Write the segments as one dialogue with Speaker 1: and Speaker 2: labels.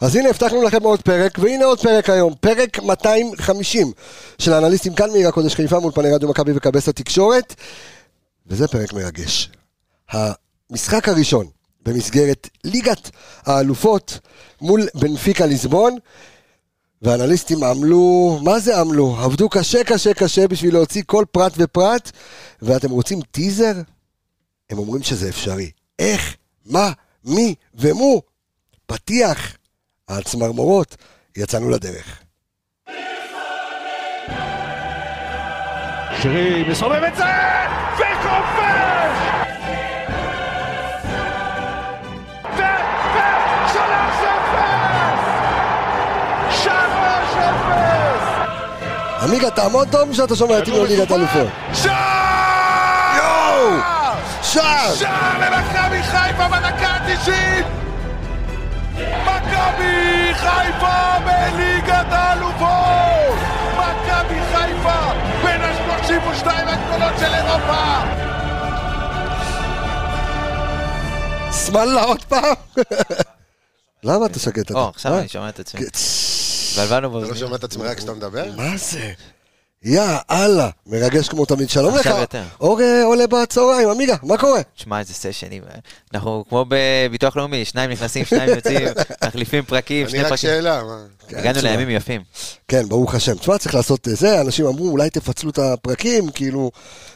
Speaker 1: אז הנה הבטחנו לכם עוד פרק, והנה עוד פרק היום, פרק 250 של האנליסטים כאן מעיר הקודש חיפה מול פני רדיו מכבי וכבש התקשורת, וזה פרק מרגש. המשחק הראשון במסגרת ליגת האלופות מול בנפיקה ליסבון, והאנליסטים עמלו, מה זה עמלו? עבדו קשה קשה קשה בשביל להוציא כל פרט ופרט, ואתם רוצים טיזר? הם אומרים שזה אפשרי. איך, מה, מי ומו? פתיח, הצמרמורות, יצאנו לדרך.
Speaker 2: שרי מסובב את זה, וכובש! ושלוש אפס! שלוש אפס!
Speaker 1: עמיגה, תעמוד דום שאתה שומע את אימון ליגת אלופות.
Speaker 2: שער!
Speaker 1: יואו! שער!
Speaker 2: שער למכבי חיפה בדקה ה-90! מכבי חיפה בליגת האלופות! מכבי חיפה בין ה-32 הגדולות של אירופה!
Speaker 1: שמאללה עוד פעם? למה אתה שקט? אתה?
Speaker 3: או, עכשיו
Speaker 1: מה?
Speaker 3: אני שומע את עצמי.
Speaker 1: כן, צ'ש.
Speaker 3: התבלבלנו
Speaker 4: אה, אתה לא
Speaker 3: באוזניים.
Speaker 4: שומע את עצמך כשאתה מדבר?
Speaker 1: מה זה? יא אללה, מרגש כמו תמיד, שלום לך.
Speaker 3: עכשיו יותר.
Speaker 1: אור אה, עולה בצהריים, עמיגה, מה קורה?
Speaker 3: תשמע, איזה סשנים. אנחנו כמו בביטוח לאומי, שניים נכנסים, שניים יוצאים, מחליפים פרקים,
Speaker 4: אני
Speaker 3: שני
Speaker 4: רק לא,
Speaker 3: פרקים.
Speaker 4: שאלה, מה?
Speaker 3: הגענו
Speaker 1: תשמע.
Speaker 3: לימים יפים.
Speaker 1: כן, ברוך השם. תשמע, צריך לעשות אה, זה, אנשים אמרו, אולי תפצלו את הפרקים, כאילו,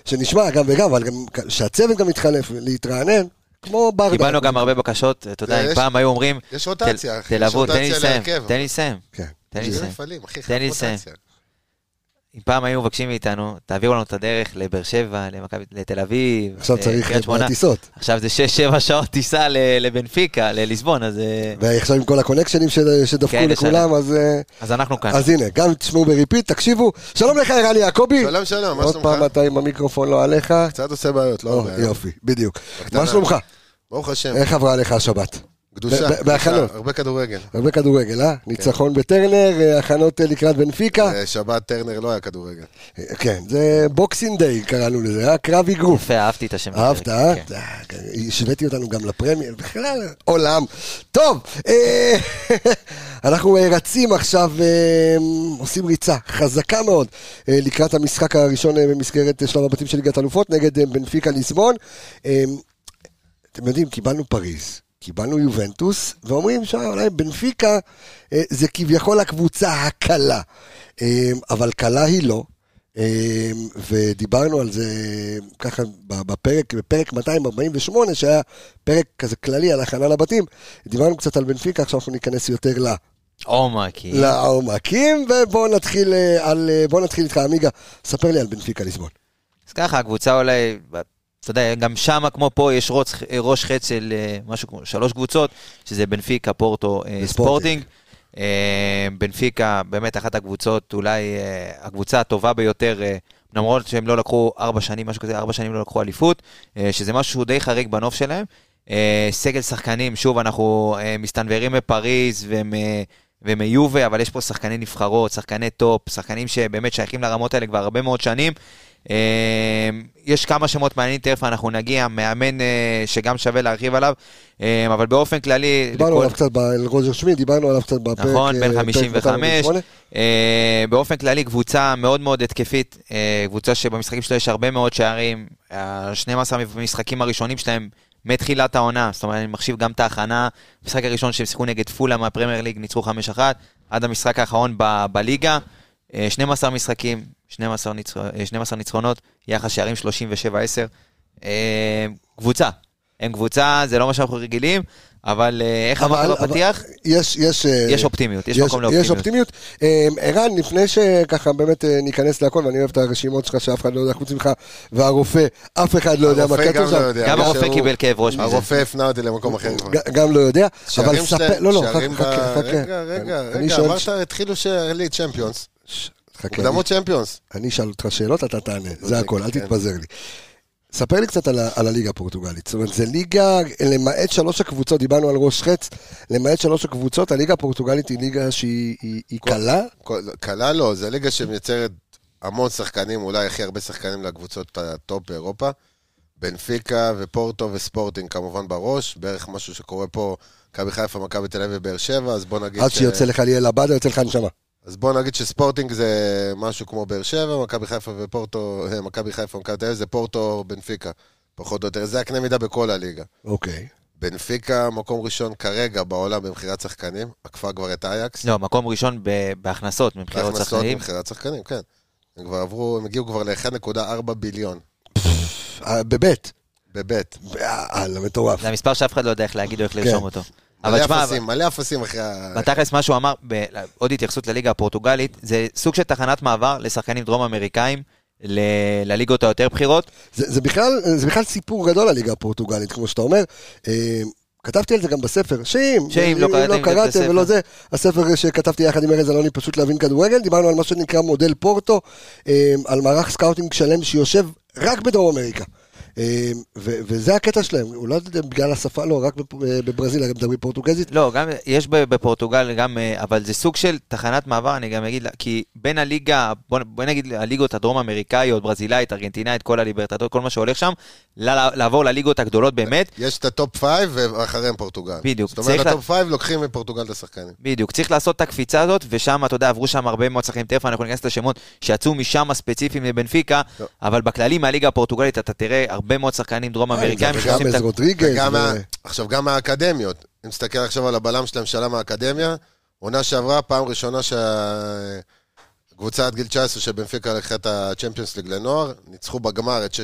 Speaker 1: שנשמע גם וגם, אבל גם שהצוות גם יתחלף, להתרענן, כמו ברדה.
Speaker 3: קיבלנו גם הרבה בקשות, אתה יודע,
Speaker 4: יש-
Speaker 3: אם פעם היו אומרים...
Speaker 4: יש רוטציה,
Speaker 3: "תל-
Speaker 4: אחי, יש
Speaker 3: תלוו, תן לי
Speaker 4: רוטציה
Speaker 3: לסיים,
Speaker 4: להרכב,
Speaker 3: תן
Speaker 4: אבל-
Speaker 3: לי לסיים.
Speaker 1: כן.
Speaker 3: תן לי
Speaker 4: זה
Speaker 3: לסיים.
Speaker 4: מפעלים, אחי,
Speaker 3: תן לי לסיים.
Speaker 4: רוטציה.
Speaker 3: אם פעם היו מבקשים מאיתנו, תעבירו לנו את הדרך לבאר שבע, למכבי- לתל אביב,
Speaker 1: עכשיו
Speaker 3: אה,
Speaker 1: צריך
Speaker 3: קריית שמונה.
Speaker 1: טיסות.
Speaker 3: עכשיו זה 6-7 שעות טיסה ל- לבנפיקה, לליסבון, אז אה,
Speaker 1: ועכשיו עם כל הקונקשנים של- שדפקו
Speaker 3: כן, אוקיי.
Speaker 1: לכולם, אז... אה,
Speaker 3: אז אנחנו כאן.
Speaker 1: אז הנה, גם תשמעו בריפיט, תקשיבו. שלום לך, ערן יעקבי.
Speaker 4: שלום, שלום, מה
Speaker 1: עוד
Speaker 4: שלומך?
Speaker 1: פעם אתה עם המיקרופון לא עליך.
Speaker 4: קצת עושה בעיות, לא
Speaker 1: או,
Speaker 4: הרבה.
Speaker 1: יופי, בדיוק.
Speaker 4: בקטנה. כן.
Speaker 1: מה שלומך?
Speaker 4: ברוך השם,
Speaker 1: איך עברה לך השבת?
Speaker 4: קדושה.
Speaker 1: ב- ב- בהכנות.
Speaker 4: קדושה, הרבה כדורגל.
Speaker 1: הרבה כדורגל, אה? ניצחון בטרנר, אה, הכנות אה, לקראת בנפיקה.
Speaker 4: כן. אה, שבת טרנר לא היה כדורגל.
Speaker 1: אה, כן, זה בוקסינג דיי קראנו לזה, אה? קרב אגרוף.
Speaker 3: יפה, אהבתי את השם. כן.
Speaker 1: אהבת, אה? אה, השוויתי אותנו גם לפרמייר, בכלל, עולם. טוב, אה, אנחנו אה, רצים עכשיו, אה, עושים ריצה חזקה מאוד אה, לקראת המשחק הראשון אה, במסגרת אה, שלב הבתים של ליגת אלופות נגד אה, בנפיקה ליסבון. אה, אתם יודעים, קיבלנו פריז, קיבלנו יובנטוס, ואומרים שאולי בנפיקה אה, זה כביכול הקבוצה הקלה. אה, אבל קלה היא לא. אה, ודיברנו על זה אה, ככה ב- בפרק, בפרק 248, שהיה פרק כזה כללי על הכנה לבתים, דיברנו קצת על בנפיקה, עכשיו אנחנו ניכנס יותר ל-
Speaker 3: עומקי.
Speaker 1: לעומקים, ובואו נתחיל, אה, על, אה, בואו נתחיל איתך, עמיגה, ספר לי על בנפיקה ליסבון.
Speaker 3: אז ככה, הקבוצה אולי, אתה יודע, גם שמה כמו פה יש ראש, ראש חץ של אה, משהו כמו שלוש קבוצות, שזה בנפיקה, פורטו, אה,
Speaker 1: וספורטינג.
Speaker 3: ספורטינג. אה, בנפיקה, באמת אחת הקבוצות, אולי אה, הקבוצה הטובה ביותר, אה, למרות שהם לא לקחו ארבע שנים, משהו כזה, ארבע שנים לא לקחו אליפות, אה, שזה משהו די חריג בנוף שלהם. אה, סגל שחקנים, שוב, אנחנו אה, מסתנוורים מפריז ומ... ומיובה, אבל יש פה שחקני נבחרות, שחקני טופ, שחקנים שבאמת שייכים לרמות האלה כבר הרבה מאוד שנים. אה, יש כמה שמות מעניינים, תכף אנחנו נגיע, מאמן אה, שגם שווה להרחיב עליו, אה, אבל באופן כללי...
Speaker 1: דיברנו
Speaker 3: לכל-
Speaker 1: עליו קצת, ב- על רוג'ר שמי, דיברנו עליו קצת בפרק...
Speaker 3: נכון,
Speaker 1: אה,
Speaker 3: בן
Speaker 1: פרק
Speaker 3: 55.
Speaker 1: 248.
Speaker 3: אה, באופן כללי, קבוצה מאוד מאוד התקפית, אה, קבוצה שבמשחקים שלה יש הרבה מאוד שערים. ה-12 המשחקים הראשונים שלהם מתחילת העונה, זאת אומרת, אני מחשיב גם את ההכנה, המשחק הראשון שהם שיחקו נגד פולה מהפרמייר ליג, ניצחו 5-1, עד המשחק האחרון ב- בליגה. אה, 12 משחקים, 12 ניצח- אה, 12 ניצחונות, יחס שערים 37-10. אה, קבוצה. הם קבוצה, זה לא מה שאנחנו רגילים, אבל אה, איך
Speaker 1: אבל-
Speaker 3: אמרת
Speaker 1: אבל-
Speaker 3: בפתיח?
Speaker 1: יש, יש... אה,
Speaker 3: יש אופטימיות, יש מקום
Speaker 1: יש
Speaker 3: לאופטימיות.
Speaker 1: אופטימיות. אה, ערן, לפני שככה באמת אה, ניכנס להכל, ואני אוהב את הרשימות שלך שאף אחד לא יודע חוץ ממך, והרופא, אף אחד לא יודע מה
Speaker 4: הרופא
Speaker 1: כתוב
Speaker 4: גם לא
Speaker 1: שם.
Speaker 4: יודע.
Speaker 3: גם
Speaker 4: שהוא-
Speaker 3: הרופא קיבל כאב ראש מזה.
Speaker 4: הרופא הפנה אותי למקום אחר כבר.
Speaker 1: ג- גם לא יודע, אבל
Speaker 4: שערים
Speaker 1: ספר,
Speaker 4: שלהם-
Speaker 1: לא, לא,
Speaker 4: שערים
Speaker 1: חכה,
Speaker 4: ב-
Speaker 1: חכה, חכה.
Speaker 4: רגע, רגע,
Speaker 1: אני
Speaker 4: רגע,
Speaker 1: שואל-
Speaker 4: אמרת, התחילו שארלי צ'מפיונס.
Speaker 1: ש- חכה, אני-
Speaker 4: מוקדמות צ'מפיונס.
Speaker 1: אני אשאל אותך שאלות, אתה תענה, זה
Speaker 4: אוקיי,
Speaker 1: הכל, אל
Speaker 4: כן.
Speaker 1: תתפזר לי. ספר לי קצת על ה- על הליגה הפורטוגלית. זאת אומרת, זה ליגה, למעט שלוש הקבוצות, דיברנו על ראש חץ, למעט שלוש הקבוצות, הליגה הפורטוגלית היא ליגה שהיא היא- היא קלה,
Speaker 4: כל- קלה לא, זה ליגה שמייצרת המון שחקנים, אולי הכי הרבה שחקנים לקבוצות הטופ באירופה. בנפיקה ופורטו וספורטינג כמובן בראש, בערך משהו שקורה פה מכבי חיפה, מכבי תל אביב ובאר שבע, אז בוא נגיד...
Speaker 1: עד
Speaker 4: ש-
Speaker 3: אה,
Speaker 1: שיוצא לך ליאל עבדה, יוצא לך נשמה.
Speaker 4: אז בוא נגיד שספורטינג זה משהו כמו באר שבע, מכבי חיפה ופורטו, אה, מכבי חיפה ומכבי תל אביב זה פורטו בנפיקה, פחות או יותר. זה הקנה מידה בכל הליגה.
Speaker 1: אוקיי.
Speaker 4: בנפיקה מקום ראשון כרגע בעולם במכירת שחקנים, עקפה כבר את אייקס.
Speaker 3: לא, מקום ראשון ב- בהכנסות מבחירות
Speaker 4: בהכנסות
Speaker 3: שחקנים.
Speaker 4: ממכירת שחקנים, כן. הם כבר עברו, הם הגיעו כבר ל-1.4 ביליון,
Speaker 1: אה, בבית.
Speaker 4: בבית.
Speaker 1: יאללה, מטורף.
Speaker 3: זה המספר שאף אחד לא יודע איך להגיד או איך
Speaker 1: כן.
Speaker 3: לרשום אותו. אבל
Speaker 4: מלא
Speaker 3: תשמע,
Speaker 4: אפסים, מלא אפסים אחרי ה...
Speaker 3: בתכלס מה שהוא אמר, ב- עוד התייחסות לליגה הפורטוגלית, זה סוג של תחנת מעבר לשחקנים דרום אמריקאים ל- לליגות היותר בכירות.
Speaker 1: זה, זה, בכלל, זה בכלל סיפור גדול, הליגה הפורטוגלית, כמו שאתה אומר. אה, כתבתי על זה גם בספר, שאם, אה,
Speaker 3: שאם
Speaker 1: אם
Speaker 3: לא קראתם את
Speaker 1: קראתם
Speaker 3: הספר.
Speaker 1: ולא זה, הספר שכתבתי יחד עם ארז אלוני, פשוט להבין כדורגל, דיברנו על מה שנקרא מודל פורטו, אה, על מערך סקאוטינג שלם שיושב רק בדרום אמריקה. אה, ו- וזה הקטע שלהם, אולי זה בגלל השפה, לא, רק בפ- אה, בברזיל, הרי מדברים פורטוגזית.
Speaker 3: לא, גם יש ב- בפורטוגל גם, אה, אבל זה סוג של תחנת מעבר, אני גם אגיד, לה- כי בין הליגה, בוא, בוא נגיד הליגות הדרום אמריקאיות, ברזילאית, ארגנטינאית, כל הליברטטות, כל מה שהולך שם, ל- לעבור לליגות הגדולות באמת,
Speaker 4: יש את הטופ 5 ואחריהם פורטוגל.
Speaker 3: בדיוק,
Speaker 4: זאת אומרת,
Speaker 3: צריך לה-
Speaker 4: הטופ 5 לוקחים מפורטוגל את השחקנים.
Speaker 3: בדיוק, צריך לעשות את הקפיצה הזאת, ושם, אתה יודע, עברו שם הרבה מאוד שחקנים, תכף אנחנו ניכנס לשמות שיצאו משם הספציפיים לבנפיקה,
Speaker 4: לא.
Speaker 3: אבל בכללי מהליגה הפורטוגלית אתה תראה הרבה מאוד שחקנים דרום
Speaker 1: אה,
Speaker 3: אמריקאים
Speaker 1: וגם
Speaker 3: שעושים את
Speaker 1: איזה
Speaker 3: ה...
Speaker 1: רודריגז.
Speaker 4: וגם
Speaker 1: ו-
Speaker 4: ה- עכשיו, גם האקדמיות. אם תסתכל עכשיו על הבלם שלהם שעלה מהאקדמיה, עונה שעברה, פעם ראשונה שהקבוצה עד גיל 19 של בנפיקה לקחה את ה-Champions League לנוער, ניצחו בגמר את 6-0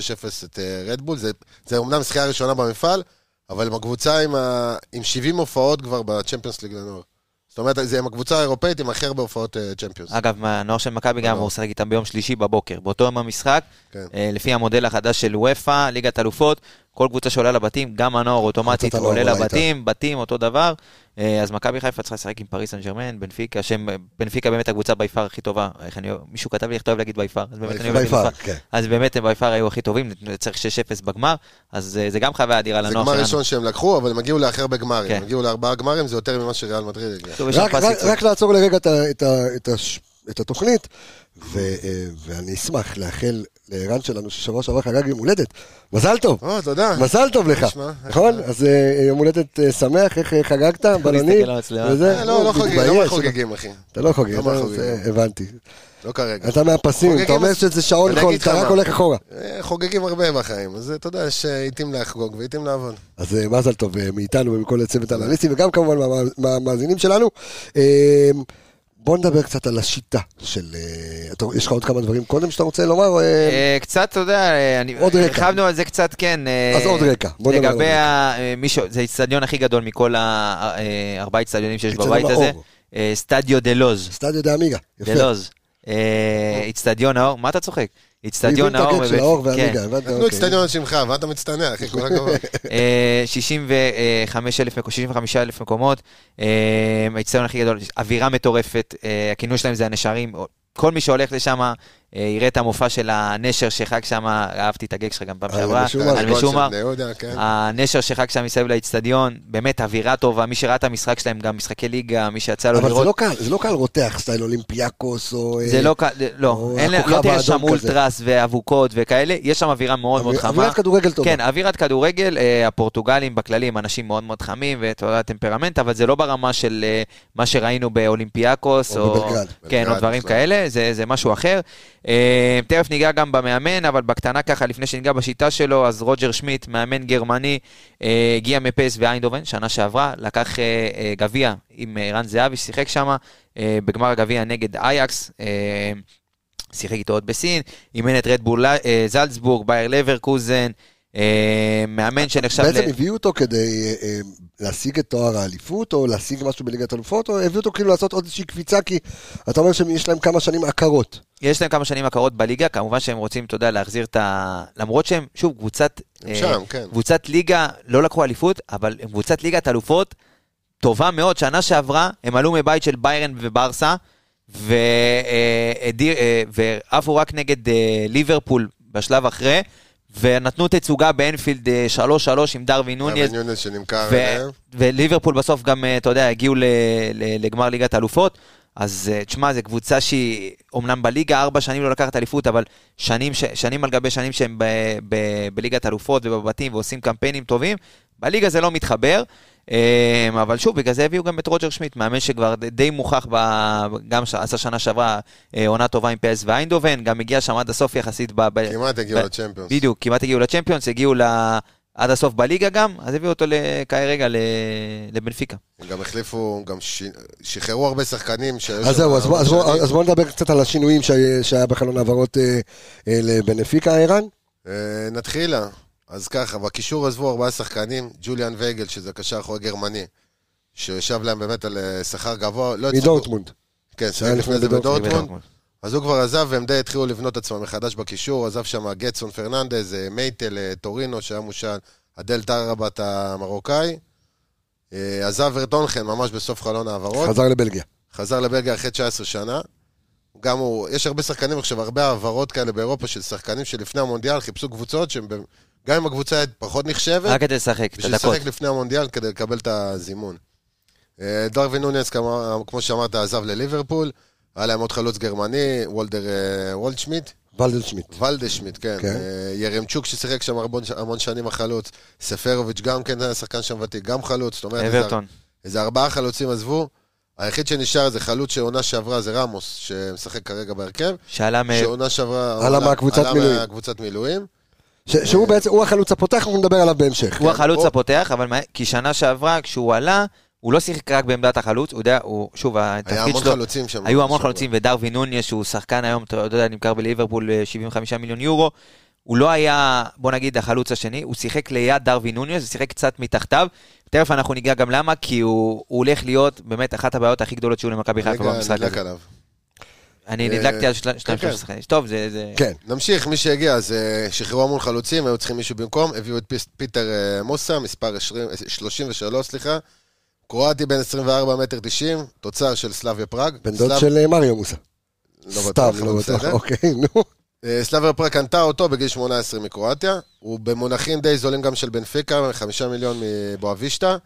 Speaker 4: את אה, רדבול. זה- זה אומנם זכייה ראשונה במפעל, אבל הם הקבוצה עם ה- עם 70 הופעות כבר ב-Champions League לנוער. זאת אומרת, זה הם הקבוצה האירופאית עם הכי הרבה הופעות אה, Champions.
Speaker 3: אגב, מהנוער של מכבי גם
Speaker 4: לא.
Speaker 3: הוא משחק איתם ביום שלישי בבוקר, באותו יום המשחק,
Speaker 4: כן.
Speaker 3: אה, לפי המודל החדש של וופא, ליגת אלופות, כל קבוצה שעולה לבתים, גם הנוער אוטומטית
Speaker 1: הנוער
Speaker 3: עולה
Speaker 1: עולה איתה.
Speaker 3: לבתים, בתים אותו דבר. אה, אז מכבי חיפה צריכה לשחק עם פריס סן ג'רמן, בנפיקה, שהם, בנפיקה באמת הקבוצה ביפר הכי טובה. איך אני, מישהו כתב לי איך אתה אוהב להגיד ביפר, אז באמת אני אוהב
Speaker 1: by
Speaker 3: להגיד
Speaker 1: far,
Speaker 3: ביפר.
Speaker 1: כן.
Speaker 3: אז באמת הם ביפר היו הכי טובים, צריך 6-0 בגמר, אז אה, זה גם חוויה אדירה
Speaker 4: זה
Speaker 3: לנוער
Speaker 4: גמר
Speaker 3: שלנו.
Speaker 4: ראשון שהם לקחו, אבל הם הגיעו להכי הרבה גמרים.
Speaker 3: כן.
Speaker 4: הם הגיעו לארבעה גמרים, זה יותר ממה שריאל מדריד הגיע.
Speaker 3: טוב, יש שם
Speaker 1: רק,
Speaker 3: פס
Speaker 1: רק,
Speaker 3: ייצור.
Speaker 1: רק לעצור לרגע את, ה, את, ה, את, הש, את התוכנית, ו, אה, ואני אשמח לאחל לערן שלנו ששבוע שעבר חגג יום הולדת. מזל טוב,
Speaker 4: או, תודה.
Speaker 1: מזל טוב לך,
Speaker 4: אה, נשמע, איך
Speaker 1: נכון?
Speaker 4: זה?
Speaker 1: אז אה, יום הולדת אה, שמח, איך אה, חגגת, בלוני,
Speaker 3: להסתכל על המצלמה.
Speaker 1: וזה,
Speaker 4: אה, לא, לא
Speaker 1: הוא
Speaker 4: חוגגים, לא
Speaker 1: מתבייש.
Speaker 4: חוגגים, אחי.
Speaker 1: אתה לא חוגג,
Speaker 4: לא
Speaker 1: אתה-
Speaker 4: מהחוגגים.
Speaker 1: זה- הבנתי.
Speaker 4: לא כרגע.
Speaker 1: אתה מהפסים, אתה
Speaker 4: חוגגים,
Speaker 1: אומר
Speaker 4: אז-
Speaker 1: שזה שעון
Speaker 4: אני
Speaker 1: חול,
Speaker 4: אגיד לך
Speaker 1: אתה רק
Speaker 4: מה.
Speaker 1: הולך אחורה.
Speaker 4: אה, חוגגים הרבה בחיים, אז אתה יודע, יש אה, עיתים לחגוג ועיתים לעבוד.
Speaker 1: אז אה, מזל טוב אה, מאיתנו ומכל הצוות האנליסטי, וגם כמובן מה- מהמאזינים שלנו. אה, בוא נדבר קצת על השיטה של... אה, אתה- יש לך עוד כמה דברים קודם שאתה רוצה לומר? אה,
Speaker 3: אה, קצת, אתה יודע, אה, אני-
Speaker 1: עוד רקע.
Speaker 3: הרחבנו על זה קצת, כן. אה,
Speaker 1: אז עוד רקע, בוא נדבר על
Speaker 3: לגבי
Speaker 1: עוד
Speaker 3: ה... אה, מי ש- זה האיצטדיון הכי גדול מכל אה, הארבעה איצטדיונים שיש
Speaker 1: אצטדיון
Speaker 3: בבית הזה.
Speaker 1: האור.
Speaker 3: אה, סטדיו דה לוז.
Speaker 1: סטדיו דה עמיגה, יפה.
Speaker 3: דה לוז. אה, איצטדיון האור, מה אתה צוחק? איצטדיון האור.
Speaker 1: הוא הבין את הגג של
Speaker 3: בבית-
Speaker 1: האור
Speaker 3: כן.
Speaker 1: והעמיגה, הבנת?
Speaker 4: נתנו
Speaker 1: אוקיי.
Speaker 4: אצטדיון על שמך, מה אתה מצטנע, אחי, כל הכבוד.
Speaker 3: אה, 65,000 מקומות, 65,000 מקומות, אה, האיצטדיון הכי גדול, אווירה מטורפת, אה, הכינוי שלהם זה הנשרים, כל מי שהולך לשם אה, יראה את המופע של הנשר שחג שם, אהבתי את הגג שלך גם פעם
Speaker 1: על
Speaker 3: שעברה,
Speaker 1: אה, משומר.
Speaker 3: על משומר,
Speaker 4: אה, בני יהודה, כן.
Speaker 3: אה, הנשר שחג שם מסביב לאיצטדיון, באמת אווירה טובה, מי שראה את המשחק שלהם, גם משחקי ליגה, מי שיצא לו
Speaker 1: אבל זה
Speaker 3: לראות,
Speaker 1: לא קהל, זה לא קהל רותח, סטייל אולימפיאקוס או... אה,
Speaker 3: זה לא, ק- לא,
Speaker 1: או
Speaker 3: אין-
Speaker 1: הכוכב
Speaker 3: לא תראה שם
Speaker 1: האדום כזה.
Speaker 3: אולטרס ואבוקות וכאלה, יש שם אווירה מאוד מאוד
Speaker 1: אוויר-
Speaker 3: חמה.
Speaker 1: אווירת כדורגל טובה.
Speaker 3: כן, אווירת כדורגל, אה, הפורטוגלים בכללי הם אנשים מאוד מאוד חמים, ואתה יודע, טמפרמנט, אבל זה לא ברמה של אה, מה שראינו באולימפיאקוס,
Speaker 1: או בבלגרד.
Speaker 3: כן, או
Speaker 4: בלגרד
Speaker 3: דברים
Speaker 4: בכלל.
Speaker 3: כאלה, זה, זה משהו אחר. אה, תכף ניגע גם במאמן, אבל בקטנה ככה, לפני שניגע בשיטה שלו, אז רוג'ר שמיט, מאמן גרמני, אה, הגיע מפס ואיינדובן, שנה שעברה, לקח אה, אה, גביע עם אה, ערן זהבי, שיחק שם בגמר הגביע נגד אייקס. אה, שיחק איתו עוד בסין, אימן את רדבול אה, זלצבורג, בייר לברקוזן, אה, מאמן שנחשב
Speaker 1: בעצם
Speaker 3: ל...
Speaker 1: הביאו אותו כדי אה, אה, להשיג את תואר האליפות, או להשיג משהו בליגת אלופות, או הביאו אותו כאילו לעשות עוד איזושהי קפיצה, כי אתה אומר שיש להם כמה שנים עקרות.
Speaker 3: יש להם כמה שנים עקרות בליגה, כמובן שהם רוצים, אתה יודע, להחזיר את ה... למרות שהם, שוב, קבוצת...
Speaker 4: הם
Speaker 3: אה,
Speaker 4: שם, כן.
Speaker 3: קבוצת ליגה, לא לקחו אליפות, אבל הם קבוצת ליגת אלופות טובה מאוד. שנה שעברה הם עלו מבית של ביירן וברסה, ו- אה, הדיר- אה, ועפו רק נגד אה, ליברפול בשלב אחרי, ונתנו תצוגה באנפילד אה, 3-3 עם דרווין נוניז.
Speaker 4: אבן יונס שנמכר אה,
Speaker 3: ו-
Speaker 4: אליהם.
Speaker 3: וליברפול בסוף גם, אה, אתה יודע, הגיעו ל- ל- לגמר ליגת האלופות. אז אה, תשמע, זו קבוצה שהיא, אמנם בליגה ארבע שנים לא לקחת אליפות, אבל שנים, ש- שנים על גבי שנים שהם ב- ב- בליגת אלופות ובבתים ועושים קמפיינים טובים, בליגה זה לא מתחבר. אמ, אבל שוב, בגלל זה הביאו גם את רוג'ר שמיט, מאמן שכבר ד- די מוכח, ב... גם ש... עשה שנה שעברה אה, עונה טובה עם פייס ואיינדובן, גם הגיע שם עד הסוף יחסית. ב... ב...
Speaker 4: כמעט הגיעו
Speaker 3: ב-
Speaker 4: לצ'מפיונס.
Speaker 3: בדיוק, כמעט הגיעו לצ'מפיונס, הגיעו ל... עד הסוף בליגה גם, אז הביאו אותו כרגע לבנפיקה.
Speaker 4: הם גם החליפו, גם ש... שחררו הרבה שחקנים שהיו
Speaker 1: אז
Speaker 4: שם
Speaker 1: זהו, אז בוא-
Speaker 4: הרבה
Speaker 1: אז בוא-
Speaker 4: שנים.
Speaker 1: אז בואו נדבר קצת על השינויים שהיה- שהיה בחלון העברות אה, אה, לבנפיקה, ערן.
Speaker 4: אה, נתחילה. אז ככה, בקישור עזבו ארבעה שחקנים, ג'וליאן וייגל, שזה קשר אחורי גרמני, שישב להם באמת על אה, שכר גבוה. לא הצליחו-
Speaker 1: מדורטמונד.
Speaker 4: כן,
Speaker 1: שהיה
Speaker 4: שהיה לפני
Speaker 1: לפני
Speaker 4: זה
Speaker 1: בדורטמונד.
Speaker 4: בדורטמונד. אז הוא כבר עזב, והם די התחילו לבנות עצמם מחדש בקישור, עזב שם גטסון פרננדז, אה, מייטל, אה, טורינו, שהיה מושל, אדל טראבט המרוקאי. אה, עזב ורטונכן ממש בסוף חלון ההעברות.
Speaker 1: חזר לבלגיה.
Speaker 4: חזר לבלגיה אחרי 19 שנה. גם הוא, יש הרבה שחקנים עכשיו, הרבה העברות כאלה באירופה של שחקנים שלפני המונדיאל חיפשו קבוצות שהם, ב- גם אם הקבוצה פחות נחשבת,
Speaker 3: רק כדי לשחק, את
Speaker 4: בשביל
Speaker 3: הדקות.
Speaker 4: לשחק לפני המונדיאל כדי לקבל את הזימון. אה, דרווין נוניאס, כמו כמו שאמרת, עזב לליברפול. היה להם עוד חלוץ גרמני, וולדר אה, וולדשמיט,
Speaker 1: ולדלשמיט.
Speaker 4: ולדשמיט, כן.
Speaker 1: כן.
Speaker 4: אה, ירמצ'וק ששיחק שם המון- המון שנים החלוץ, ספרוביץ' גם כן היה שחקן שם ותיק, גם חלוץ, זאת אומרת, איזה
Speaker 3: אברטון.
Speaker 4: איזה ארבעה חלוצים עזבו. היחיד שנשאר זה חלוץ שעונה שעברה זה רמוס, שמשחק כרגע בהרכב.
Speaker 3: שעלה מ...
Speaker 4: שעונה שעברה...
Speaker 1: עלה מהקבוצת מילואים.
Speaker 4: עלה מהקבוצת מילואים.
Speaker 1: ש-
Speaker 4: אה.
Speaker 1: שהוא בעצם, הוא החלוץ הפותח, אנחנו נדבר עליו בהמשך.
Speaker 3: הוא החלוץ
Speaker 4: הוא-
Speaker 3: הפותח, אבל מה- כי שנה שעברה, כשהוא עלה, הוא לא שיחק רק בעמדת החלוץ, הוא יודע, הוא, שוב,
Speaker 4: היה
Speaker 3: התפקיד
Speaker 4: המון
Speaker 3: שלו,
Speaker 4: חלוצים שם.
Speaker 3: היו המון
Speaker 4: שעברה.
Speaker 3: חלוצים, ודרווין נוניה, שהוא שחקן היום, אתה יודע, נמכר בליברפול אה, 75 מיליון יורו, הוא לא היה, בוא נגיד, החלוץ השני, הוא שיחק ליד דרווין נוניה, הוא שיחק קצת מתחתיו, תכף אנחנו ניגע גם למה, כי הוא, הוא הולך להיות באמת אחת הבעיות הכי גדולות שהיו למכבי חיפה
Speaker 4: רגע,
Speaker 3: במשחק
Speaker 4: נדלק
Speaker 3: הזה.
Speaker 4: עליו.
Speaker 3: אני
Speaker 4: אה,
Speaker 3: נדלקתי על של-
Speaker 4: כן.
Speaker 3: שניים שלושה שחקנים. טוב, זה... זה-
Speaker 1: כן.
Speaker 4: נמשיך, מי שהגיע, אז אה, שחררו המון חלוצים, היו צריכים מישהו במקום, הביאו את פיס- פיטר אה, מוסה, מספר 20 אה, 33, סליחה. קרואטי בן 24 מטר 90, תוצר של סלאביה פראג.
Speaker 1: בן דוד
Speaker 4: סלאב-
Speaker 1: של אה, מריו מוסה.
Speaker 4: לא בטוח,
Speaker 1: סתם,
Speaker 4: אבל
Speaker 1: לא בטוח.
Speaker 4: בסדר.
Speaker 1: אוקיי, נו.
Speaker 4: אה, סלאבר פרק קנתה אותו בגיל 18 מקרואטיה, הוא במונחים די זולים גם של בנפיקה, חמישה מיליון מבואבישטה,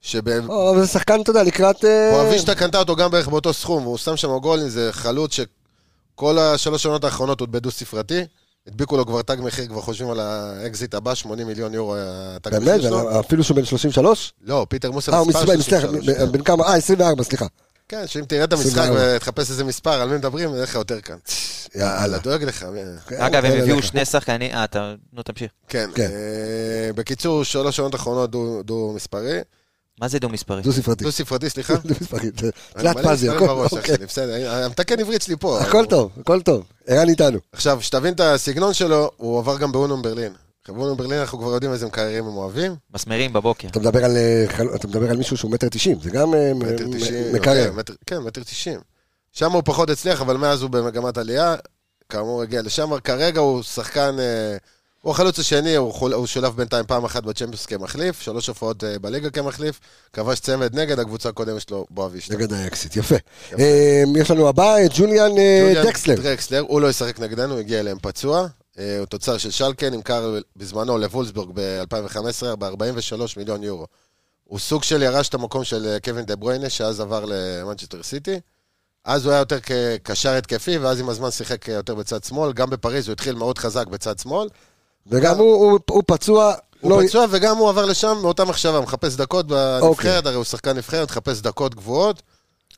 Speaker 4: שבואבישטה
Speaker 1: או, אה, אבל זה שחקן, אתה יודע, לקראת... אה,
Speaker 4: קנתה אותו גם בערך באותו סכום, והוא שם שם גול עם זה חלוץ שכל השלוש שנות האחרונות הוא בדו ספרתי, הדביקו לו כבר תג מחיר, כבר חושבים על האקזיט הבא, 80 מיליון יורו התג מחיר
Speaker 1: באמת,
Speaker 4: שלו.
Speaker 1: אפילו שהוא בן 33?
Speaker 4: לא, פיטר מוסר
Speaker 1: אה, הוא
Speaker 4: מספר
Speaker 1: מספר, מצטער,
Speaker 4: 33.
Speaker 1: בן כמה? אה, 24, סליחה.
Speaker 4: כן, שאם תראה את המשחק
Speaker 1: 24.
Speaker 4: ותחפש איזה מספר, על מי מדברים, יהיה לך יותר קל.
Speaker 1: יאללה.
Speaker 4: דואג לך. אה,
Speaker 3: אגב, הם
Speaker 1: אוקיי,
Speaker 3: הביאו
Speaker 1: לך.
Speaker 3: שני שחקנים... אה, אתה... נו, תמשיך.
Speaker 4: כן.
Speaker 1: כן.
Speaker 4: אה, בקיצור, שלוש שנות אחרונות דו- דו-מספרי.
Speaker 3: מה זה דו מספרי?
Speaker 1: דו-ספרתי.
Speaker 4: דו-ספרתי, סליחה.
Speaker 1: דו-ספרתי. זה
Speaker 4: אני
Speaker 1: תלת
Speaker 4: מלא
Speaker 1: פאזי,
Speaker 4: מספרים
Speaker 1: הכל
Speaker 4: בראש,
Speaker 1: אוקיי.
Speaker 4: אחי, בסדר, המתקן עברית שלי פה.
Speaker 1: הכל טוב, הכל טוב. ערן איתנו.
Speaker 4: עכשיו, שתבין את הסגנון שלו, הוא עבר גם באונום ברלין. עכשיו, באונום ברלין אנחנו כבר יודעים איזה מקריירים הם אוהבים.
Speaker 3: מסמרים בבוקר.
Speaker 1: אתה מדבר על, אה, חל- אתה מדבר על מישהו שהוא מטר תשעים, זה גם אה, מ-
Speaker 4: מטר
Speaker 1: מ-
Speaker 4: תשעים.
Speaker 1: מקרר.
Speaker 4: יותר, מטר- כן, מטר תשעים. שם הוא פחות הצליח, אבל מאז הוא במגמת עלייה. כאמור, הגיע לשם. כרגע הוא שחקן... אה, הוא החלוץ השני, הוא חול- הוא שולב בינתיים פעם אחת בצ'מפיונס כמחליף, שלוש הופעות אה, בליגה כמחליף, כבש צמד נגד הקבוצה הקודמת שלו, בואבישטה.
Speaker 1: נגד האקסיט, יפה. אה, יש לנו הבא, את ג'וליאן אה,
Speaker 4: ג'וליאן
Speaker 1: דקסלר.
Speaker 4: דרקסלר, הוא לא ישחק נגדנו, הגיע אליהם פצוע. אה, הוא תוצר של שלקה, נמכר בזמנו לוולסבורג ב-2015 ב-43 מיליון יורו. הוא סוג של ירש את המקום של אה, קווין דה ברויינה, שאז עבר למנצ'סטר סיטי. אז הוא היה יותר כקשר התקפי, ואז עם הזמן שיחק אה, יותר בצד שמאל. גם בפריז הוא התחיל מאוד חזק בצד שמאל.
Speaker 1: וגם הוא- הוא- הוא פצוע.
Speaker 4: הוא
Speaker 1: לא-
Speaker 4: פצוע וגם הוא עבר לשם מאותה מחשבה, מחפש דקות
Speaker 1: אוקיי.
Speaker 4: בנבחרת, הרי הוא שחקן נבחרת, מחפש דקות גבוהות.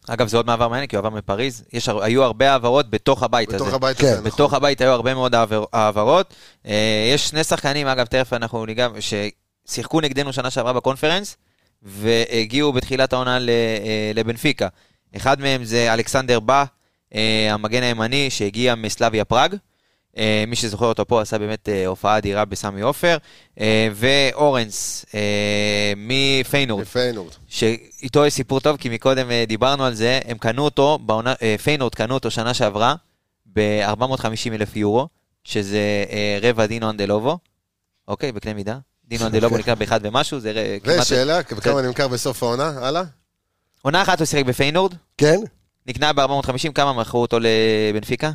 Speaker 3: אגב, זה עוד מעבר מעניין, כי הוא עבר מפריז. יש, הר- היו הרבה העברות בתוך הבית הזה.
Speaker 4: בתוך הבית
Speaker 1: כן,
Speaker 4: הזה, נכון.
Speaker 3: בתוך הבית היו הרבה מאוד העבר- העברות. אה, יש שני שחקנים, אגב, תכף אנחנו ניגע, ששיחקו נגדנו שנה שעברה בקונפרנס, והגיעו בתחילת העונה ל- אה, לבנפיקה. אחד מהם זה אלכסנדר בא, אה, המגן הימני, שהגיע מסלביה פראג. אה, מי שזוכר אותו פה עשה באמת אה, הופעה אדירה בסמי עופר. אה, ואורנס אה, מפיינורד.
Speaker 4: מפיינורד.
Speaker 3: שאיתו יש סיפור טוב, כי מקודם אה, דיברנו על זה, הם קנו אותו, בעונה, אה, פיינורד קנו אותו שנה שעברה ב-450 אלף יורו, שזה אה, רבע דינו אנדלובו, אוקיי, בקנה מידה. דינו אנדלובו נקרא באחד ומשהו, זה אה, כמעט...
Speaker 4: ושאלה, כמה נמכר בסוף העונה? הלאה.
Speaker 3: עונה אחת הוא שיחק בפיינורד,
Speaker 1: כן?
Speaker 3: נקנה ב-450, כמה מכרו אותו לבנפיקה?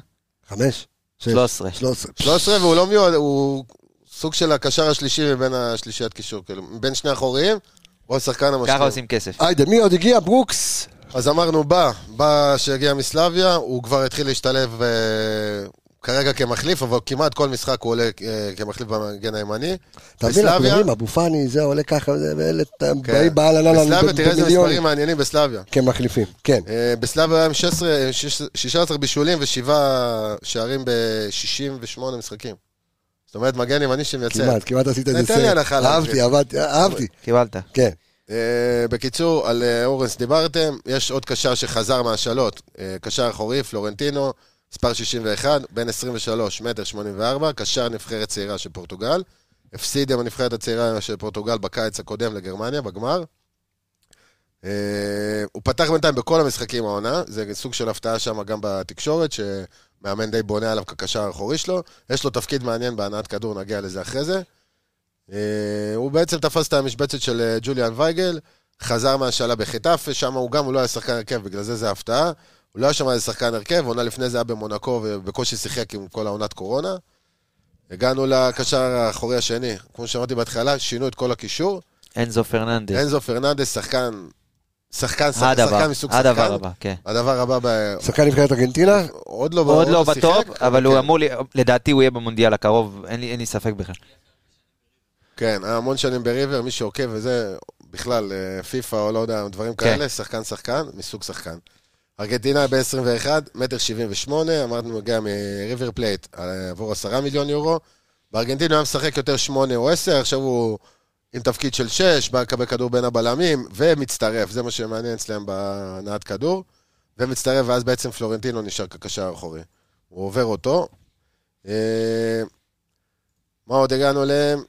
Speaker 1: חמש? שש?
Speaker 3: 13.
Speaker 1: 13.
Speaker 4: 13 והוא לא מיועד, הוא סוג של הקשר השלישי מבין השלישיית קישור, כאילו, בין שני האחוריים, הוא השחקן
Speaker 3: ככה
Speaker 4: המשלים.
Speaker 3: עושים כסף.
Speaker 1: היידה, מי עוד הגיע? ברוקס.
Speaker 4: אז אמרנו, בא, בא שהגיע מסלביה, הוא כבר התחיל להשתלב, אה, כרגע כמחליף, אבל כמעט כל משחק הוא עולה אה, כמחליף במגן הימני.
Speaker 1: אתה מבין, אנחנו
Speaker 4: בסלביה-
Speaker 1: מדברים, אבו פאני, זה עולה ככה, זה- ואלה אתם
Speaker 4: כן.
Speaker 1: באים באהלן אהלן
Speaker 4: בסלביה, תראה איזה מספרים
Speaker 1: במיליונים
Speaker 4: מעניינים בסלביה.
Speaker 1: כמחליפים, כן.
Speaker 4: אה, בסלביה היה עם אה, 16 16 בישולים ושבעה שערים ב-68 משחקים. זאת אומרת, מגן ימני שמייצר.
Speaker 1: כמעט, כמעט עשית איזה
Speaker 4: תן לי הנחה להמשיך.
Speaker 1: אהבתי, עבדתי, אהבתי,
Speaker 3: קיבלת.
Speaker 1: כן.
Speaker 4: אה, בקיצור, על אה, אורנס דיברתם, יש עוד קשר שחזר מהשאלות. אה, קשר אחורי, פלורנטינו, מספר 61, בן 23, מטר 84, קשר נבחרת צעירה של פורטוגל. הפסיד עם הנבחרת הצעירה של פורטוגל בקיץ הקודם לגרמניה, בגמר. אה, הוא פתח בינתיים בכל המשחקים העונה, זה סוג של הפתעה שם גם בתקשורת, שמאמן די בונה עליו כקשר האחורי שלו. יש לו תפקיד מעניין בהנעת כדור, נגיע לזה אחרי זה. אה, הוא בעצם תפס את המשבצת של אה, ג'וליאן וייגל, חזר מהשאלה בחטאפה, שם הוא גם, הוא לא היה שחקן הרכב, בגלל זה זה הפתעה. הוא לא היה שם איזה שחקן הרכב, עונה לפני זה היה במונקו ובקושי שיחק עם כל העונת קורונה. הגענו לקשר האחורי השני, כמו שאמרתי בהתחלה, שינו את כל הקישור.
Speaker 3: אנזו פרננדס.
Speaker 4: אנזו פרננדס, שחקן, שחקן,
Speaker 3: הדבר,
Speaker 4: שחקן מסוג שחקן.
Speaker 3: הדבר הבא, כן.
Speaker 4: הדבר הבא, ב...
Speaker 1: שחקן נבחרת ארגנטינה,
Speaker 4: עוד לא,
Speaker 3: עוד לא
Speaker 4: שיחק,
Speaker 3: בטופ, אבל הוא
Speaker 4: כן.
Speaker 3: אמור, לי- לדעתי הוא יהיה במונדיאל הקרוב, אין לי אין לי ספק בכלל.
Speaker 4: כן, היה המון שנים בריבר, מי שעוקב וזה, בכלל, אה, פיפא או לא יודע, דברים
Speaker 3: כן.
Speaker 4: כאלה, שחקן שחקן, מסוג שחקן. ארגנטינה ב-21, מטר 78, אמרנו מגיע מריבר פלייט אה, עבור 10 מיליון יורו. בארגנטינה הוא היה משחק יותר 8 או 10, עכשיו הוא עם תפקיד של 6, בא לקבל כדור בין הבלמים, ומצטרף, זה מה שמעניין אצלם בהנעת כדור. ומצטרף, ואז בעצם פלורנטינו נשאר כקשר אחורי. הוא עובר אותו. אה, מה עוד הגענו אליהם?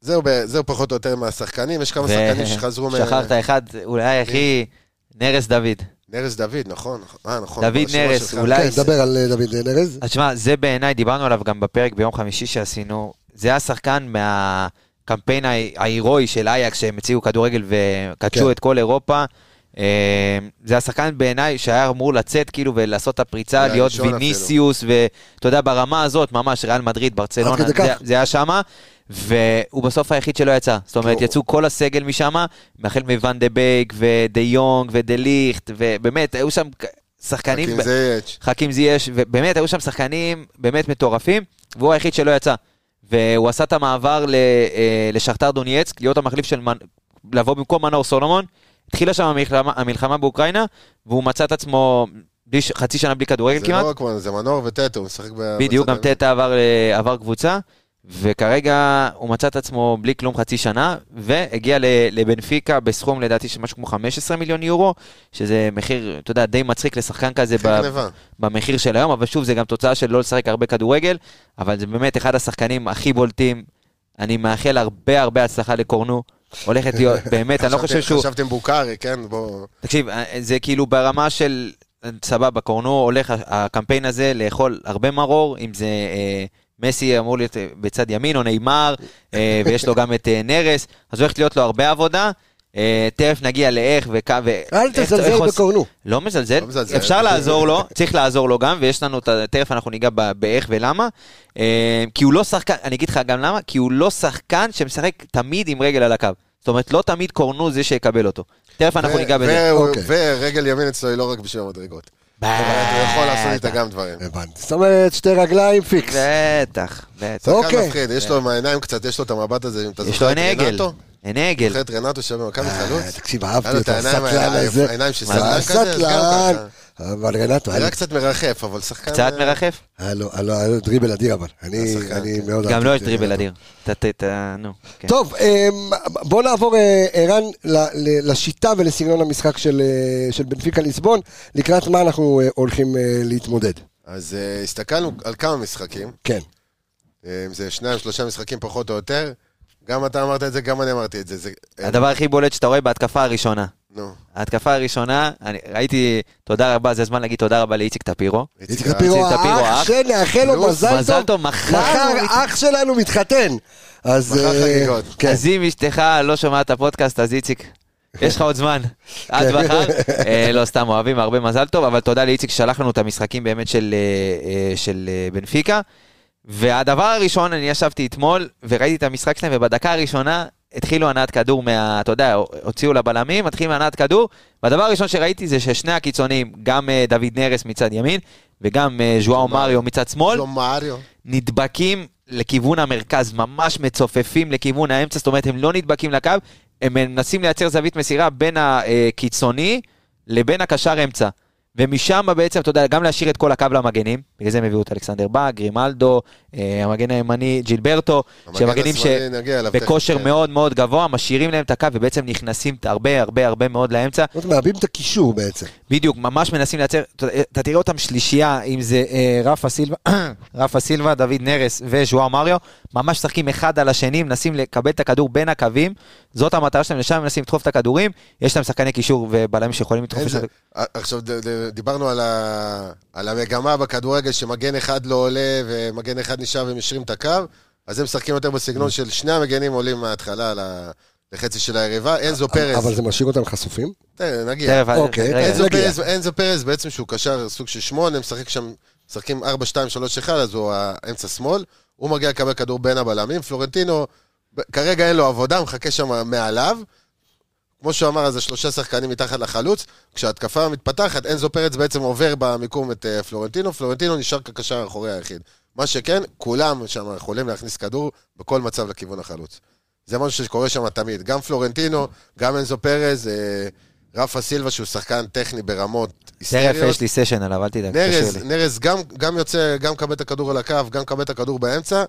Speaker 4: זהו, ב- זהו פחות או יותר מהשחקנים, יש כמה
Speaker 3: ו-
Speaker 4: שחקנים שחזרו מ... כן.
Speaker 3: שכחת אחד, אולי הכי... נרס דוד.
Speaker 4: נרס דוד, נכון? אה, נכון.
Speaker 3: דוד
Speaker 4: ברשימה
Speaker 3: נרס,
Speaker 4: שלך.
Speaker 3: אולי-
Speaker 1: כן, נדבר על אה, דוד ארז.
Speaker 3: אז שמע, זה בעיניי, דיברנו עליו גם בפרק ביום חמישי שעשינו, זה השחקן מהקמפיין ההי- ההירואי של אייקס, שהם הציעו כדורגל וקדשו
Speaker 1: כן.
Speaker 3: כן. את כל אירופה. אה, זה השחקן בעיניי שהיה אמור לצאת כאילו ולעשות את הפריצה,
Speaker 4: אולי
Speaker 3: להיות
Speaker 4: הראשון אפילו.
Speaker 3: ויניסיוס, ואתה יודע, ברמה הזאת, ממש, ריאל מדריד, ברצלונה,
Speaker 1: עד כדי
Speaker 3: זה,
Speaker 1: כך.
Speaker 3: זה היה שמה. והוא בסוף היחיד שלא יצא, זאת אומרת,
Speaker 4: הוא-
Speaker 3: יצאו כל הסגל משם, החל מוואן דה בייק ודה יונג ודה ליכט, ובאמת, היו שם שחקנים...
Speaker 4: רק
Speaker 3: ב-
Speaker 4: עם זה יש.
Speaker 3: חכים זייש, ובאמת, היו שם שחקנים באמת מטורפים, והוא היחיד שלא יצא. והוא עשה את המעבר ל- אה, לשכתר דונייצק, להיות המחליף של... מנ- לבוא במקום מנור סולומון. התחילה שם המלחמה, המלחמה באוקראינה, והוא מצא את עצמו בלי, ש- חצי שנה בלי כדורגל
Speaker 4: זה
Speaker 3: כמעט.
Speaker 4: לא רק לא וואן, זה מנור וטטו, הוא משחק ב...
Speaker 3: בדיוק, גם
Speaker 4: בצד ה-
Speaker 3: תטא עבר, אה, עבר קבוצה, וכרגע הוא מצא את עצמו בלי כלום חצי שנה, והגיע ל- לבנפיקה בסכום לדעתי של משהו כמו 15 מיליון יורו, שזה מחיר, אתה יודע, די מצחיק לשחקן כזה
Speaker 4: אחרי
Speaker 3: ב-
Speaker 4: גניבה.
Speaker 3: במחיר של היום, אבל שוב, זה גם תוצאה של לא לשחק הרבה כדורגל, אבל זה באמת אחד השחקנים הכי בולטים. אני מאחל הרבה הרבה הצלחה לקורנו. הולכת להיות, באמת, אני לא
Speaker 4: חשבתי-
Speaker 3: חושב שהוא...
Speaker 4: חשבתם בוקארי, כן? בואו...
Speaker 3: תקשיב, זה כאילו ברמה של, אה, סבבה, קורנו הולך, הקמפיין הזה, לאכול הרבה מרור, אם זה אה, מסי אמור להיות אה, בצד ימין, או נאמר, אה, ויש לו גם את אה, נרס, אז הולכת להיות לו הרבה עבודה. אה, תכף נגיע לאיך וכמה...
Speaker 1: אל תזלזל בקורנו.
Speaker 3: לא מזלזל,
Speaker 4: לא מזלזל.
Speaker 3: אפשר לעזור לו, צריך לעזור לו גם, ויש לנו, את ה- תכף אנחנו ניגע ב- באיך ולמה. אה, כי הוא לא שחקן, אני אגיד לך גם למה, כי הוא לא שחקן שמשחק תמיד עם רגל על הקו. זאת אומרת, לא תמיד קורנו זה שיקבל אותו. תכף אנחנו
Speaker 4: ו-
Speaker 3: ניגע בזה.
Speaker 4: והוא-
Speaker 1: אוקיי.
Speaker 4: ורגל ימין אצלו היא לא רק בשביל המדרגות. אבל הוא יכול לעשות
Speaker 3: אה,
Speaker 4: איתה גם דברים.
Speaker 1: הבנתי. זאת אומרת, שתי רגליים פיקס.
Speaker 3: בטח, בטח.
Speaker 1: אוקיי.
Speaker 4: שחקן מפחיד, יש לו עם העיניים קצת, יש לו את המבט הזה, אם אתה
Speaker 3: יש לו
Speaker 4: זוכר את
Speaker 3: עין עגל.
Speaker 4: רנטו.
Speaker 3: עין עגל.
Speaker 4: זוכר את רנטו שהיה במכבי
Speaker 1: אה,
Speaker 4: חלוץ?
Speaker 1: תקשיב,
Speaker 4: היה
Speaker 1: אהבתי
Speaker 4: לו את
Speaker 1: אותו,
Speaker 4: העיניים
Speaker 1: הסטלן
Speaker 4: האלה,
Speaker 1: הזה.
Speaker 4: העיניים של
Speaker 1: מה זה,
Speaker 4: סטלן כזה, אז גם
Speaker 1: הסטלן.
Speaker 4: ככה.
Speaker 1: אבל רנטו,
Speaker 4: היה קצת מרחף, אבל שחקן... אה,
Speaker 3: קצת מרחף?
Speaker 1: היה לו- היה לו היה לו דריבל אדיר, אבל אני
Speaker 4: השחקן,
Speaker 1: אני
Speaker 4: כן.
Speaker 1: מאוד
Speaker 3: גם
Speaker 1: אהבתי
Speaker 3: לו
Speaker 1: את
Speaker 3: יש דריבל
Speaker 1: רנטו.
Speaker 3: אדיר. ת- ת- ת- נו. כן.
Speaker 1: טוב, אמ, בוא נעבור, אה, ערן, ל- ל- לשיטה ולסגנון המשחק של, אה, של בנפיקה ליסבון, לקראת מה אנחנו אה, הולכים אה, להתמודד.
Speaker 4: אז אה, הסתכלנו על כמה משחקים,
Speaker 1: כן.
Speaker 4: אה, אם זה שניים, שלושה משחקים פחות או יותר. גם אתה אמרת את זה, גם אני אמרתי את זה. זה- אה,
Speaker 3: הדבר הכי בולט שאתה רואה בהתקפה הראשונה.
Speaker 4: נו.
Speaker 3: ההתקפה הראשונה, אני ראיתי, תודה רבה, זה הזמן להגיד תודה רבה לאיציק טפירו.
Speaker 1: איציק טפירו,
Speaker 3: איציק טפירו,
Speaker 1: האח
Speaker 3: האח.
Speaker 1: שנאחל לו
Speaker 4: פלוס,
Speaker 1: מזל
Speaker 3: מזל
Speaker 1: טוב,
Speaker 3: טוב, מחר
Speaker 1: מחר
Speaker 3: הוא מת-
Speaker 1: אח שלנו מתחתן. אז...
Speaker 4: מחר
Speaker 1: אה,
Speaker 4: חגיגות.
Speaker 1: כן.
Speaker 3: אז אם אשתך לא שומעת את הפודקאסט, אז איציק, יש לך עוד זמן, עד מחר. אה, לא, סתם אוהבים, הרבה מזל טוב, אבל תודה לאיציק ששלח לנו את המשחקים באמת של, אה, אה, של אה, בנפיקה. והדבר הראשון, אני ישבתי אתמול וראיתי את המשחק שלהם, ובדקה הראשונה התחילו הנעת כדור מה... אתה יודע, הוציאו לבלמים, התחילו הנעת כדור, והדבר הראשון שראיתי זה ששני הקיצוניים, גם אה, דוד נרס מצד ימין, וגם אה, ז'ואאו
Speaker 4: ז'ואאו.
Speaker 3: מריו מצד שמאל,
Speaker 4: לא מאריו.
Speaker 3: נדבקים לכיוון המרכז, ממש מצופפים לכיוון האמצע, זאת אומרת, הם לא נדבקים לקו, הם מנסים לייצר זווית מסירה בין הקיצוני לבין הקשר אמצע. ומשם בעצם, אתה יודע, גם להשאיר את כל הקו למגנים, בגלל זה הם הביאו את אלכסנדר בא, גרימלדו, אה, המגן הימני ג'ילברטו,
Speaker 4: המגן
Speaker 3: שמגנים ש...
Speaker 4: השמאלי, נגיע אליו תכף,
Speaker 3: בכושר
Speaker 4: כן.
Speaker 3: מאוד מאוד גבוה, משאירים להם את הקו ובעצם נכנסים הרבה הרבה הרבה מאוד לאמצע.
Speaker 1: זאת אומרת, מאבדים את הקישור בעצם.
Speaker 3: בדיוק, ממש מנסים לייצר, אתה- אתה תראה אותם שלישייה, אם זה אה, רפה סילבה, רפה סילבה, דוד נרס וז'ואר מריו, ממש משחקים אחד על השני, מנסים לקבל את הכדור בין הקווים, זאת המטרה שלהם, לשם הם מנסים לדחוף את הכדורים, יש להם שחקני קישור ובלמים שיכולים לדחוף את
Speaker 4: איזה-
Speaker 3: זה.
Speaker 4: עכשיו, ד- ד- דיברנו על ה- על המגמה בכדורגל שמגן אחד לא עולה ומגן אחד נשאר ומשרים את הקו, אז הם משחקים יותר בסגנון
Speaker 1: Mm.
Speaker 4: של שני המגנים עולים מההתחלה ל- לחצי של היריבה. אנזו פרס, אה,
Speaker 1: אבל זה משאיר אותם חשופים?
Speaker 4: תראה, נגיע.
Speaker 3: תכף, אז-
Speaker 1: אוקיי,
Speaker 3: רגע,
Speaker 1: איזה-
Speaker 4: אנזו
Speaker 1: נגיע.
Speaker 4: פרס- אנזו פרס בעצם שהוא קשר סוג של שמונה, משחק שם, משחקים 4, 2, 3, 1, אז הוא האמצע שמאל. הוא מגיע לקבל כדור בין הבלמים. פלורנטינו, ב- כרגע אין לו עבודה, מחכה שם מעליו. כמו שהוא אמר, אז זה שלושה שחקנים מתחת לחלוץ. כשההתקפה מתפתחת, אנזו פרץ בעצם עובר במיקום את אה, פלורנטינו. פלורנטינו נשאר כקשר האחורי היחיד. מה שכן, כולם שם יכולים להכניס כדור בכל מצב לכיוון החלוץ. זה משהו שקורה שם תמיד. גם פלורנטינו, גם אנזו פרז, אה, רפה סילבה, שהוא שחקן טכני ברמות
Speaker 3: תכף
Speaker 4: היסטריות.
Speaker 3: יש לי סשן עליו, אל תדאג,
Speaker 4: נרז,
Speaker 3: קשה לי.
Speaker 4: נרז גם, גם יוצא, גם מקבל את הכדור על הקו, גם מקבל את הכדור באמצע.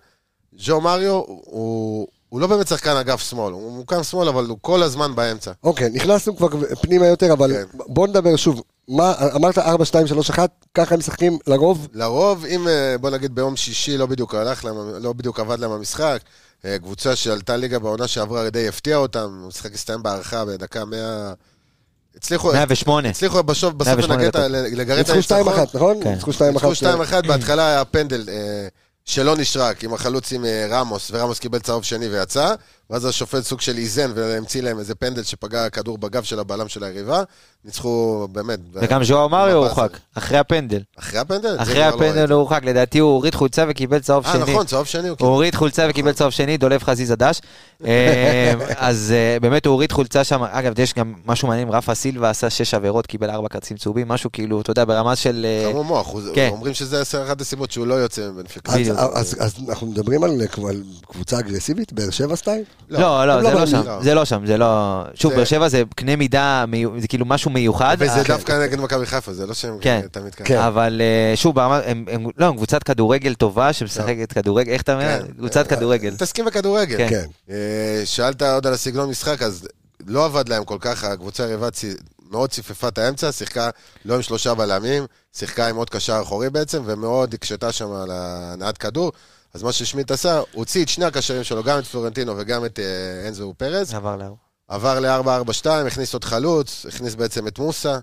Speaker 4: ג'ו מריו הוא, הוא לא באמת שחקן אגף שמאל, הוא מוקם שמאל, אבל הוא כל הזמן באמצע.
Speaker 1: אוקיי, נכנסנו כבר פנימה יותר, אבל
Speaker 4: כן.
Speaker 1: בוא נדבר שוב. מה, אמרת 4, 2, 3, 1, ככה הם משחקים לרוב?
Speaker 4: לרוב, אם אה, בוא נגיד ביום שישי לא בדיוק הלך להם, לא בדיוק עבד להם המשחק, אה, קבוצה שעלתה ליגה בעונה שעברה די הפתיעה אותם, המשחק הסתיים בהערכה בדקה 100... הצליחו,
Speaker 3: 108.
Speaker 4: לא- הצליחו בסוף, בסוף
Speaker 3: 108
Speaker 4: לנגד,
Speaker 3: דקות.
Speaker 4: לגרד את
Speaker 1: ניצחו 2-1,
Speaker 4: הניצחון.
Speaker 1: נכון?
Speaker 3: כן.
Speaker 1: ניצחו 2-1.
Speaker 4: ניצחו 2-1, בהתחלה היה פנדל אה, שלא נשרק עם החלוץ עם אה, רמוס, ורמוס קיבל צהוב שני ויצא, ואז השופט סוג של איזן והמציא להם איזה פנדל שפגע כדור בגב של הבלם של היריבה. ניצחו באמת.
Speaker 3: וגם ז'ואר מריו
Speaker 4: במפה
Speaker 3: הורחק,
Speaker 4: הזאת.
Speaker 3: אחרי הפנדל.
Speaker 4: אחרי הפנדל? זה
Speaker 3: אחרי
Speaker 4: כבר לא
Speaker 3: הפנדל
Speaker 4: ראיתי.
Speaker 3: הוא הורחק, לדעתי הוא הוריד חולצה וקיבל צהוב
Speaker 4: אה,
Speaker 3: שני. כן.
Speaker 4: נכון, צהוב שני הוא
Speaker 3: הוא
Speaker 4: קיבל.
Speaker 3: הוריד חולצה וקיבל צהוב שני, דולב חזיז הדש. אה, אז אה, באמת הוא הוריד חולצה שם, אגב, יש גם משהו מעניין, רפה סילבה עשה שש עבירות, קיבל ארבע כרטיסים צהובים, משהו כאילו, אתה יודע, ברמה של... אה,
Speaker 4: חמור מוח, הוא-
Speaker 3: כן. אה,
Speaker 4: אומרים שזה אחת הסיבות שהוא לא יוצא מבנפיקה.
Speaker 1: אז-
Speaker 3: בדיוק.
Speaker 1: אז- אז אנחנו מדברים על על קבוצה אגרסיבית, באר שבע סטייל?
Speaker 3: לא, לא,
Speaker 1: הם
Speaker 3: זה
Speaker 1: לא
Speaker 3: לא
Speaker 1: מאמינים.
Speaker 3: שם, זה לא שם, זה לא... שוב,
Speaker 4: זה-
Speaker 3: באר שבע זה קנה מידה, מיו- זה כאילו משהו מיוחד.
Speaker 4: וזה
Speaker 3: אה,
Speaker 4: דווקא נגד מכבי חיפה, זה לא שהם
Speaker 3: כן.
Speaker 4: תמיד
Speaker 1: כן.
Speaker 4: ככה.
Speaker 3: אבל אה, שוב, ברמה- הם, הם- לא, הם קבוצת כדורגל טובה שמשחקת כדורגל, איך אתה אומר?
Speaker 4: כן.
Speaker 3: קבוצת כדורגל.
Speaker 4: מתעסקים בכדורגל.
Speaker 3: כן.
Speaker 1: כן.
Speaker 4: אה, שאלת עוד על הסגנון משחק, אז לא עבד להם כל כך, הקבוצה היריבה צי- מאוד ציפפה את האמצע, שיחקה לא עם שלושה בלמים, שיחקה עם עוד קשר אחורי בעצם, ומאוד הקשתה שם על הנעת כדור. אז מה ששמיט עשה, הוציא את שני הקשרים שלו, גם את פלורנטינו וגם את אה, אנזו פרז,
Speaker 3: עבר לאור.
Speaker 4: עבר ל-4-4-2, הכניס עוד חלוץ, הכניס בעצם את מוסה,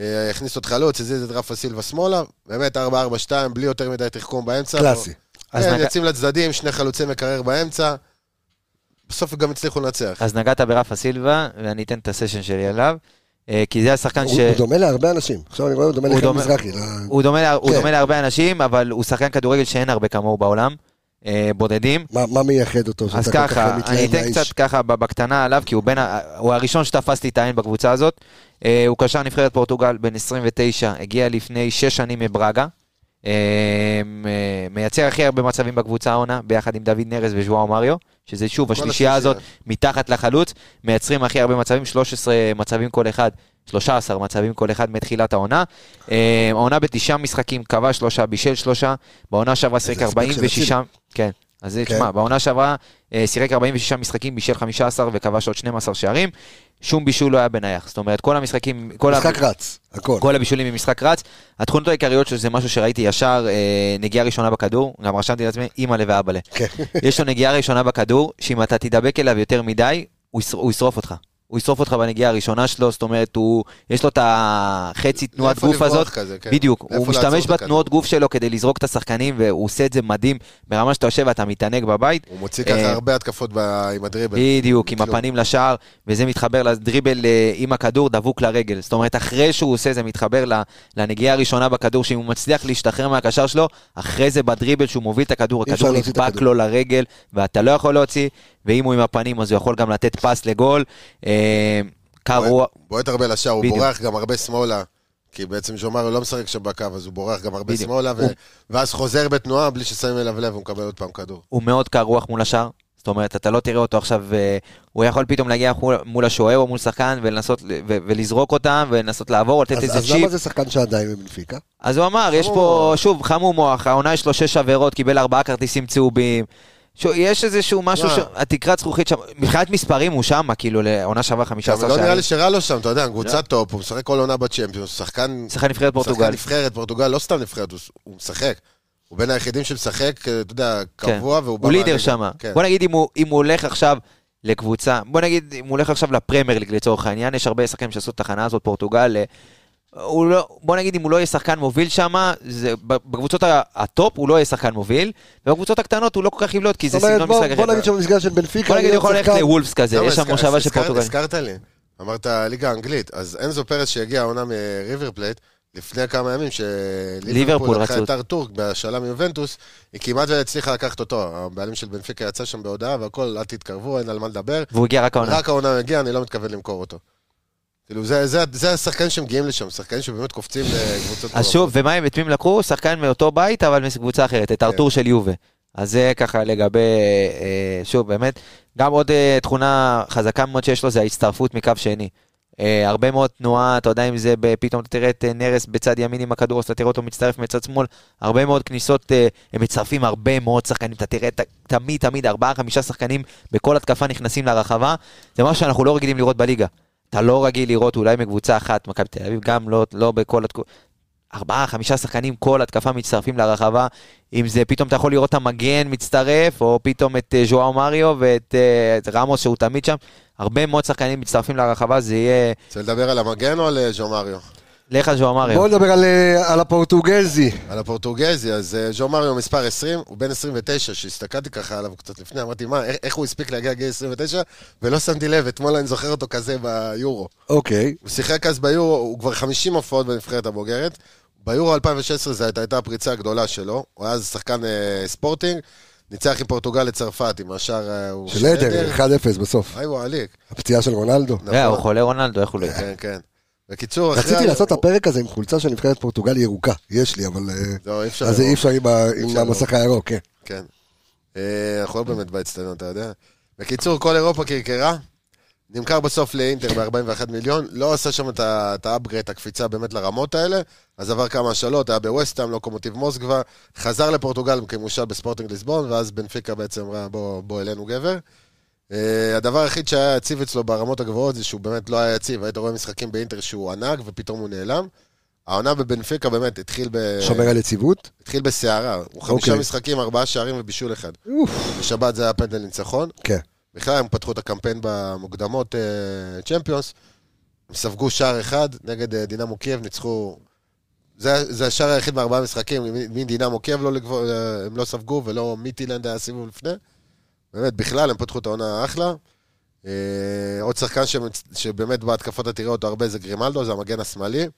Speaker 4: אה, הכניס עוד חלוץ, הזיז את רפה סילבה שמאלה, באמת 4-4-2, בלי יותר מדי תחכום באמצע.
Speaker 1: קלאסי.
Speaker 3: אז
Speaker 4: כן,
Speaker 3: נגע-
Speaker 4: יוצאים לצדדים, שני חלוצי מקרר באמצע. בסוף גם הצליחו לנצח.
Speaker 3: אז נגעת ברפה סילבה, ואני אתן את הסשן שלי עליו, אה, כי זה השחקן
Speaker 1: הוא
Speaker 3: ש...
Speaker 1: הוא דומה להרבה אנשים. עכשיו אני רואה, הוא דומה
Speaker 3: הוא
Speaker 1: לחיים
Speaker 3: דומה-
Speaker 1: מזרחי.
Speaker 3: הוא דומה, לה, הוא
Speaker 1: כן.
Speaker 3: דומה להרבה אנשים, אבל הוא שחקן כדורגל שאין הרבה כמוהו בעולם, אה, בודדים.
Speaker 1: מה מה מייחד אותו?
Speaker 3: אז
Speaker 1: שאתה כל כך לא
Speaker 3: ככה,
Speaker 1: מתלהב
Speaker 3: אני אתן
Speaker 1: מהאיש?
Speaker 3: קצת ככה ב- בקטנה עליו, כי הוא, בין ה... הוא הראשון שתפסתי את העין בקבוצה הזאת. אה, הוא קשר נבחרת פורטוגל, בן 29, הגיע לפני 6 שנים מברגה. אה, אה, מייצר הכי הרבה מצבים בקבוצה העונה, ביחד עם דוד נרס וז'ואר מריו, שזה שוב, השלישייה הזאת מתחת לחלוץ, מייצרים הכי הרבה מצבים, 13 מצבים כל אחד, 13 מצבים כל אחד מתחילת העונה. אה, העונה בתשעה משחקים, כבש שלושה, בישל שלושה, בעונה שעברה שיחק
Speaker 1: הספק של
Speaker 3: 46... כן, אז זה,
Speaker 1: כן.
Speaker 3: תשמע, בעונה שעברה אה, שיחק 46 משחקים, בישל 15 וכבש עוד 12 שערים, שום בישול לא היה בנייח. זאת אומרת, כל המשחקים, כל ה-
Speaker 1: משחק רץ, הכל.
Speaker 3: כל הבישולים ממשחק רץ. התכונות העיקריות שלו זה משהו שראיתי ישר, אה, נגיעה ראשונה בכדור, גם רשמתי לעצמי, אימא'לה ואבאלה.
Speaker 1: כן.
Speaker 3: יש לו נגיעה ראשונה בכדור, שאם אתה תדבק אליו יותר מדי, הוא ישר- הוא ישרוף אותך. הוא ישרוף אותך בנגיעה הראשונה שלו, זאת אומרת, הוא, יש לו את החצי תנועת
Speaker 4: לאיפה
Speaker 3: גוף
Speaker 4: לברוח
Speaker 3: הזאת.
Speaker 4: כזה, כן.
Speaker 3: בדיוק,
Speaker 4: לאיפה
Speaker 3: הוא
Speaker 4: לעצור
Speaker 3: משתמש
Speaker 4: את הכדור.
Speaker 3: בתנועות גוף שלו כדי לזרוק את השחקנים, והוא עושה את זה מדהים, ברמה שאתה יושב ואתה מתענג בבית.
Speaker 4: הוא מוציא
Speaker 3: אה,
Speaker 4: ככה הרבה התקפות ב- עם הדריבל.
Speaker 3: בדיוק, עם
Speaker 4: כלום.
Speaker 3: הפנים לשער, וזה מתחבר לדריבל אה, עם הכדור דבוק לרגל. זאת אומרת, אחרי שהוא עושה זה מתחבר ל- לנגיעה הראשונה בכדור, שאם הוא מצליח להשתחרר מהקשר שלו, אחרי זה בדריבל שהוא מוביל את הכדור,
Speaker 1: אי אפשר
Speaker 3: הכדור
Speaker 1: להוציא את
Speaker 3: נדבק
Speaker 1: הכדור.
Speaker 3: לו לרגל, ואתה לא יכול להוציא, ואם הוא עם הפנים אז הוא יכול גם לתת פס לגול. אה, קר רוח,
Speaker 4: בועט הרבה לשער, הוא
Speaker 3: בדיוק.
Speaker 4: בורח גם הרבה שמאלה. כי בעצם ז'ומארו לא משחק שם בקו, אז הוא בורח גם הרבה
Speaker 3: בדיוק.
Speaker 4: שמאלה, ו...
Speaker 3: הוא-
Speaker 4: ואז חוזר בתנועה בלי ששמים אליו לב, הוא מקבל עוד פעם כדור.
Speaker 3: הוא מאוד קר רוח מול השאר. זאת אומרת, אתה לא תראה אותו עכשיו, אה, הוא יכול פתאום להגיע מול- מול השוער או מול שחקן ולנסות, ל- ו- ולזרוק אותם, ולנסות לעבור, לתת
Speaker 1: אז
Speaker 3: איזה
Speaker 1: אז למה
Speaker 3: צ'יפ.
Speaker 1: זה שחקן שעדיין בבנפיקה?
Speaker 3: אז הוא אמר, יש פה,
Speaker 4: חמור.
Speaker 3: שוב, חמום מוח, העונה יש לו שש עבירות, קיבל ארבעה כרטיסים צהובים. ש- יש איזשהו משהו,
Speaker 4: וואו.
Speaker 3: ש- התקרת זכוכית שם, מבחינת מספרים הוא שם, כאילו, לעונה שעברה
Speaker 4: גם
Speaker 3: 15
Speaker 4: לא נראה
Speaker 3: שערים.
Speaker 4: לי שרע לו שם, אתה יודע, קבוצה טופ, הוא משחק כל עונה בצ'מפיונס, הוא שחקן...
Speaker 3: שחקן נבחרת פורטוגל.
Speaker 4: שחקן נבחרת, פורטוגל לא סתם נבחרת, הוא- הוא משחק. הוא בין היחידים שמשחק, אה, אתה יודע,
Speaker 3: כן.
Speaker 4: קבוע, והוא
Speaker 3: הוא לידר
Speaker 4: מהליגה.
Speaker 3: שם.
Speaker 4: כן.
Speaker 3: בוא נגיד אם הוא, אם הוא הולך עכשיו לקבוצה, בוא נגיד אם הוא הולך עכשיו לפרמייר ליג לצורך העניין, יש הרבה שחקנים שעשו את התחנה הזאת, פורטוגל. אה, הוא לא, בוא נגיד אם הוא לא יהיה שחקן מוביל שם, בקבוצות ה- הטופ הוא לא יהיה שחקן מוביל, ובקבוצות הקטנות הוא לא כל כך יבלוט, כי זה
Speaker 1: זאת אומרת,
Speaker 3: סגנון
Speaker 1: בוא-
Speaker 3: משחק
Speaker 1: בוא
Speaker 3: אחר.
Speaker 1: נגיד שבמסגרת של בנפיקה...
Speaker 3: בוא נגיד הוא
Speaker 1: להיות
Speaker 3: יכול ללכת
Speaker 1: שחקן-
Speaker 3: לוולפס כזה,
Speaker 4: למה
Speaker 3: יש שם
Speaker 4: לא, הזכ-
Speaker 3: מושבה של
Speaker 4: הזכרת-
Speaker 3: פורטוגל.
Speaker 4: הזכרת לי, אמרת ליגה האנגלית, אז אנזו פרס שהגיע העונה מריבר פלייט, לפני כמה ימים
Speaker 3: ליברפול
Speaker 4: שליברפול לקחה
Speaker 3: רצו
Speaker 4: את הר טורק בהשאלה מיובנטוס, היא כמעט והצליחה לקחת אותו. הבעלים של בנפיקה יצא שם בהודעה והכל, אל תתקרבו, אין על מה לדבר.
Speaker 3: והוא הגיע רק העונה.
Speaker 4: רק העונה הגיעה, אני לא מתכוון למכור אותו. כאילו, זה- זה זה השחקנים שמגיעים לשם, שחקנים שבאמת קופצים לקבוצות...
Speaker 3: אז שוב, ומה הם, את מי הם לקחו? שחקן מאותו בית, אבל מקבוצה אחרת, את ארתור של יובה. אז זה ככה לגבי, אה, שוב, באמת, גם עוד אה, תכונה חזקה מאוד שיש לו זה ההצטרפות מקו שני. אה, הרבה מאוד תנועה, אתה יודע אם זה, ב- פתאום אתה תראה את אה, נרס בצד ימין עם הכדור, אז אתה תראה אותו מצטרף מצד שמאל, הרבה מאוד כניסות, אה, הם מצטרפים הרבה מאוד שחקנים, אתה תראה ת- תמיד תמיד ארבעה חמישה שחקנים בכל התקפה נכנסים לרחבה, זה משהו שאנחנו לא רגילים לראות בליגה. אתה לא רגיל לראות אולי מקבוצה אחת, מכבי תל אביב, גם לא, לא בכל התקופה. ארבעה, חמישה שחקנים כל התקפה מצטרפים לרחבה. אם זה פתאום אתה יכול לראות את המגן מצטרף, או פתאום את אה, ז'ואאו מריו ואת אה, את רמוס שהוא תמיד שם. הרבה מאוד שחקנים מצטרפים לרחבה, זה יהיה...
Speaker 4: רוצה לדבר על המגן או על אה, ז'ו מריו?
Speaker 3: לך ז'ואאו מריו.
Speaker 1: בוא נדבר על, אה, על הפורטוגזי.
Speaker 4: על הפורטוגזי, אז אה, ז'ו מריו מספר 20, הוא בן 29, שהסתכלתי ככה עליו קצת לפני, אמרתי, מה, איך, איך הוא הספיק להגיע לגיל 29? ולא שמתי לב, אתמול אני זוכר אותו כזה ביורו.
Speaker 1: אוקיי.
Speaker 4: הוא שיחק אז ביורו, הוא כבר 50 הופעות בנבחרת הבוגרת. ביורו 2016 זו הייתה, הייתה הפריצה הגדולה שלו, הוא היה אז שחקן אה, ספורטינג, ניצח עם פורטוגל לצרפת, עם השאר אה, הוא...
Speaker 1: של עדר, 1-0 בסוף.
Speaker 4: היי וואליק.
Speaker 1: הפציעה של רונלדו.
Speaker 3: אתה יודע, אה, הוא חולה רונלדו, איך הוא לא...
Speaker 4: כן, כן. בקיצור, אחרי...
Speaker 1: רציתי לעשות את הפרק הזה עם חולצה של נבחרת פורטוגל ירוקה. יש לי, אבל... אה,
Speaker 4: לא, אי אפשר.
Speaker 1: אז
Speaker 4: לראות.
Speaker 1: אי אפשר עם ה- עם
Speaker 4: אפשר
Speaker 1: המסך הירוק, כן.
Speaker 4: כן. אה, אנחנו לא באמת באצטדיון, אתה יודע. בקיצור, כל אירופה קרקרה, נמכר בסוף לאינטר ב-41 מיליון, לא עשה שם את ה- את האפגרט, את הקפיצה באמת לרמות האלה, אז עבר כמה השאלות, היה בווסטהאם, לוקומוטיב מוסקבה, חזר לפורטוגל כמושל בספורטינג ליסבון, ואז בנפיקה בעצם אמרה, בוא, בוא אלינו גבר. אה, הדבר היחיד שהיה יציב אצלו ברמות הגבוהות זה שהוא באמת לא היה יציב, היית רואה משחקים באינטר שהוא ענק ופתאום הוא נעלם. העונה בבנפיקה באמת התחיל ב...
Speaker 1: שומר על יציבות.
Speaker 4: התחיל בסערה, הוא חמישה
Speaker 1: אוקיי.
Speaker 4: משחקים, ארבעה שערים ובישול אחד.
Speaker 1: אוף.
Speaker 4: בשבת זה היה פנדל ניצחון.
Speaker 1: כן.
Speaker 4: בכלל הם פתחו את הקמפיין במוקדמות אה, צ'מפיונס, הם ספגו שער אחד נגד אה, דינמו קייב, ניצחו... זה, זה השער היחיד מארבעה משחקים, מדינמו קייב לא לגבור, אה, הם לא ספגו ולא מיטילנד היה סיבוב לפני. באמת, בכלל הם פתחו את העונה אחלה. אה, עוד שחקן ש, שבאמת בהתקפות אתה תראה אותו הרבה זה גרימלדו, זה המגן השמאלי,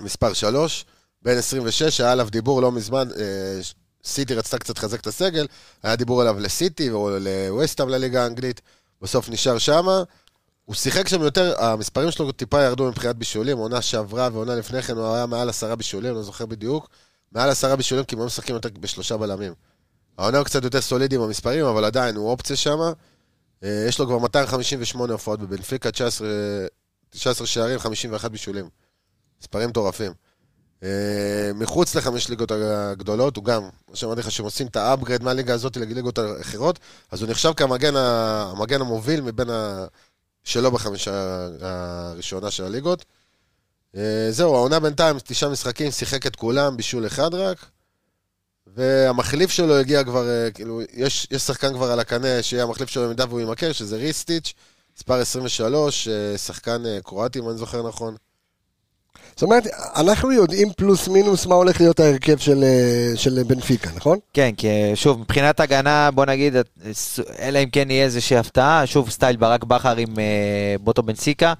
Speaker 4: מספר 3, בן 26, היה עליו דיבור לא מזמן, אה, סיטי רצתה קצת לחזק את הסגל, היה דיבור עליו לסיטי או לווסטהאם לליגה האנגלית, בסוף נשאר שמה. הוא שיחק שם יותר, המספרים שלו טיפה ירדו מבחינת בישולים, עונה שעברה ועונה לפני כן הוא היה מעל עשרה בישולים, לא זוכר בדיוק, מעל עשרה בישולים כי הם היו משחקים יותר בשלושה בלמים. העונה הוא קצת יותר סולידי עם המספרים, אבל עדיין הוא אופציה שמה. אה, יש לו כבר 258 הופעות בבנפיקה, 19, 19 שערים, 51 בישולים. מספרים מטורפים. אה, מחוץ לחמש ליגות הגדולות, הוא גם, כמו שאמרתי לך, שהם עושים את האפגרד מהליגה הזאת לליגות האחרות, אז הוא נחשב כמגן ה- המגן המוביל מבין ה... שלא בחמישה הראשונה של הליגות. אה, זהו, העונה בינתיים, תשעה משחקים, שיחק את כולם, בישול אחד רק. והמחליף שלו הגיע כבר, אה, כאילו, יש, יש שחקן כבר על הקנה שיהיה המחליף שלו במידה והוא יימכר, שזה ריסטיץ', מספר 23, אה, שחקן אה, קרואטי, אם אני זוכר נכון.
Speaker 1: זאת אומרת, אנחנו יודעים פלוס מינוס מה הולך להיות ההרכב של, אה, של בנפיקה, נכון?
Speaker 3: כן, כי אה, שוב, מבחינת הגנה, בוא נגיד, אה, ס- אלא אם כן יהיה איזושהי הפתעה, שוב סטייל ברק בכר עם אה, בוטו בן סיקה.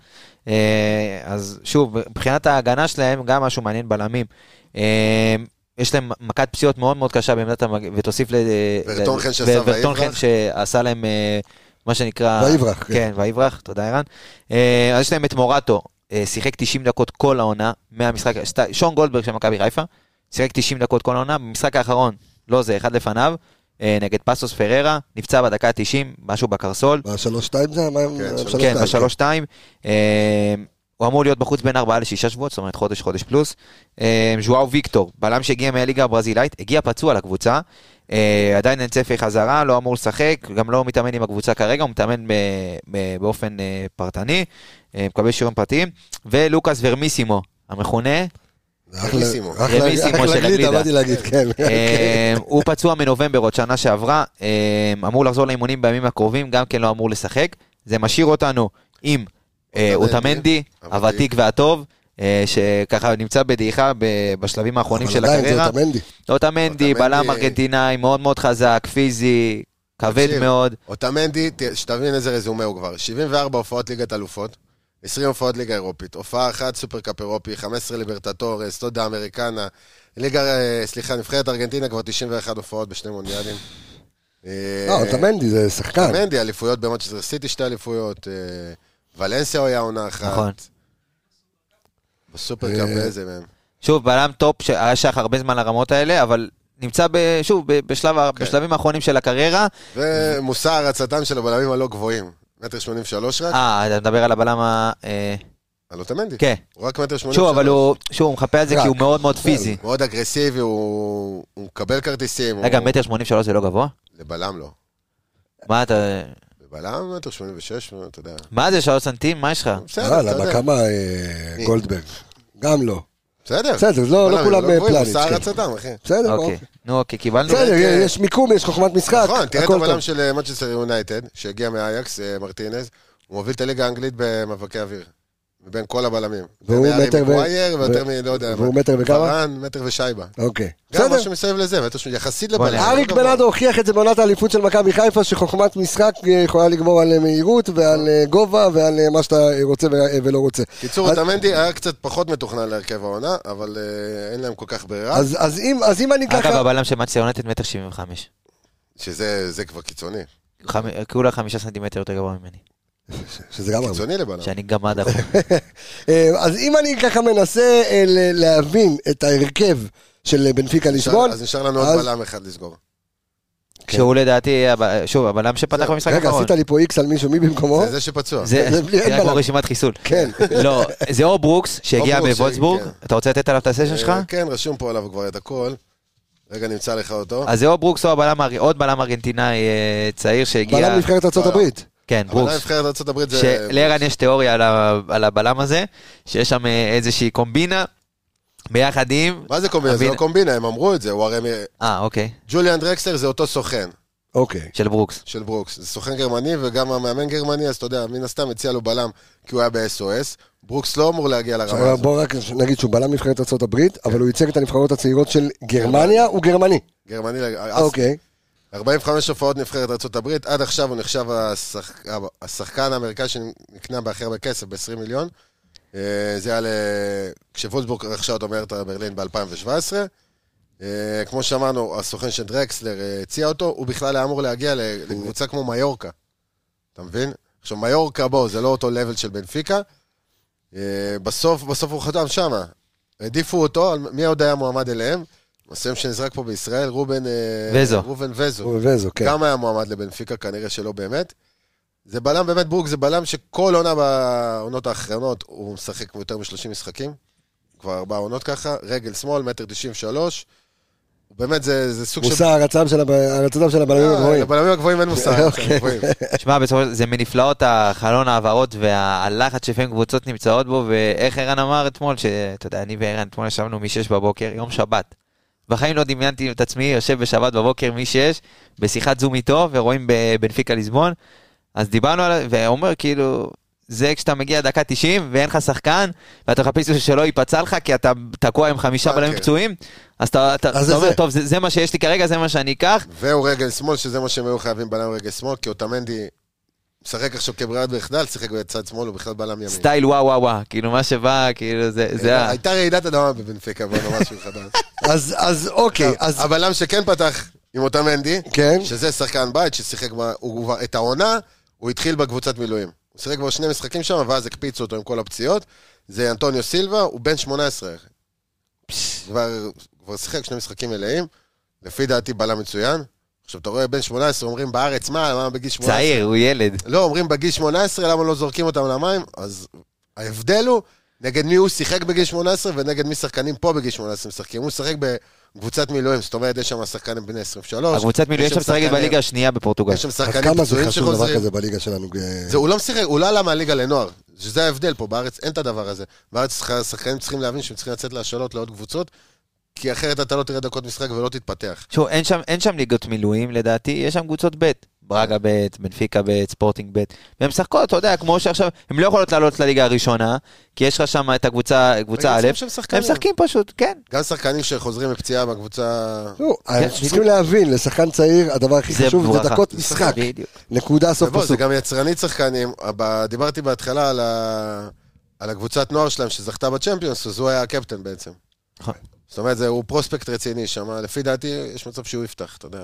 Speaker 3: אה, אז שוב, מבחינת ההגנה שלהם, גם משהו מעניין בלמים. אה, יש להם מכת פציעות מאוד מאוד קשה בעמדת המג... ותוסיף ל...
Speaker 4: ורטונכן
Speaker 3: ל-
Speaker 4: שעשה
Speaker 3: וורטונכן
Speaker 4: ויברח.
Speaker 3: שעשה להם אה, מה שנקרא...
Speaker 1: ויברח, כן.
Speaker 3: כן, ויברח, תודה ערן. אה, אז יש להם את מורטו, אה, שיחק 90 דקות כל העונה, מהמשחק, שת- שון גולדברג של מכבי חיפה, שיחק 90 דקות כל העונה, במשחק האחרון, לא זה, אחד לפניו, אה, נגד פסוס פררה, נפצע בדקה ה-90, משהו בקרסול,
Speaker 1: בשלוש-שתיים זה היה? מה-
Speaker 4: כן,
Speaker 1: בשלוש-
Speaker 3: כן,
Speaker 1: שתיים,
Speaker 3: בשלוש-שתיים. אה, הוא אמור להיות בחוץ בין ארבעה לשישה שבועות, זאת אומרת חודש, חודש פלוס. אה, ז'ואאו ויקטור, בלם שהגיע מהליגה הברזילאית, הגיע פצוע לקבוצה. אה, עדיין אין צפי חזרה, לא אמור לשחק, גם לא מתאמן עם הקבוצה כרגע, הוא מתאמן ב- ב- באופן אה, פרטני, אה, מקבל שיעורים פרטיים. ולוקאס ורמיסימו, המכונה,
Speaker 1: אחלה-
Speaker 4: רמיסימו.
Speaker 1: אחלה- אחלה
Speaker 3: רמיסימו של
Speaker 1: גלידה,
Speaker 3: הגלידה.
Speaker 1: באתי להגיד, כן.
Speaker 3: אה, הוא פצוע מנובמבר עוד שנה שעברה, אה, אמור לחזור לאימונים בימים הקרובים, גם כן לא אמור לשחק. זה משאיר אותנו עם אה,
Speaker 4: אוטמנדי,
Speaker 3: אוטמנדי,
Speaker 4: הוותיק.
Speaker 3: הוותיק והטוב, אה, שככה נמצא בדעיכה ב- בשלבים האחרונים
Speaker 1: אבל
Speaker 3: של
Speaker 1: עדיין זה
Speaker 3: הקריירה.
Speaker 1: אוטמנדי.
Speaker 3: אוטמנדי,
Speaker 4: אוטמנדי.
Speaker 3: בלם ארגנטינאי, מאוד מאוד חזק, פיזי, כבד
Speaker 4: תקשיב,
Speaker 3: מאוד.
Speaker 4: אותמנדי, ת- שתבין איזה רזומה הוא כבר. 74 הופעות ליגת אלופות, 20 הופעות ליגה אירופית, הופעה אחת סופרקאפ אירופי, 15 ליברטטורס, תודה אמריקנה, ליגה, אה, סליחה, נבחרת ארגנטינה כבר 91 הופעות בשני מונדיאלים. אה,
Speaker 1: לא, אוטמנדי זה שחקן.
Speaker 4: אוטמנדי, אליפויות במונצ'סטר סיטי, שתי אליפויות, אה, ולנסיה הוא היה עונה אחת.
Speaker 3: נכון.
Speaker 4: בסופרקאפ
Speaker 1: אה,
Speaker 4: איזה מהם.
Speaker 3: שוב, בלם טופ שהיה שייך הרבה זמן לרמות האלה, אבל נמצא, ב- שוב, ב- בשלב ה-
Speaker 1: כן.
Speaker 3: בשלבים האחרונים של הקריירה.
Speaker 4: ומושא הרצתם של הבלמים הלא גבוהים. מטר שמונים ושלוש רק,
Speaker 3: אה, אתה מדבר על הבלם ה... אה,
Speaker 4: על אוטמנדי.
Speaker 3: כן.
Speaker 4: הוא רק מטר שמונים
Speaker 3: שוב,
Speaker 4: ושלוש.
Speaker 3: אבל הוא, שוב, הוא מחפה על זה
Speaker 1: רק.
Speaker 3: כי הוא מאוד מאוד פיזי.
Speaker 4: מאוד אגרסיבי, הוא הוא מקבל כרטיסים.
Speaker 3: רגע,
Speaker 4: הוא-
Speaker 3: מטר שמונים שלוש זה לא גבוה?
Speaker 4: לבלם לא.
Speaker 3: מה אתה...
Speaker 4: לבלם מטר שמונים ושש, אתה יודע.
Speaker 1: לא,
Speaker 3: מה זה שלוש סנטים? מה יש לך?
Speaker 4: בסדר, אתה
Speaker 1: יאללה,
Speaker 4: יודע.
Speaker 1: בכמה אה,
Speaker 4: מי? אה,
Speaker 1: גולדברג? גם לא.
Speaker 4: בסדר.
Speaker 1: בסדר, לא- לא
Speaker 4: בלמים
Speaker 1: כולם
Speaker 4: גבוהים,
Speaker 1: פלניץ',
Speaker 4: הוא
Speaker 1: כן.
Speaker 4: שר הצדם, אחי.
Speaker 1: בסדר,
Speaker 3: אוקיי.
Speaker 1: אוקיי.
Speaker 3: נו, אוקיי, קיבלנו.
Speaker 1: בסדר,
Speaker 4: באמת, אה,
Speaker 1: יש מיקום, יש חוכמת משחק,
Speaker 4: נכון, תראה את
Speaker 1: הכל טוב.
Speaker 4: הבלם של מנצ'סטר יונייטד, שהגיע מאייקס, אה, מרטינז, הוא מוביל את הליגה האנגלית במאבקי אוויר. מבין כל הבלמים.
Speaker 1: והוא
Speaker 4: ומהארי
Speaker 1: מטר ו-
Speaker 4: מקווייר, ויותר
Speaker 1: ו-
Speaker 4: מ... לא יודע.
Speaker 1: והוא
Speaker 4: מה.
Speaker 1: מטר וכמה?
Speaker 4: פארן, מטר ושייבה.
Speaker 1: אוקיי.
Speaker 4: גם
Speaker 1: בסדר.
Speaker 4: משהו מסביב לזה, מטר שמונים, יחסית
Speaker 3: בוא
Speaker 4: לבלם.
Speaker 3: נראה.
Speaker 1: אריק
Speaker 4: לא גבוה.
Speaker 1: בנאדו הוכיח את זה בעונת האליפות של מכבי חיפה, שחוכמת משחק אה, יכולה לגמור על אה, מהירות ועל אה, גובה ועל אה, מה שאתה רוצה ו- אה, ולא רוצה.
Speaker 4: קיצור,
Speaker 1: אז-
Speaker 4: אוטמנדי היה קצת פחות מתוכנן להרכב העונה, אבל אה, אין להם כל כך ברירה.
Speaker 1: אז- אז אם- אז אם אני
Speaker 3: אגב,
Speaker 1: ככה...
Speaker 3: הבלם של מצי יונתן מטר שבעים וחמש.
Speaker 4: שזה זה כבר קיצוני.
Speaker 3: חמ- כולה חמישה סנטימטר יותר גבוה ממני.
Speaker 1: שזה גם הרבה.
Speaker 4: קיצוני לבלם.
Speaker 3: שאני גמד אחורה.
Speaker 1: אה, אז אם אני ככה מנסה אה, ל- להבין את ההרכב של אה, בנפיקה
Speaker 4: נשאר-
Speaker 1: לישבון,
Speaker 4: אז נשאר לנו עוד
Speaker 1: אז-
Speaker 4: בלם אחד לסגור.
Speaker 3: שהוא לדעתי, הב- שוב, הבלם שפתח
Speaker 4: זהו.
Speaker 3: במשחק
Speaker 1: כן. רגע,
Speaker 3: האחרון.
Speaker 1: עשית לי פה איקס על מישהו, מי במקומו?
Speaker 4: זה זה שפצוע.
Speaker 3: זה
Speaker 1: זה בלי- אין
Speaker 3: נראה כמו
Speaker 1: בלם.
Speaker 3: רשימת חיסול.
Speaker 1: כן.
Speaker 3: לא, זה או ברוקס שהגיע
Speaker 4: או ברוקס,
Speaker 3: מוולסבורג,
Speaker 4: כן.
Speaker 3: אתה רוצה לתת עליו את הסשן שלך?
Speaker 4: אה, כן, רשום פה עליו כבר את הכל. רגע, נמצא לך אותו.
Speaker 3: אז זה או ברוקס או הבלם, הר- עוד בלם ארגנטינאי אה, צעיר שהגיע...
Speaker 1: בלם נבחרת ארצות
Speaker 4: לא, לא.
Speaker 1: הברית.
Speaker 3: כן,
Speaker 4: אבל
Speaker 3: ברוקס.
Speaker 4: נבחרת ארה"ב זה...
Speaker 3: שלערן יש תיאוריה על ה- על הבלם הזה, שיש שם אה, איזושהי קומבינה, ביחד עם...
Speaker 4: מה זה קומבינה? זה
Speaker 3: הבין-
Speaker 4: לא קומבינה, הם אמרו את זה. הוא הרי... מ-
Speaker 3: אה, אוקיי,
Speaker 4: ג'וליאן דרקסלר זה אותו סוכן
Speaker 1: אוקיי.
Speaker 3: של ברוקס.
Speaker 4: של ברוקס. זה סוכן גרמני וגם המאמן גרמני, אז אתה יודע, מן הסתם הציע לו בלם כי הוא היה ב-SOS. ברוקס לא אמור להגיע לרמה הזאת.
Speaker 1: אה, בוא רק נגיד שהוא בלם נבחרת ארצות הברית, אבל הוא ייצג את הנבחרות הצעירות של גרמניה, הוא גרמני.
Speaker 4: גרמני... אז
Speaker 1: אוקיי.
Speaker 4: 45 הופעות נבחרת ארה"ב, עד עכשיו הוא נחשב השח... השחקן האמריקאי שנקנה בהכי הרבה כסף, ב-20 מיליון. אה, זה היה ל... כשוולסבורג רכשה אותו מארטה ברלין ב-2017. אה, כמו שאמרנו, הסוכן של דרקסלר אה, הציע אותו, הוא בכלל היה אמור להגיע ל- לקבוצה כמו מיורקה. אתה מבין? עכשיו, מיורקה, בוא, זה לא אותו לבל של בנפיקה. אה, בסוף, בסוף הוא חתם שמה. העדיפו אותו, על- מי עוד היה מועמד אליהם? מסוים שנזרק פה בישראל, רובן... אה,
Speaker 3: וזו.
Speaker 4: ראובן וזו.
Speaker 1: הוא וזו, כן.
Speaker 4: גם היה מועמד לבנפיקה, כנראה שלא באמת. זה בלם, באמת, ברוק, זה בלם שכל עונה בעונות האחרונות, הוא משחק יותר מ-30 משחקים, כבר ארבע עונות ככה, רגל שמאל, מטר 93. הוא באמת, זה, זה סוג אה,
Speaker 1: מושא הרצתם של הב- הרצתם של הבלמים הגבוהים.
Speaker 4: לבלמים הגבוהים אין מושג.
Speaker 1: אוקיי.
Speaker 4: גבוהים.
Speaker 3: שמע, בסופו של זה מנפלאות החלון ההעברות והלחץ שלפעמים קבוצות נמצאות בו, ואיך ערן אמר אתמול, שאתה יודע, אני וערן אתמול ישבנו מ-6 בבוקר, יום שבת. בחיים לא דמיינתי את עצמי יושב בשבת בבוקר מ-6, בשיחת זום איתו, ורואים בבנפיקה ליסבון. אז דיברנו עליו, ואומר כאילו, זה כשאתה מגיע דקה 90 ואין לך שחקן, ואתה מחפש מישהו שלא ייפצע לך, כי אתה תקוע עם חמישה
Speaker 4: אוקיי.
Speaker 3: בלמים פצועים, אז אתה אתה-
Speaker 1: אז
Speaker 3: אתה
Speaker 1: זה
Speaker 3: אומר,
Speaker 1: זה.
Speaker 3: טוב, זה זה מה שיש לי כרגע, זה מה שאני אקח.
Speaker 4: והוא רגל שמאל, שזה מה שהם היו חייבים בלם רגל שמאל, כי אוטמנדי משחק עכשיו כברירת מחדל, שיחק בצד שמאל, הוא בכלל בלם ימין.
Speaker 3: סטייל וואו וואו וואו, כאילו מה שבא, כאילו זה, זה
Speaker 1: אה,
Speaker 3: ה...
Speaker 4: הייתה רעידת אדמה בבנפיקה, בוא נאמר שהוא חדש.
Speaker 1: אז- אז אוקיי,
Speaker 4: אה,
Speaker 1: אז...
Speaker 4: הבלם שכן פתח עם אוטמנדי,
Speaker 1: כן.
Speaker 4: שזה שחקן בית ששיחק ב... הוא כבר... את העונה, הוא התחיל בקבוצת מילואים. הוא שיחק כבר שני משחקים שם, ואז הקפיצו אותו עם כל הפציעות. זה אנטוניו סילבה, הוא בן 18. כבר, כבר שיחק שני משחקים מלאים, לפי דעתי בלם מצוין. עכשיו, אתה רואה בן 18, אומרים בארץ, מה, למה בגיל 18?
Speaker 3: צעיר, הוא ילד.
Speaker 4: לא, אומרים בגיל 18, למה לא זורקים אותם למים? אז ההבדל הוא נגד מי הוא שיחק בגיל 18 ונגד מי שחקנים פה בגיל 18 משחקים. הוא שיחק בקבוצת מילואים, זאת אומרת, יש שם שחקנים בני 23.
Speaker 3: הקבוצת מילואים
Speaker 4: לא, יש
Speaker 3: שם משחקת
Speaker 4: שחקנים-
Speaker 3: בליגה השנייה בפורטוגל.
Speaker 4: יש שם
Speaker 1: כן. עד
Speaker 4: שחקנים
Speaker 1: כמה זה
Speaker 4: פצועים
Speaker 1: חשוב דבר
Speaker 4: שחוזרים.
Speaker 1: כזה בליגה שלנו? אה,
Speaker 4: זה, הוא לא משחק, הוא לא עלה מהליגה לנוער. שזה ההבדל פה, בארץ אין את הדבר הזה. בארץ השחקנים צריכים להבין שהם צריכים לצאת להשאלות לעוד קבוצות, כי אחרת אתה לא תראה דקות משחק ולא תתפתח.
Speaker 3: תשמעו, אין שם- אין שם ליגות מילואים, לדעתי, יש שם קבוצות ב', ברגה ב', בנפיקה ב', ספורטינג ב', והן משחקות, אתה יודע, כמו שעכשיו, הן לא יכולות לעלות לליגה הראשונה, כי יש לך שם את הקבוצה קבוצה א',
Speaker 4: וגם שם
Speaker 3: הם
Speaker 4: שחקנים.
Speaker 3: משחקים פשוט, כן.
Speaker 4: גם שחקנים שחוזרים מפציעה בקבוצה...
Speaker 1: לא, אנחנו
Speaker 3: בדיוק.
Speaker 1: צריכים להבין, לשחקן צעיר הדבר הכי
Speaker 3: זה
Speaker 1: חשוב זה
Speaker 3: ברכה.
Speaker 1: דקות משחק.
Speaker 3: בדיוק.
Speaker 1: נקודה, סוף
Speaker 4: ובוא, זה
Speaker 1: פסוק.
Speaker 4: גם יצרנית שחקנים. אבל דיברתי בהתחלה על, ה... על הקבוצת נוער שלהם שזכתה בצ'מפיונס, אז הוא היה הקפטן בעצם.
Speaker 3: נכון.
Speaker 4: זאת אומרת, זה, הוא פרוספקט רציני שם, לפי דעתי יש מצב שהוא יפתח, אתה יודע.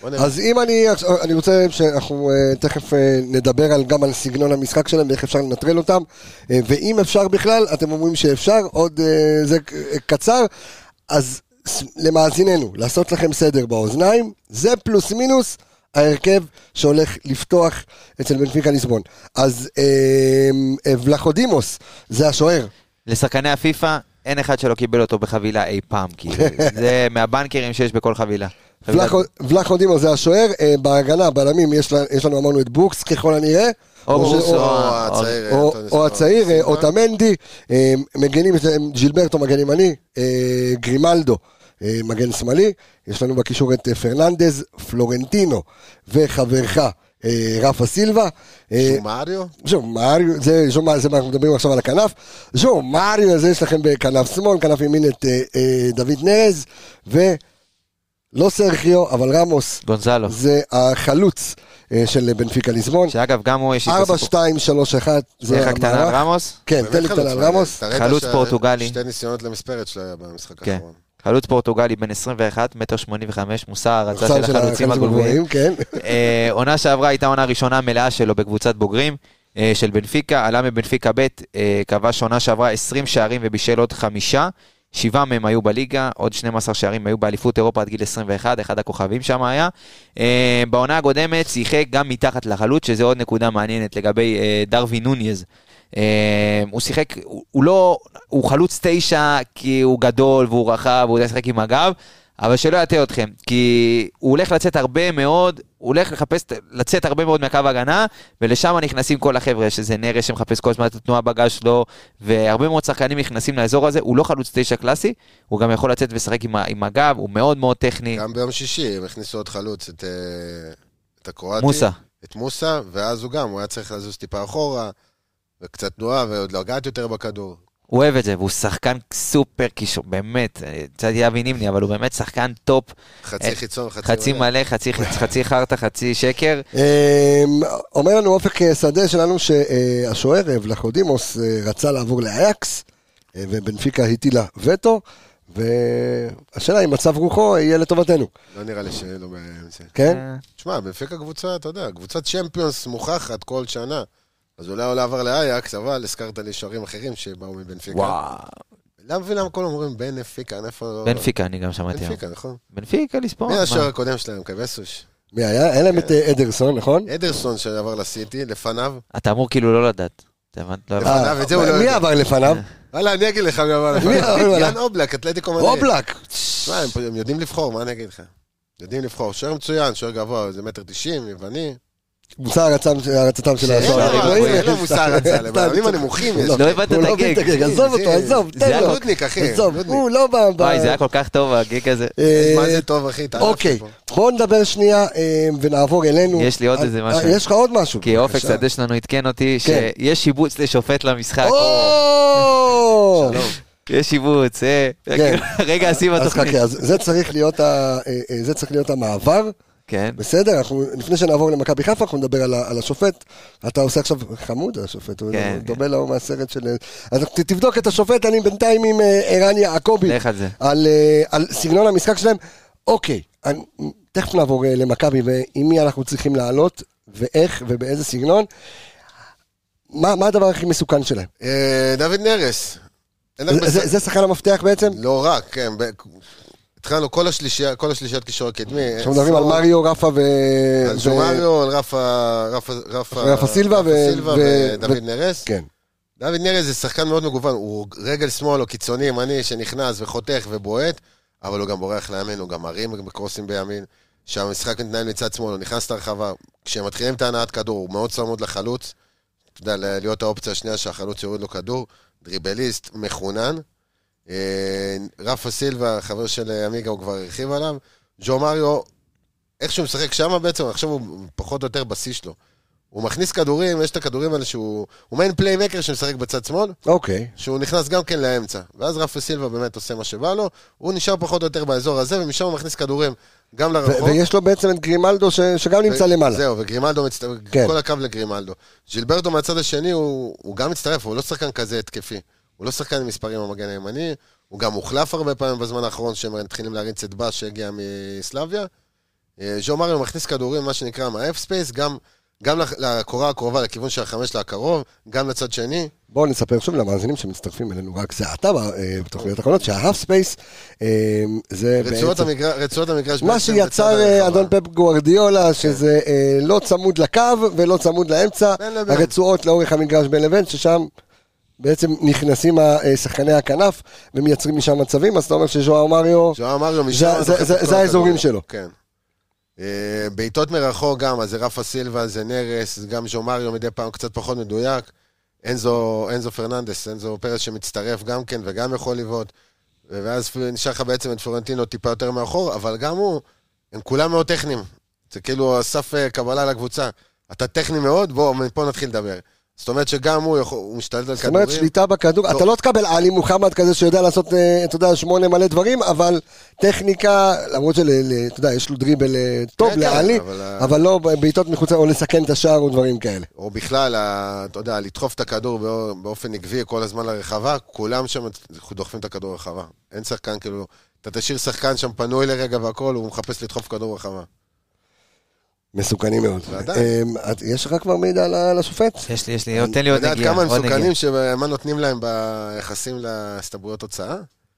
Speaker 4: בוא נראה.
Speaker 1: אז אם אני, אני רוצה שאנחנו אה, תכף אה, נדבר על, גם על סגנון המשחק שלהם ואיך אפשר לנטרל אותם, אה, ואם אפשר בכלל, אתם אומרים שאפשר, עוד אה, זה ק- אה, קצר, אז ס- למאזיננו, לעשות לכם סדר באוזניים, זה פלוס מינוס ההרכב שהולך לפתוח אצל בנפיקה ליסבון. אז אה, אה, ולחודימוס, זה השוער,
Speaker 3: לשחקני הפיפא, אין אחד שלא קיבל אותו בחבילה אי פעם, כאילו. זה מהבנקרים שיש בכל חבילה. חבילה-
Speaker 1: ולחו- ולחודימוס זה השוער, אה, בהגנה, בלמים, יש לה- יש לנו אמרנו את בוקס ככל הנראה.
Speaker 3: או
Speaker 1: או ש-
Speaker 3: בוקס
Speaker 1: או-
Speaker 4: או
Speaker 3: או-
Speaker 4: הצעיר,
Speaker 1: או-
Speaker 4: אנטוניו
Speaker 1: או
Speaker 4: סילבה.
Speaker 1: הצעיר, אה,
Speaker 4: סילבה.
Speaker 1: אוטמנדי, אה, מגנים, יש להם ג'ילברטו מגן ימני, אה, גרימלדו אה, מגן שמאלי, יש לנו בקישור את אה, פרננדז, פלורנטינו וחברך אה, רפה סילבה. אה,
Speaker 4: שהוא מריו?
Speaker 1: ז'ו מריו, זה ז'ו מריו, זה מה אנחנו מדברים עכשיו על הכנף. ז'ו מריו, אז יש לכם בכנף שמאל, כנף ימין את אה, אה, דוד נרז, ולא סרחיו, אבל רמוס,
Speaker 3: גונזלו.
Speaker 1: זה החלוץ אה, של בנפיקה ליסבון.
Speaker 3: שאגב, גם הוא יש איתו
Speaker 1: 4,
Speaker 3: סיפור.
Speaker 1: 2, 3, 1, זה
Speaker 3: איך הקטנה על
Speaker 1: המערך.
Speaker 3: רמוס?
Speaker 1: כן,
Speaker 4: באמת
Speaker 1: תן לי קטנה על
Speaker 4: חלוץ,
Speaker 1: רמוס.
Speaker 4: תראה את
Speaker 3: חלוץ
Speaker 4: הש-
Speaker 3: פורטוגלי.
Speaker 4: שתי ניסיונות למספרת שלו היה במשחק
Speaker 3: כן.
Speaker 4: האחרון.
Speaker 3: חלוץ פורטוגלי בן 21, מטר 85, מושא ההרצה
Speaker 1: עכשיו
Speaker 3: של החלוצים הגבוהים.
Speaker 1: כן.
Speaker 3: אה, עונה שעברה הייתה עונה ראשונה מלאה שלו בקבוצת בוגרים אה, של בנפיקה, עלה מבנפיקה ב', אה, כבש עונה שעברה 20 שערים ובישל עוד חמישה. שבעה מהם היו בליגה, עוד 12 שערים היו באליפות אירופה עד גיל 21, אחד הכוכבים שם היה. אה, בעונה הקודמת שיחק גם מתחת לחלוץ, שזה עוד נקודה מעניינת לגבי אה, דרווין נוניז. אה, הוא שיחק, הוא, הוא לא, הוא חלוץ תשע כי הוא גדול והוא רחב, הוא יודע לשחק עם הגב, אבל שלא יטעה אתכם, כי הוא הולך לצאת הרבה מאוד, הוא הולך לחפש, לצאת הרבה מאוד מהקו ההגנה, ולשם נכנסים כל החבר'ה, שזה נרס שמחפש כל הזמן את התנועה בגז שלו, והרבה מאוד שחקנים נכנסים לאזור הזה, הוא לא חלוץ תשע קלאסי, הוא גם יכול לצאת ולשחק עם, ה- עם הגב, הוא מאוד מאוד טכני,
Speaker 4: גם ביום שישי הם הכניסו עוד חלוץ, את, אה, את הקרואטי.
Speaker 3: מוסה.
Speaker 4: את מוסה, ואז הוא גם, הוא היה צריך לזוז טיפה אחורה, וקצת תנועה, ועוד לגעת יותר בכדור.
Speaker 3: הוא אוהב את זה, והוא שחקן סופר קישור, באמת, אה, קצת יאבי נימני, אבל הוא באמת שחקן טופ,
Speaker 4: חצי
Speaker 3: איך-
Speaker 4: חיצון, חצי...
Speaker 3: חצי
Speaker 4: מלא.
Speaker 3: מלא, חצי- חצי חרטא, חצי שקר.
Speaker 1: אמ, אומר לנו אופק אה, שדה שלנו שהשוער אה, ולחודימוס אה, רצה לעבור לאייקס, אה, ובנפיקה הטילה וטו, והשאלה אם מצב רוחו יהיה לטובתנו,
Speaker 4: לא נראה לי שיהיה לו בעיה עם זה.
Speaker 1: כן?
Speaker 3: אה,
Speaker 4: תשמע, בנפיקה קבוצה, אתה יודע, קבוצת צ'מפיונס מוכחת כל שנה. אז אולי הוא לא עבר לאייקס, אבל הזכרת לי שוערים אחרים שבאו מבנפיקה.
Speaker 3: וואו.
Speaker 4: לא מבין למה כולם אומרים בנפיקה, איפה...
Speaker 3: בנפיקה, אני גם
Speaker 1: אה.
Speaker 3: שמעתי.
Speaker 4: בנפיקה, לא- נכון.
Speaker 3: בנפיקה לספורט.
Speaker 4: מי
Speaker 3: מה?
Speaker 4: השוער הקודם שלהם? קבסוש.
Speaker 1: מי היה? היה להם את אה, אדרסון, נכון?
Speaker 4: אדרסון שעבר לסיטי, לפניו.
Speaker 3: אתה אמור כאילו לא לדעת. אתה הבנת?
Speaker 1: אה,
Speaker 3: לא הבנת.
Speaker 4: לפניו, את זה הוא לא
Speaker 1: מי
Speaker 4: יודע. אה.
Speaker 1: עבר לפניו?
Speaker 4: וואלה, אני אגיד לך מי עבר לפניו.
Speaker 1: עבר?
Speaker 4: יאן אובלק, אתלטיקו מדריד.
Speaker 1: רובלק!
Speaker 4: תשמע, הם, הם יודעים לבחור, מה אני אגיד לך? יודעים לבחור. שוער מצוין, שוער גבוה, זה מטר תשעים, יבני.
Speaker 1: מוצא הרצם- הרצתם של
Speaker 4: אין לו-
Speaker 1: השוער. לא
Speaker 3: הגבוהים.
Speaker 4: אין לו לא מוסר הצעה,
Speaker 1: סתם,
Speaker 4: לבעלים הנמוכים יש.
Speaker 1: לא,
Speaker 3: לא הבנת
Speaker 1: הוא
Speaker 3: את
Speaker 1: לא מבין את
Speaker 3: הגג.
Speaker 1: הגג, עזוב אותו,
Speaker 4: זה-
Speaker 1: עזוב,
Speaker 4: זה
Speaker 1: תן
Speaker 4: היה
Speaker 1: לו.
Speaker 4: נודניק, אחי,
Speaker 1: עזוב,
Speaker 4: נודניק.
Speaker 1: הוא לא ב... ב-
Speaker 3: וואי, זה היה כל כך טוב, הגיג הזה.
Speaker 1: אה,
Speaker 4: מה זה טוב, אחי? התעלפתי
Speaker 1: אוקיי,
Speaker 4: פה.
Speaker 1: בואו נדבר שנייה אה, ונעבור אלינו.
Speaker 3: יש לי עוד
Speaker 1: אה,
Speaker 3: איזה
Speaker 1: אה,
Speaker 3: משהו.
Speaker 1: יש לך עוד משהו.
Speaker 3: כי אופק
Speaker 1: בבקשה.
Speaker 3: שדה שלנו עדכן אותי
Speaker 1: כן.
Speaker 3: שיש שיבוץ לשופט למשחק.
Speaker 1: או!
Speaker 3: יש שיבוץ, אה.
Speaker 1: כן.
Speaker 3: רגע, אשים
Speaker 1: אז
Speaker 3: התוכנית.
Speaker 1: חכה, אז זה צריך להיות ה- אה, אה, זה צריך להיות המעבר,
Speaker 3: כן.
Speaker 1: בסדר? אנחנו, לפני שנעבור למכבי חיפה, אנחנו נדבר על ה- על השופט. אתה עושה עכשיו חמוד השופט, הוא
Speaker 3: כן.
Speaker 1: דומה להוא מהסרט של... אז ת- תבדוק את השופט, אני בינתיים עם אה, ערן יעקבי.
Speaker 3: לך על זה.
Speaker 1: על, אה, על סגנון המשחק שלהם. אוקיי, אני, תכף נעבור אה, למכבי ועם מי אנחנו צריכים לעלות, ואיך ובאיזה סגנון. מה מה הדבר הכי מסוכן שלהם?
Speaker 4: אה, דוד נרס. אין הרבה
Speaker 1: זה- זה זה שחקן המפתח בעצם?
Speaker 4: לא רק, כן. ב- התחלנו כל השלישייה, כל השלישיית קישור הקדמי. אה,
Speaker 1: עכשיו מדברים על
Speaker 4: סורו,
Speaker 1: מריו, רפה ו...
Speaker 4: על
Speaker 1: אה, ו-
Speaker 4: ז'ומריו, על רפה... רפה- רפה
Speaker 1: רפה סילבה ו-
Speaker 4: רפה סילבה
Speaker 1: ו-
Speaker 4: ודוד
Speaker 1: ו-
Speaker 4: נרס.
Speaker 1: כן.
Speaker 4: דוד נרס זה שחקן מאוד מגוון, הוא רגל שמאל או קיצוני ימני שנכנס וחותך ובועט, אבל הוא גם בורח לימין, הוא גם מרים בקרוסים בימין. כשהמשחק מתנהל מצד שמאל, הוא נכנס לרחבה. כשהם מתחילים את ההנעת כדור, הוא מאוד צמוד לחלוץ. אתה יודע, ל- להיות האופציה השנייה שהחלוץ יוריד לו כדור. דריבליסט מחונן. אה, רפה סילבה, חבר של עמיגה, הוא כבר הרחיב עליו. ג'ו מריו, איך שהוא משחק שם בעצם, עכשיו הוא פחות או יותר בשיא שלו. הוא מכניס כדורים, יש את הכדורים האלה שהוא... הוא מעין פליימקר שמשחק בצד שמאל,
Speaker 1: אוקיי.
Speaker 4: שהוא נכנס גם כן לאמצע. ואז רפה סילבה באמת עושה מה שבא לו, הוא נשאר פחות או יותר באזור הזה, ומשם הוא מכניס כדורים גם
Speaker 1: ו-
Speaker 4: לרחוב.
Speaker 1: ויש לו בעצם את גרימלדו ש- שגם נמצא
Speaker 4: נכון. ו-
Speaker 1: למעלה.
Speaker 4: זהו, וגרימלדו מצטרף,
Speaker 1: כן.
Speaker 4: כל הקו לגרימלדו. ג'ילברטו מהצד השני, הוא, הוא גם מצטרף, הוא לא שחקן כזה התקפי. הוא לא שחקן עם מספרים במגן הימני, הוא גם הוחלף הרבה פעמים בזמן האחרון, שהם מתחילים להריץ את בא שהגיע מסלביה. אה, ז'ו מריו מכניס כדורים, מה שנקרא, מהאף ספייס, גם, גם לח- לקורה הקרובה, לכיוון של החמש לקרוב, גם לצד שני.
Speaker 1: בואו נספר שוב למאזינים שמצטרפים אלינו רק זה עתה אה, בתוכניות האחרונות, שההאף ספייס אה, זה
Speaker 4: רצועות,
Speaker 1: בעצם...
Speaker 4: המגר... רצועות המגרש
Speaker 1: מה
Speaker 4: בעצם בצד
Speaker 1: שיצר אה,
Speaker 4: הרחבה.
Speaker 1: אדון פפ גוארדיולה, שזה אה, לא צמוד לקו ולא צמוד לאמצע,
Speaker 4: בין לבין.
Speaker 1: הרצועות לאורך המגרש בין לבין, ששם בעצם נכנסים ה- אה, שחקני הכנף ומייצרים משם מצבים, אז אתה אומר שז'ואר מריו...
Speaker 4: ז'ואר מריו משם.
Speaker 1: זה- זה-
Speaker 4: דוחף
Speaker 1: זה-
Speaker 4: את כל
Speaker 1: זה האזורים
Speaker 4: הכדורים.
Speaker 1: שלו.
Speaker 4: כן. אה, בעיטות מרחוק גם, אז זה רפה סילבה, זה נרס, זה גם ז'ו מריו מדי פעם קצת פחות מדויק. אנזו, אנזו פרננדס, אנזו פרס שמצטרף גם כן וגם יכול לבעוט. ואז פ- נשאר לך בעצם את פלורנטינו טיפה יותר מאחור, אבל גם הוא, הם כולם מאוד טכניים. זה כאילו הסף אה, קבלה לקבוצה. אתה טכני מאוד, בוא, מפה נתחיל לדבר. זאת אומרת שגם הוא, יכול, הוא משתלט על
Speaker 1: זאת אומרת,
Speaker 4: כדורים.
Speaker 1: שליטה בכדור,
Speaker 4: לא.
Speaker 1: אתה לא תקבל עלי מוחמד כזה שיודע לעשות, אה, אתה יודע, שמונה מלא דברים, אבל טכניקה, למרות של, אה, ל- אתה יודע, יש לו דריבל אה, טוב
Speaker 4: כן,
Speaker 1: לעלי,
Speaker 4: אבל ה-
Speaker 1: אבל לא בעיטות מחוץ, או לסכן את השער או דברים כאלה.
Speaker 4: או בכלל, ה- אתה יודע, לדחוף את הכדור באו- באופן עקבי כל הזמן לרחבה, כולם שם דוחפים את הכדור לרחבה. אין שחקן, כאילו, אתה תשאיר שחקן שם פנוי לרגע והכול, הוא מחפש לדחוף כדור לרחבה.
Speaker 1: מסוכנים מאוד.
Speaker 4: ועדיין.
Speaker 1: אה, את- יש לך כבר מידע ל- לשופט?
Speaker 3: יש לי, יש לי, תן לי
Speaker 4: אתה
Speaker 3: עוד
Speaker 4: יודע עד
Speaker 3: נגיעה.
Speaker 4: כמה הם
Speaker 3: עוד נגיעה.
Speaker 4: מסוכנים, שמה- מה נותנים להם ביחסים להסתברויות תוצאה?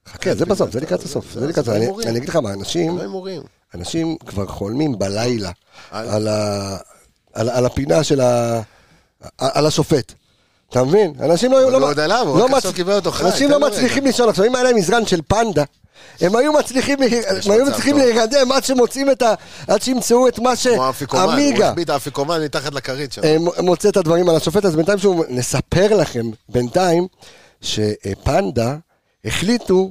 Speaker 1: חכה,
Speaker 4: כן,
Speaker 1: זה בסוף, זה לקראת הסוף. זה לקראת הסוף. אני- אני אגיד לך מה, אנשים,
Speaker 4: לא הימורים.
Speaker 1: אה, אנשים כבר חולמים בלילה
Speaker 4: על-
Speaker 1: על ה- על על הפינה של ה... על השופט. אתה מבין? אנשים לא...
Speaker 4: אבל הוא עוד עליו, הוא רק
Speaker 1: מצ-
Speaker 4: עכשיו קיבל אותו חי,
Speaker 1: אנשים
Speaker 4: תן
Speaker 1: לא
Speaker 4: לו
Speaker 1: מצליחים לישון. עכשיו, אם היה להם מזרן של פנדה, הם היו מצליחים, ל- הם היו
Speaker 4: מצב
Speaker 1: מצליחים
Speaker 4: טוב.
Speaker 1: להירדם עד שמוצאים את ה... עד שימצאו את מה
Speaker 4: כמו האפיקומן, הוא
Speaker 1: שעמיגה.
Speaker 4: החביא את האפיקומן מתחת לכרית שם.
Speaker 1: אה, מוצא את הדברים על השופט, אז בינתיים שהוא, נספר לכם, בינתיים, שפנדה החליטו,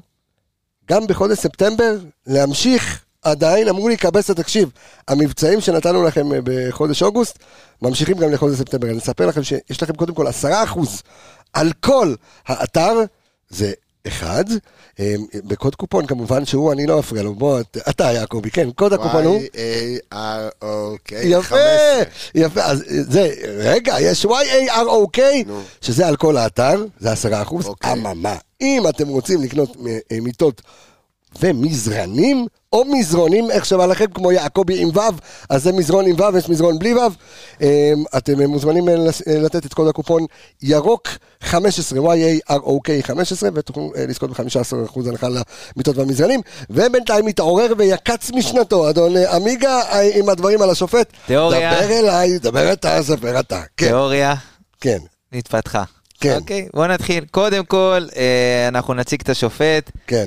Speaker 1: גם בחודש ספטמבר, להמשיך, עדיין אמרו לי, קבסה, תקשיב, המבצעים שנתנו לכם אה, בחודש אוגוסט, ממשיכים גם לחודש ספטמבר. אני אספר לכם שיש לכם קודם כל 10% על כל האתר, זה... אחד, אה, בקוד קופון כמובן שהוא, אני לא אפריע לו, בוא, את- אתה יעקבי, כן, קוד הקופון הוא.
Speaker 4: אה, Y-A-R-O-K.
Speaker 1: יפה, יפה, אז זה, רגע, יש YAROK,
Speaker 4: נו.
Speaker 1: שזה על כל האתר, זה עשרה אחוז,
Speaker 4: אוקיי.
Speaker 1: אממה, אם אתם רוצים לקנות אה, מיטות ומזרנים, או מזרונים, איך שבא לכם, כמו יעקבי עם ו', אז זה מזרון עם ו', יש מזרון בלי ו', אה, אתם אה, מוזמנים אה, לס- אה, לתת את קוד הקופון ירוק 15, YAROK 15, ותוכלו אה, לזכות ב-15% הנחה למיטות והמזרנים, ובינתיים מתעורר ויקץ משנתו, אדון אה, עמיגה, אה, עם הדברים על השופט.
Speaker 3: תיאוריה.
Speaker 1: דבר אליי, דבר אתה, ספר אתה. כן,
Speaker 3: תיאוריה
Speaker 1: כן.
Speaker 3: נתפתחה.
Speaker 1: כן.
Speaker 3: אוקיי, בוא נתחיל. קודם כל, אה, אנחנו נציג את השופט.
Speaker 1: כן.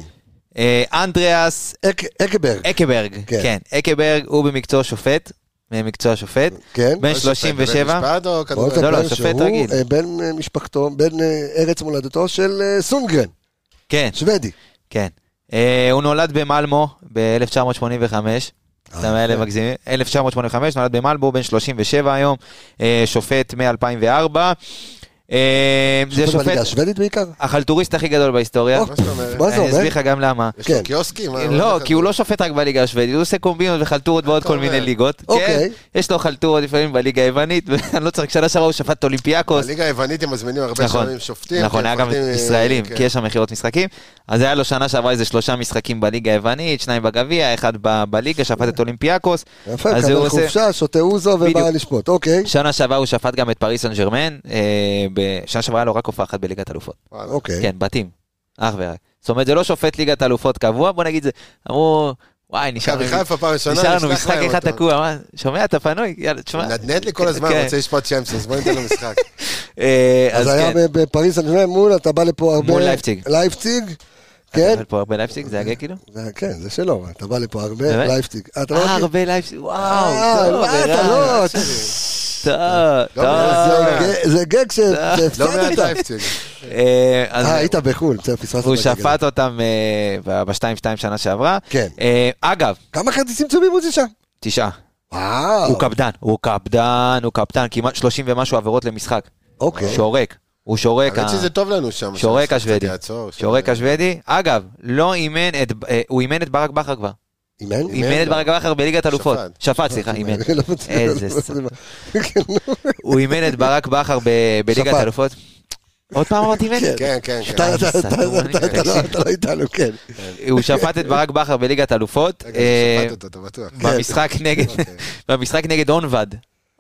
Speaker 3: אה, אנדריאס
Speaker 1: אק- אקברג.
Speaker 3: אקברג,
Speaker 1: כן.
Speaker 3: כן, אקברג הוא במקצוע שופט, במקצוע שופט,
Speaker 1: כן.
Speaker 3: בן
Speaker 4: לא שופט,
Speaker 3: 37,
Speaker 4: במשפט או
Speaker 1: בוא
Speaker 4: כדורגל?
Speaker 1: תספר
Speaker 3: לא, שופט
Speaker 1: שהוא,
Speaker 3: רגיל.
Speaker 1: אה, בן אה, משפחתו, בן אה, ארץ מולדתו של אה, סונגרן,
Speaker 3: כן,
Speaker 1: שוודי.
Speaker 3: כן. אה, הוא נולד במלמו ב-1985,
Speaker 1: אה,
Speaker 3: סתם
Speaker 1: כן.
Speaker 3: אלה מגזימים, 1985, נולד במלמו, בן 37 היום, אה, שופט מ-2004. אה, זה
Speaker 1: שופט בליגה
Speaker 3: שופט,
Speaker 1: השוודית בעיקר?
Speaker 3: החלטוריסט הכי גדול בהיסטוריה.
Speaker 1: אופ,
Speaker 4: מה זאת אומרת?
Speaker 1: מה זה
Speaker 3: אני אה, אסביר
Speaker 1: אומר?
Speaker 3: לך גם למה.
Speaker 4: יש לו
Speaker 1: כן.
Speaker 4: קיוסקים? מה-
Speaker 3: לא,
Speaker 4: מה זה
Speaker 3: כי הוא
Speaker 4: כתוב?
Speaker 3: לא שופט רק בליגה השוודית, הוא עושה קומבינות וחלטורות בעוד
Speaker 4: אתה
Speaker 3: כל
Speaker 4: אומר.
Speaker 3: מיני ליגות.
Speaker 1: אוקיי.
Speaker 3: כן, יש לו חלטורות לפעמים בליגה היוונית, ואני לא צריך, שנה שעברה הוא שפט את אולימפיאקוס.
Speaker 4: בליגה היוונית הם מזמינים הרבה
Speaker 3: נכון,
Speaker 4: שנים שופטים.
Speaker 3: נכון,
Speaker 4: כי
Speaker 3: היה
Speaker 4: הם
Speaker 3: גם
Speaker 4: מפחדים, אה,
Speaker 3: ישראלים,
Speaker 4: כן.
Speaker 3: כי יש שם מכירות משחקים. אז היה לו שנה שעברה איזה שלושה משחקים בליגה היוונית, שניים בגביע, אחד ב- בליגה, שפט את אולימפיאקוס.
Speaker 1: יפה,
Speaker 3: אז הוא
Speaker 1: מקבל
Speaker 3: עושה-
Speaker 1: חופשה, שותה אוזו ובא
Speaker 3: בדיוק.
Speaker 1: לשפוט, אוקיי.
Speaker 3: שנה שעברה הוא שפט גם את פריס סן ג'רמן, אה, בשנה שעברה היה לו רק הופעה אחת בליגת אלופות.
Speaker 4: וואלה.
Speaker 1: אוקיי.
Speaker 3: כן, בתים, אך ורק. זאת אומרת, זה לא שופט ליגת אלופות קבוע, בוא נגיד זה, אמרו, וואי, נשאר
Speaker 4: מכבי
Speaker 3: לנו-
Speaker 4: חיפה פעם ראשונה,
Speaker 3: נשאר לנו
Speaker 4: נשלח
Speaker 3: משחק
Speaker 4: להם
Speaker 3: אחד
Speaker 4: אותו.
Speaker 3: תקוע, מה? שומע, אתה פנוי? יאללה,
Speaker 4: הוא
Speaker 3: תשמע.
Speaker 4: נדנד לי כל הזמן,
Speaker 3: כן.
Speaker 4: הוא רוצה לשפוט צ'מפס, אז בוא ניתן לו משחק.
Speaker 3: אה,
Speaker 1: אז היה
Speaker 3: כן.
Speaker 1: ב- בפריז סן ג'רמן מול, אתה בא לפה הרבה...
Speaker 3: מול לייפציג.
Speaker 1: לייפציג,
Speaker 3: אתה
Speaker 1: כן.
Speaker 3: אוהב פה הרבה לייפסיק, זה הגה כאילו?
Speaker 1: זה- כן, זה שלו, אתה בא לפה הרבה
Speaker 3: באמת?
Speaker 1: לייפציג. אה, אתה לא
Speaker 3: אה,
Speaker 1: מכיר?
Speaker 3: הרבה לייפסיק, וואו,
Speaker 1: אה,
Speaker 3: טוב,
Speaker 1: מה, אתה
Speaker 3: ערן.
Speaker 1: לא...
Speaker 3: אה. טוב, אה,
Speaker 4: לא מזלזל.
Speaker 3: טוב.
Speaker 1: זה גג- זה גג ש-
Speaker 4: לא מעט
Speaker 1: שהפסדת.
Speaker 4: לייפציג.
Speaker 3: אה, אז
Speaker 1: אה, היית בחו"ל, בסדר, פספסת.
Speaker 3: הוא
Speaker 1: את הגג הזה.
Speaker 3: שפט אותם אה, ב- ב-2-2 שנה שעברה.
Speaker 1: כן.
Speaker 3: אה, אגב,
Speaker 1: כמה כרטיסים צהובים הוציא שם?
Speaker 3: תשעה.
Speaker 1: וואו.
Speaker 3: הוא קפדן, הוא קפדן, הוא קפדן, כמעט 30 ומשהו עבירות למשחק.
Speaker 1: אוקיי.
Speaker 3: שורק, הוא שורק.
Speaker 4: האמת
Speaker 3: ה-
Speaker 4: שזה טוב לנו שם.
Speaker 3: שורק
Speaker 4: שהמשחק
Speaker 3: השוודי.
Speaker 4: יעצור, ש-
Speaker 3: שורק השוודי. אגב, לא אימן את, אה, הוא אימן את ברק בכר כבר.
Speaker 1: אימן?
Speaker 3: אימן את ברק בכר בליגת אלופות.
Speaker 4: שפט.
Speaker 3: שפט, סליחה, אימן.
Speaker 1: לא מצליח,
Speaker 3: איזה
Speaker 1: לא
Speaker 3: ס-
Speaker 1: מצליח.
Speaker 3: הוא אימן את ברק בכר ב- בליגת
Speaker 1: שפט.
Speaker 3: אלופות. עוד פעם אמרתי אימן?
Speaker 4: כן, כן,
Speaker 1: אתה- אתה-
Speaker 4: כן.
Speaker 1: אתה- אתה- אתה לא- אתה לא איתנו, כן.
Speaker 3: הוא שפט את ברק בכר בליגת אלופות.
Speaker 4: רגע,
Speaker 3: אה,
Speaker 4: שפט אותו, אתה בטוח. כן.
Speaker 3: במשחק נגד, במשחק נגד אונבד.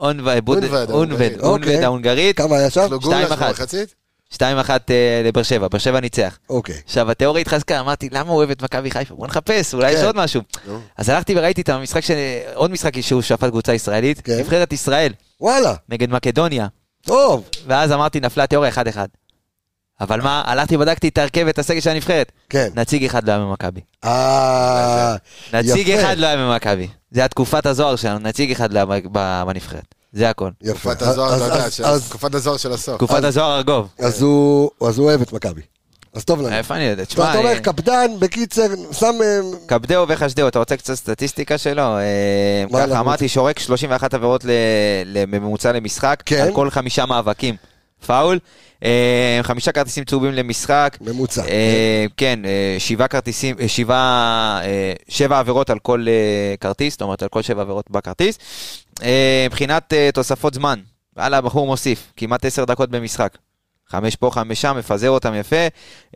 Speaker 3: אונבד, בוד-
Speaker 4: אונבד,
Speaker 3: אונבד,
Speaker 4: ההונגרית.
Speaker 3: אונבד
Speaker 1: אוקיי.
Speaker 3: ההונגרית,
Speaker 1: כמה היה שם?
Speaker 4: אכלו
Speaker 3: שתיים
Speaker 4: גולש
Speaker 3: אחת.
Speaker 4: במחצית?
Speaker 3: 2-1 אה, לבאר שבע, באר שבע ניצח.
Speaker 1: אוקיי.
Speaker 3: עכשיו, התיאוריה התחזקה, אמרתי, למה הוא אוהב את מכבי חיפה? בוא נחפש, אולי יש
Speaker 1: כן.
Speaker 3: עוד משהו.
Speaker 4: נו.
Speaker 3: אז הלכתי וראיתי את המשחק, ש- עוד משחק שהוא שפט קבוצה ישראלית,
Speaker 1: כן.
Speaker 3: נבחרת ישראל,
Speaker 1: וואלה,
Speaker 3: נגד מקדוניה.
Speaker 1: טוב.
Speaker 3: ואז אמרתי, נפלה התיאוריה 1-1. אבל מה, הלכתי ובדקתי את ההרכב ואת הסגל של הנבחרת.
Speaker 1: כן.
Speaker 3: נציג אחד לא היה ממכבי.
Speaker 1: אה,
Speaker 3: נציג
Speaker 1: יפה.
Speaker 3: אחד לא היה ממכבי. זה היה תקופת הזוהר שלנו, נציג אחד לא היה ב- ב- בנבחרת. זה הכל.
Speaker 1: יפה.
Speaker 4: תקופת הזוהר,
Speaker 1: אז-
Speaker 4: אתה יודע,
Speaker 1: אז-
Speaker 4: ש-
Speaker 1: אז-
Speaker 4: תקופת הזוהר של הסוף.
Speaker 3: תקופת הזוהר ארגוב.
Speaker 1: אז הוא אז הוא אוהב את מכבי. אז טוב לנו.
Speaker 3: איפה אני יודע?
Speaker 1: כן. זאת אומרת,
Speaker 3: תשמע,
Speaker 1: אתה
Speaker 3: אה,
Speaker 1: אומר, קפדן, בקיצר, שם... אה,
Speaker 3: קפדאו וחשדאו, אתה רוצה קצת סטטיסטיקה שלו? אה,
Speaker 1: מה
Speaker 3: ככה
Speaker 1: אנחנו
Speaker 3: אמרתי, שורק 31 עבירות ל- ל- בממוצע למשחק,
Speaker 1: כן.
Speaker 3: על כל חמישה מאבקים. פאול, אה, חמישה כרטיסים צהובים למשחק.
Speaker 1: ממוצע.
Speaker 3: אה, כן, אה, שבעה כרטיסים, אה, שבעה, אה, שבע עבירות על כל אה, כרטיס, זאת אומרת על כל שבע עבירות בכרטיס. אה, מבחינת אה, תוספות זמן, וואלה, הבחור מוסיף, כמעט עשר דקות במשחק. חמש פה, חמש שם, מפזר אותם יפה.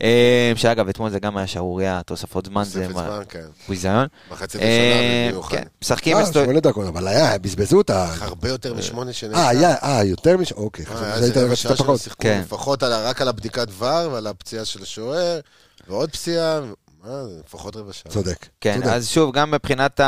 Speaker 3: אה, שאגב, אתמול זה גם היה שערורייה, תוספות זמן זה
Speaker 4: תוספת
Speaker 3: מה-
Speaker 4: זמן, כן.
Speaker 3: ביזיון.
Speaker 4: מחצית
Speaker 3: אה,
Speaker 4: ראשונה במיוחד.
Speaker 3: כן, משחקים...
Speaker 1: אה,
Speaker 3: אסטו-
Speaker 1: שמונה דקות, אבל היה, בזבזו אותה.
Speaker 4: הרבה יותר משמונה שנים.
Speaker 1: אה, היה, אה, יותר מש... אוקיי,
Speaker 4: אה,
Speaker 1: חשבתי
Speaker 4: היה
Speaker 1: שהיית
Speaker 4: איזה רבע
Speaker 1: מבקש
Speaker 4: שעה
Speaker 1: את
Speaker 4: של
Speaker 1: הפחות.
Speaker 4: שיחקו,
Speaker 3: כן.
Speaker 4: לפחות על ה- רק על הבדיקת ור ועל הפציעה של השוער, ועוד פציעה, מה זה, לפחות רבע שעה.
Speaker 1: צודק.
Speaker 3: כן,
Speaker 1: צודק.
Speaker 3: אז שוב, גם מבחינת ה...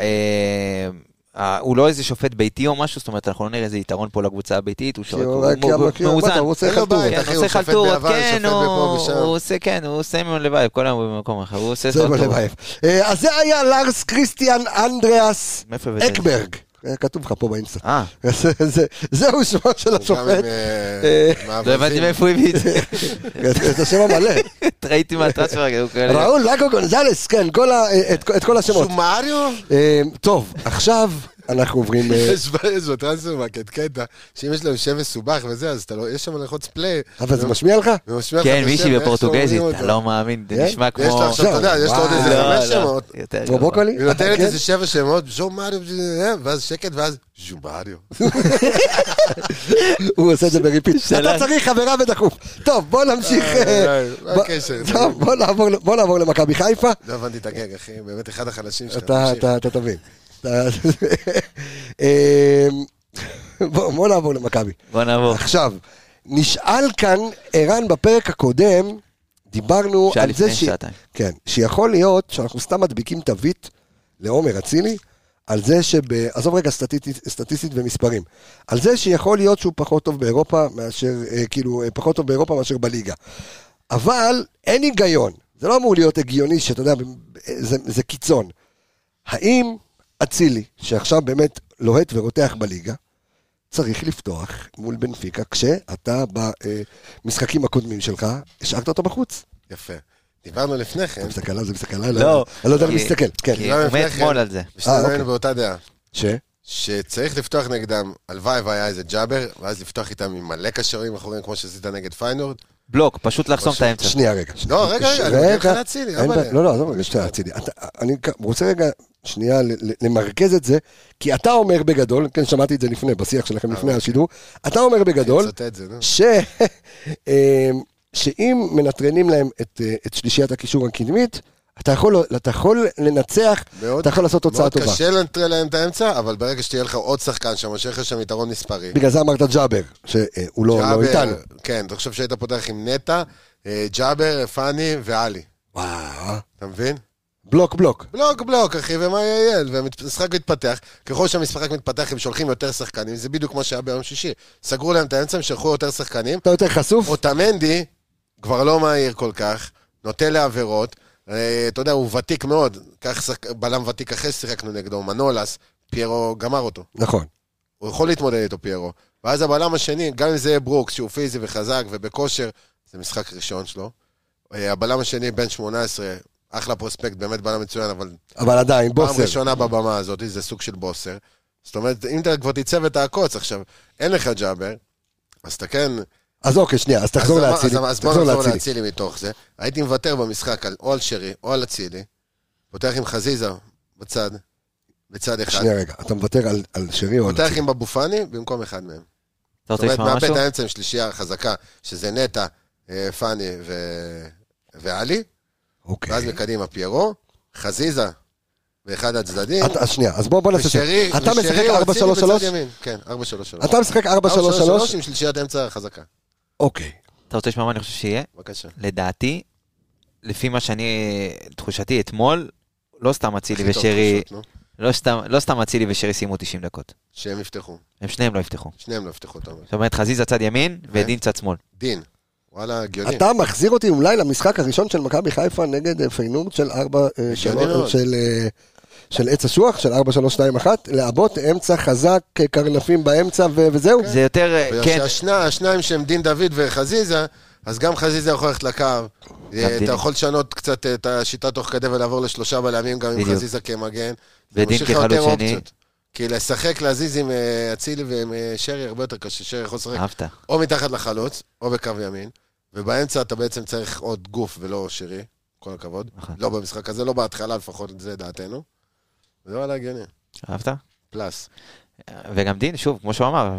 Speaker 3: אה, ה- הוא לא איזה שופט ביתי או משהו, זאת אומרת, אנחנו לא נראה איזה יתרון פה לקבוצה הביתית, הוא
Speaker 1: כי
Speaker 3: שורק,
Speaker 1: הוא רק
Speaker 3: הוא מ-
Speaker 1: כי הוא- מה
Speaker 3: מאוזן.
Speaker 1: אתה, הוא עושה
Speaker 4: אין לו
Speaker 1: חלטורות.
Speaker 4: בעיה.
Speaker 3: כן,
Speaker 4: אחי,
Speaker 3: הוא
Speaker 4: הוא
Speaker 3: עושה
Speaker 4: שופט
Speaker 3: חלטורות,
Speaker 4: ביוון,
Speaker 3: כן,
Speaker 4: שופט
Speaker 3: הוא
Speaker 4: בפה ושם.
Speaker 3: הוא עושה, כן, הוא עושה מיון לבייב, כולם במקום אחר, הוא עושה
Speaker 1: זה
Speaker 3: חלטורות.
Speaker 1: בלבייב. אה, אז זה היה לארס כריסטיאן אנדריאס
Speaker 3: מאיפה הבאת את זה?
Speaker 1: אקברג. אה, כתוב לך פה באינסטה.
Speaker 3: אה,
Speaker 1: זה- זה- זהו שמו של
Speaker 4: הוא גם
Speaker 1: השופט.
Speaker 4: עם, אה,
Speaker 1: אה,
Speaker 4: מאבזים.
Speaker 3: לא הבנתי מאיפה הוא הביא את זה.
Speaker 1: את השם המלא.
Speaker 3: ראיתי מהטרנספר, הוא כאלה.
Speaker 1: ראול לאגו גונזלס, כן, כל ה- אה, את- את כל השמות.
Speaker 4: שומריו?
Speaker 1: אה, טוב, עכשיו אנחנו עוברים... אה,
Speaker 4: יש ב- יש בטרנספורמרקט קטע, שאם יש להם שם מסובך וזה, אז אתה לא, יש שם לחוץ פליי.
Speaker 1: אבל זה משמיע לך?
Speaker 4: ומשמיע לך את
Speaker 3: כן,
Speaker 4: השם,
Speaker 3: מישהי
Speaker 4: ואיך
Speaker 3: בפורטוגזית,
Speaker 4: שאומרים
Speaker 3: אתה
Speaker 4: אותו.
Speaker 3: לא מאמין, זה
Speaker 1: כן?
Speaker 3: נשמע
Speaker 4: ויש
Speaker 3: כמו... לא,
Speaker 4: לו עכשיו, אתה יודע, יש לו עוד איזה
Speaker 1: וואו.
Speaker 4: חמש שמות.
Speaker 3: יותר גרוע.
Speaker 1: רובוקולי?
Speaker 4: היא נותנת
Speaker 1: כן?
Speaker 4: איזה שבע שמות, ז'ומריו, אה, ואז שקט, ואז ז'ומריו.
Speaker 1: הוא עושה את זה בריפיט. אתה
Speaker 3: שלח.
Speaker 1: צריך חברה ודחוף. טוב, בוא נמשיך.
Speaker 4: אה,
Speaker 1: אה,
Speaker 4: אה, מה
Speaker 1: ב-
Speaker 4: הקשר?
Speaker 1: טוב, בוא נעבור ל- בוא נעבור למכבי חיפה.
Speaker 4: לא הבנתי את הגג, אחי, באמת אחד החלשים שלך.
Speaker 1: אתה,
Speaker 4: תמשיך.
Speaker 1: אתה, אתה תבין. אתה- אמ, בוא, בוא נעבור למכבי.
Speaker 3: בוא נעבור.
Speaker 1: עכשיו, נשאל כאן, ערן, בפרק הקודם, דיברנו
Speaker 3: שהיה
Speaker 1: כאילו, על זה
Speaker 3: לפני שעתיים.
Speaker 1: כן, שיכול להיות שאנחנו סתם מדביקים תווית לעומר אצילי, על זה שב... עזוב רגע סטטיסטית, סטטיסטית ומספרים. על זה שיכול להיות שהוא פחות טוב באירופה מאשר, אה, כאילו, אה, פחות טוב באירופה מאשר בליגה. אבל אין היגיון. זה לא אמור להיות הגיוני שאתה יודע, זה, זה קיצון. האם אצילי, שעכשיו באמת לוהט ורותח בליגה, צריך לפתוח מול בנפיקה כשאתה במשחקים הקודמים שלך, השארת אותו בחוץ.
Speaker 4: יפה. דיברנו לפני כן,
Speaker 1: אתה מסתכל על זה, מסתכל עליי,
Speaker 3: לא.
Speaker 1: אני לא יודע אם
Speaker 3: כי-
Speaker 1: להסתכל, כן.
Speaker 3: כי
Speaker 4: לא,
Speaker 3: הוא
Speaker 4: לפני
Speaker 3: מת
Speaker 4: כן.
Speaker 3: אתמול על זה.
Speaker 1: אה, אוקיי.
Speaker 4: ושנינו היינו באותה דעה.
Speaker 1: ש?
Speaker 4: שצריך לפתוח נגדם, הלוואי והיה איזה ג'אבר, ואז לפתוח איתם עם מלא קשרים אחורים, כמו שעשית נגד פיינורד.
Speaker 3: בלוק, פשוט לחסום את האמצע.
Speaker 1: שנייה, רגע.
Speaker 4: לא, רגע, רגע, אני נותן לך להצילי,
Speaker 1: אין
Speaker 4: אבל-
Speaker 1: בעיה. לא, לא, עזוב רגע, שנייה, להצילי. אתה- אני כ- רוצה רגע, שנייה, ל- ל- למרכז את זה, כי אתה אומר בגדול, כן, שמעתי את זה לפני, בשיח שלכם
Speaker 4: אה, אוקיי.
Speaker 1: לפני השידור, אתה אומר בגדול,
Speaker 4: תצטט את זה, נו.
Speaker 1: ש... אמ, שאם מנטרלים להם את, אה, את שלישיית הקישור הקדמית, אתה יכול, אתה יכול לנצח,
Speaker 4: מאוד-
Speaker 1: אתה יכול לעשות תוצאה טובה.
Speaker 4: מאוד קשה לנטרל להם את האמצע, אבל ברגע שתהיה לך עוד שחקן שם, שיהיה לך שם יתרון מספרי.
Speaker 1: בגלל זה אמרת ג'אבר, שהוא לא, לא
Speaker 4: ג'אבר,
Speaker 1: איתנו.
Speaker 4: כן, אתה חושב שהיית פותח עם נטע, אה, ג'אבר, פאני ועלי.
Speaker 1: וואו.
Speaker 4: אתה מבין?
Speaker 1: בלוק בלוק.
Speaker 4: בלוק בלוק, אחי, ומה יהיה? והמשחק מתפתח. ככל שהמשחק מתפתח, הם שולחים יותר שחקנים, זה בדיוק מה שהיה ביום שישי. סגרו להם את האמצע, הם שלחו יותר שחקנים.
Speaker 1: אתה יותר חשוף?
Speaker 4: אוטמנדי כבר לא מהיר כל כך, נוטה לעבירות. אה, אתה יודע, הוא ותיק מאוד. כך שחק... בלם ותיק אחרי ששיחקנו נגדו, מנולס, פיירו גמר אותו.
Speaker 1: נכון.
Speaker 4: הוא יכול להתמודד איתו פיירו. ואז הבלם השני, גם אם זה יהיה ברוקס, שהוא פיזי וחזק ובכושר, זה משחק ראשון שלו. אה, הבלם השני, בן 18, אחלה פרוספקט, באמת בלם מצוין, אבל
Speaker 1: אבל עדיין,
Speaker 4: פעם
Speaker 1: בוסר.
Speaker 4: ראשונה בבמה הזאת, זה סוג של בוסר. זאת אומרת, אם אתה כבר תצא ותעקוץ עכשיו, אין לך ג'אבר, אז אתה כן...
Speaker 1: אז אוקיי, שנייה, אז תחזור
Speaker 4: אז אמר-
Speaker 1: לאצילי.
Speaker 4: אז אמר- אז בוא
Speaker 1: תחזור
Speaker 4: נחזור
Speaker 1: לאצילי.
Speaker 4: לאצילי מתוך זה. הייתי מוותר במשחק על- או על שרי או על אצילי, פותח עם חזיזה בצד, בצד אחד.
Speaker 1: שנייה רגע, אתה מוותר על- על שרי או על
Speaker 4: פותח
Speaker 1: אצילי?
Speaker 4: עם אבו פאני במקום אחד מהם.
Speaker 3: אתה רוצה
Speaker 4: זאת אומרת,
Speaker 3: לשמוע
Speaker 4: מאבד
Speaker 3: משהו?
Speaker 4: את האמצע עם שלישייה חזקה, שזה נטע, אה, פאני ו- ועלי, ואז
Speaker 1: אוקיי.
Speaker 4: מקדימה פיירו, חזיזה באחד הצדדים,
Speaker 1: אתה- אז שנייה, אז בוא בוא נעשה...
Speaker 4: ושרי
Speaker 1: ש- אתה
Speaker 4: ושרי
Speaker 1: משחק
Speaker 4: או אצילי
Speaker 1: 4-3-3?
Speaker 4: בצד ימין. כן, 4-3-3.
Speaker 1: אתה משחק
Speaker 4: 4-3-3
Speaker 1: 4-3-3?
Speaker 4: עם שלישיית אמצע חזקה.
Speaker 1: אוקיי.
Speaker 3: אתה רוצה לשמוע מה אני חושב שיהיה?
Speaker 4: בבקשה.
Speaker 3: לדעתי, לפי מה שאני, תחושתי אתמול, לא סתם אצילי
Speaker 4: הכי טוב,
Speaker 3: ושרי,
Speaker 4: פשוט, נו.
Speaker 3: לא סתם- לא סתם אצילי ושרי סיימו 90 דקות.
Speaker 4: שהם יפתחו.
Speaker 3: הם שניהם לא יפתחו.
Speaker 4: שניהם לא יפתחו אותם.
Speaker 3: זאת אומרת, חזיזה צד
Speaker 4: כן.
Speaker 3: ימין ודין צד שמאל.
Speaker 4: דין. וואלה, הגיוני.
Speaker 1: אתה מחזיר אותי אולי למשחק הראשון של מכבי חיפה נגד אה, פיינורד של 4... אה, של-
Speaker 4: הגיוני מאוד.
Speaker 1: של, אה, של עץ אשוח, של 4-3-2-1, לעבות אמצע חזק, אה, קרנפים באמצע ו- וזהו.
Speaker 3: זה יותר, אה,
Speaker 4: בגלל
Speaker 3: כן,
Speaker 4: שהשניים שהם דין דוד וחזיזה, אז גם חזיזה יכול ללכת לקו. אה,
Speaker 3: דין.
Speaker 4: אתה יכול לשנות קצת את השיטה תוך כדי ולעבור לשלושה בלמים, גם עם
Speaker 3: בדיוק.
Speaker 4: חזיזה כמגן. זה
Speaker 3: ודין
Speaker 4: מושיך לך יותר
Speaker 3: כחלוץ שני.
Speaker 4: אופציות. כי לשחק, להזיז עם אה, אצילי ועם אה, שרי הרבה יותר קשה, שרי יכול לשחק
Speaker 3: אהבת.
Speaker 4: או מתחת לחלוץ, או בקו ימין, ובאמצע אתה בעצם צריך עוד גוף ולא שרי, כל הכבוד.
Speaker 3: נכון.
Speaker 4: לא במשחק הזה, לא בהתחלה לפחות, זה דעתנו. זה וואלה הגיוני,
Speaker 3: אהבת?
Speaker 4: פלאס.
Speaker 3: וגם דין, שוב, כמו שהוא אמר,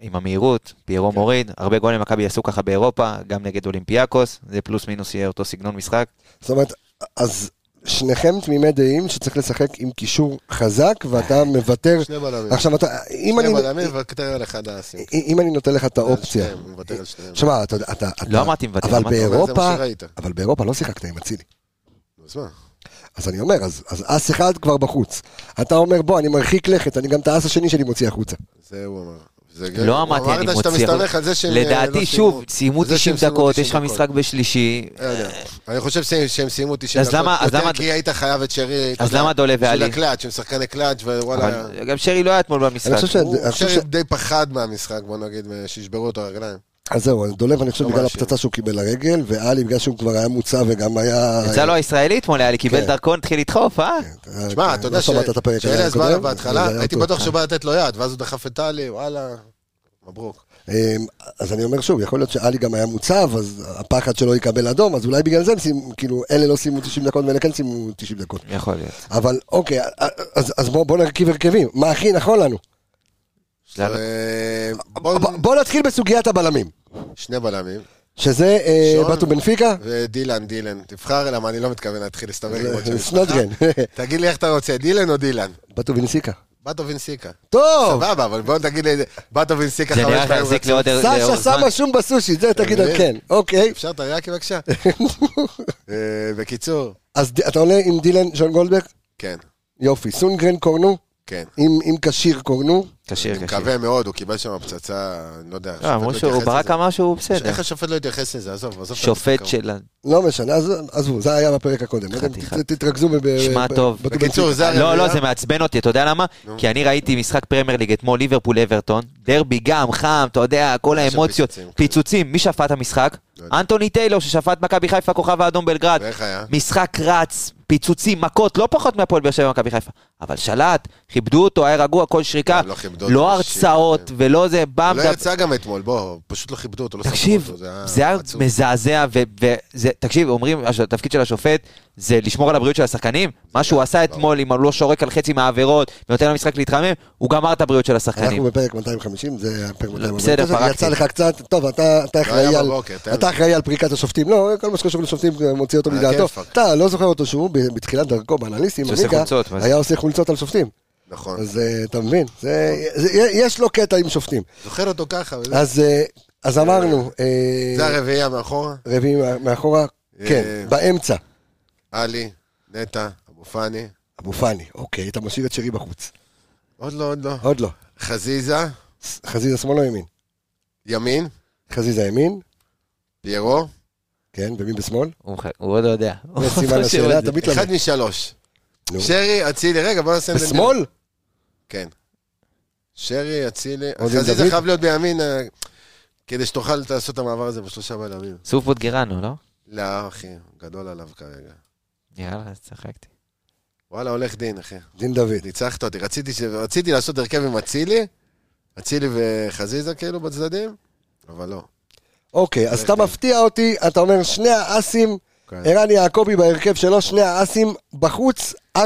Speaker 3: עם המהירות,
Speaker 4: כן.
Speaker 3: פיירו מוריד, הרבה גולים מכבי עשו ככה באירופה, גם נגד אולימפיאקוס, זה פלוס מינוס יהיה אותו סגנון משחק.
Speaker 1: זאת אומרת, אז שניכם תמימי דעים שצריך לשחק עם קישור חזק, ואתה מוותר...
Speaker 4: שני בלמים.
Speaker 1: עכשיו אתה, אם
Speaker 4: שני
Speaker 1: אני... אה,
Speaker 4: בלמים וקטר על אחד האסים.
Speaker 1: אם אני נותן לך את האופציה,
Speaker 4: על שניהם, כן. הוא מוותר על שניהם.
Speaker 1: שמע, אתה יודע, אתה... אתה-
Speaker 3: לא אמרתי מוותר,
Speaker 1: אבל
Speaker 3: אמרתי-
Speaker 4: אבל זה מה
Speaker 1: באירופה,
Speaker 4: שראית.
Speaker 1: אבל באירופה לא שיחקת עם אצילי.
Speaker 4: אז מה?
Speaker 1: אז אני אומר, אז אז אס אחד כבר בחוץ. אתה אומר, בוא, אני מרחיק לכת, אני גם את האס השני שלי מוציא החוצה.
Speaker 4: זה הוא אמר. זה גם-
Speaker 3: לא אמרתי, אני
Speaker 4: הוא אמר שאתה
Speaker 3: מוציא.
Speaker 4: מסתמך על זה שהם... אה, לא
Speaker 3: לדעתי, שוב, סיימו
Speaker 4: זה שהם
Speaker 3: 90
Speaker 4: סיימו
Speaker 3: דקות,
Speaker 4: 90
Speaker 3: יש לך משחק בשלישי.
Speaker 4: לא יודע. אני חושב שהם- שהם סיימו 90
Speaker 3: אז
Speaker 4: דקות.
Speaker 3: למה- אז
Speaker 4: יותר
Speaker 3: למה-
Speaker 4: כי היית חייב את שרי... אתה
Speaker 3: אז
Speaker 4: יודע,
Speaker 3: למה דולה
Speaker 4: של
Speaker 3: ועלי?
Speaker 4: הקלאץ', הם שחקני קלאץ', ווואלה...
Speaker 3: אבל גם שרי לא היה אתמול
Speaker 1: אני חושב ש...
Speaker 3: במשחק.
Speaker 1: אני חושב ש- אוקיי,
Speaker 4: שרי די פחד מהמשחק, בוא נגיד, שישברו אותו הרגליים.
Speaker 1: אז זהו, אז דולב, אני חושב,
Speaker 4: לא
Speaker 1: בגלל
Speaker 4: מאשים.
Speaker 1: הפצצה שהוא קיבל לרגל, ואלי, בגלל שהוא כבר היה מוצא וגם היה...
Speaker 3: יצא לו הישראלי לא אתמול, היה לי קיבל
Speaker 1: כן.
Speaker 3: דרכון, התחיל לדחוף, אה?
Speaker 1: אה,
Speaker 4: תשמע, אתה יודע
Speaker 1: לא שמעת את הפרק
Speaker 4: שאלה
Speaker 1: הקודם,
Speaker 4: הסברה
Speaker 1: אבל זה
Speaker 4: בהתחלה,
Speaker 1: היה
Speaker 4: הייתי
Speaker 1: אותו. אה.
Speaker 4: בטוח שהוא בא לתת לו יד, ואז הוא דחף את טלי, וואלה, מברוק.
Speaker 1: אמ, אז אני אומר שוב, יכול להיות שאלי גם היה מוצב, אז הפחד שלו יקבל אדום, אז אולי בגלל זה הם סיימו, כאילו, אלה לא סיימו 90 דקות ואלה כן סיימו 90 דקות.
Speaker 3: יכול להיות.
Speaker 1: אבל אוקיי, אז, אז בואו בוא נרכיב הרכבים, מה הכי נכון לנו?
Speaker 4: אה, בוא-
Speaker 1: בואו בוא נתחיל בסוגיית הבלמים,
Speaker 4: שני בלמים,
Speaker 1: שזה אה,
Speaker 4: שון.
Speaker 1: בתו בנפיקה,
Speaker 4: ודילן, דילן. תבחר, למה אני לא מתכוון להתחיל להסתבך עם עוד שם.
Speaker 1: סנודגרן,
Speaker 4: אה, תגיד לי איך אתה רוצה, דילן או דילן?
Speaker 1: בתו בנסיקה.
Speaker 4: באטו וינסיקה.
Speaker 1: טוב,
Speaker 4: סבבה, אבל בוא תגיד לי, באטו וינסיקה
Speaker 3: זה
Speaker 4: חמש
Speaker 3: נראה לך
Speaker 4: פעמים
Speaker 3: החזיק
Speaker 4: רצוף.
Speaker 3: לעוד
Speaker 1: סשה
Speaker 3: לאורך זמן.
Speaker 1: שמה שום בסושי, זה תגיד
Speaker 4: מבין?
Speaker 1: כן, אוקיי.
Speaker 4: אפשר תריאקי בבקשה? אה, בקיצור,
Speaker 1: אז ד- אתה עולה עם דילן שון גולדברג?
Speaker 4: כן,
Speaker 1: יופי, סונגרן קורנו?
Speaker 4: כן.
Speaker 1: אם אם כשיר קורנו?
Speaker 3: כשיר,
Speaker 4: אני
Speaker 3: כשיר.
Speaker 4: מקווה מאוד, הוא קיבל שם פצצה, אני לא יודע. השופט
Speaker 3: לא,
Speaker 4: לא
Speaker 3: אמרו שהוא,
Speaker 4: התייחס
Speaker 3: ברק
Speaker 4: לזה.
Speaker 3: אמר שהוא בסדר.
Speaker 4: איך השופט לא התייחס לזה? עזוב, עזוב. את
Speaker 3: שופט
Speaker 4: המשחק ההוא.
Speaker 3: של...
Speaker 1: לא משנה, אז עזבו, זה היה בפרק הקודם. אתם
Speaker 3: חתיכת.
Speaker 1: ת- תתרכזו ב... ב-
Speaker 3: שמע
Speaker 1: ב-
Speaker 3: טוב.
Speaker 1: בטו
Speaker 4: בקיצור, זה
Speaker 3: לא, לא,
Speaker 4: הרביעייה.
Speaker 3: זה מעצבן אותי, אתה יודע למה? כי אני ראיתי משחק פרמייר ליג אתמול, ליברפול אברטון, דרבי גם, חם, אתה יודע, כל
Speaker 4: היה שם
Speaker 3: האמוציות.
Speaker 4: פיצוצים, כן.
Speaker 3: פיצוצים, מי שפט המשחק?
Speaker 4: לא יודע.
Speaker 3: אנטוני טיילור ששפט מכבי חיפה, כוכב האדום בלגרד.
Speaker 4: ואיך היה?
Speaker 3: משחק רץ, פיצוצים, מכות, לא פחות מהפועל באר שבע ומכבי חיפה. אבל שלט, כיבדו אותו, היה רגוע, כל שריקה,
Speaker 4: לא, לא כיבדו אותו,
Speaker 3: לא
Speaker 4: שיט.
Speaker 3: הרצאות ולא זה,
Speaker 4: הוא
Speaker 3: בם,
Speaker 4: לא
Speaker 3: דפ-
Speaker 4: יצא גם אתמול, בוא, פשוט לא כיבדו אותו, לא ספרו
Speaker 3: תקשיב,
Speaker 4: אותו,
Speaker 3: זה היה
Speaker 4: עצוב.
Speaker 3: מזעזע, ו- וזה, תקשיב, אומרים, הש- התפקיד של השופט זה לשמור על הבריאות של השחקנים, מה שהוא עשה אתמול, אם הוא לא שורק על חצי מהעבירות ונותן למשחק להתחמם, הוא גמר את הבריאות של השחקנים.
Speaker 1: אנחנו בפרק 250, זה היה פרק 249.
Speaker 3: בסדר, פרקתי.
Speaker 1: יצא לך קצת, טוב, אתה אתה אחראי
Speaker 4: לא היה
Speaker 1: על-
Speaker 4: בבוקר, תן
Speaker 1: אתה
Speaker 4: לי.
Speaker 1: אחראי על פריקת השופטים, לא, כל מה שקשור לשופטים מוציא אותו
Speaker 4: אה,
Speaker 1: מדעתו.
Speaker 4: כן, פאק.
Speaker 1: אתה לא זוכר אותו שהוא ב- בתחילת דרכו באנליסטים,
Speaker 3: שעושה
Speaker 1: בליגה,
Speaker 3: חולצות, מה זה?
Speaker 1: היה עושה חולצות על שופטים.
Speaker 4: נכון.
Speaker 1: אז אה, אתה מבין? זה- זה- יש לו קטע עם שופטים.
Speaker 4: זוכר אותו ככה, וזה-
Speaker 1: אז אה, אז אמרנו, אה,
Speaker 4: זה הרביעייה מאחורה,
Speaker 1: רביעי מה- מאחורה, כן,
Speaker 4: אה,
Speaker 1: באמצע.
Speaker 4: עלי, נטע, אבו פאני,
Speaker 1: אבו פאני, אוקיי, אתה משאיר את שרי בחוץ.
Speaker 4: עוד לא, עוד לא,
Speaker 1: עוד לא.
Speaker 4: חזיזה,
Speaker 1: חזיזה שמאל או ימין?
Speaker 4: ימין,
Speaker 1: חזיזה ימין,
Speaker 4: פיירו,
Speaker 1: כן, ומי בשמאל?
Speaker 3: הוא מח- הוא עוד לא יודע.
Speaker 1: זה סימן
Speaker 3: הוא חושב
Speaker 1: לשאלה,
Speaker 3: על זה.
Speaker 1: אתה מתלמד.
Speaker 4: אחד משלוש.
Speaker 1: נו.
Speaker 4: שרי, אצילי, רגע, בוא נעשה... את זה-
Speaker 1: בשמאל?
Speaker 4: כן. שרי, אצילי,
Speaker 1: עוד עם
Speaker 4: חזיזה
Speaker 1: דוד?
Speaker 4: חייב להיות בימין, אה, כדי שתוכל לעשות את המעבר הזה בשלושה בלמים.
Speaker 3: סוף בוטגרנו, לא?
Speaker 4: לא, אחי, גדול עליו כרגע.
Speaker 3: נראה לך, צחקתי.
Speaker 4: וואלה, הולך דין, אחי.
Speaker 1: דין דוד.
Speaker 4: ניצחת אותי. רציתי, ש... רציתי לעשות הרכב עם אצילי, אצילי וחזיזה כאילו בצדדים, אבל לא.
Speaker 1: אוקיי, אז אתה מפתיע אותי, אתה אומר שני האסים,
Speaker 4: כן.
Speaker 1: ערן יעקבי בהרכב שלו, שני האסים בחוץ, 4-3-3.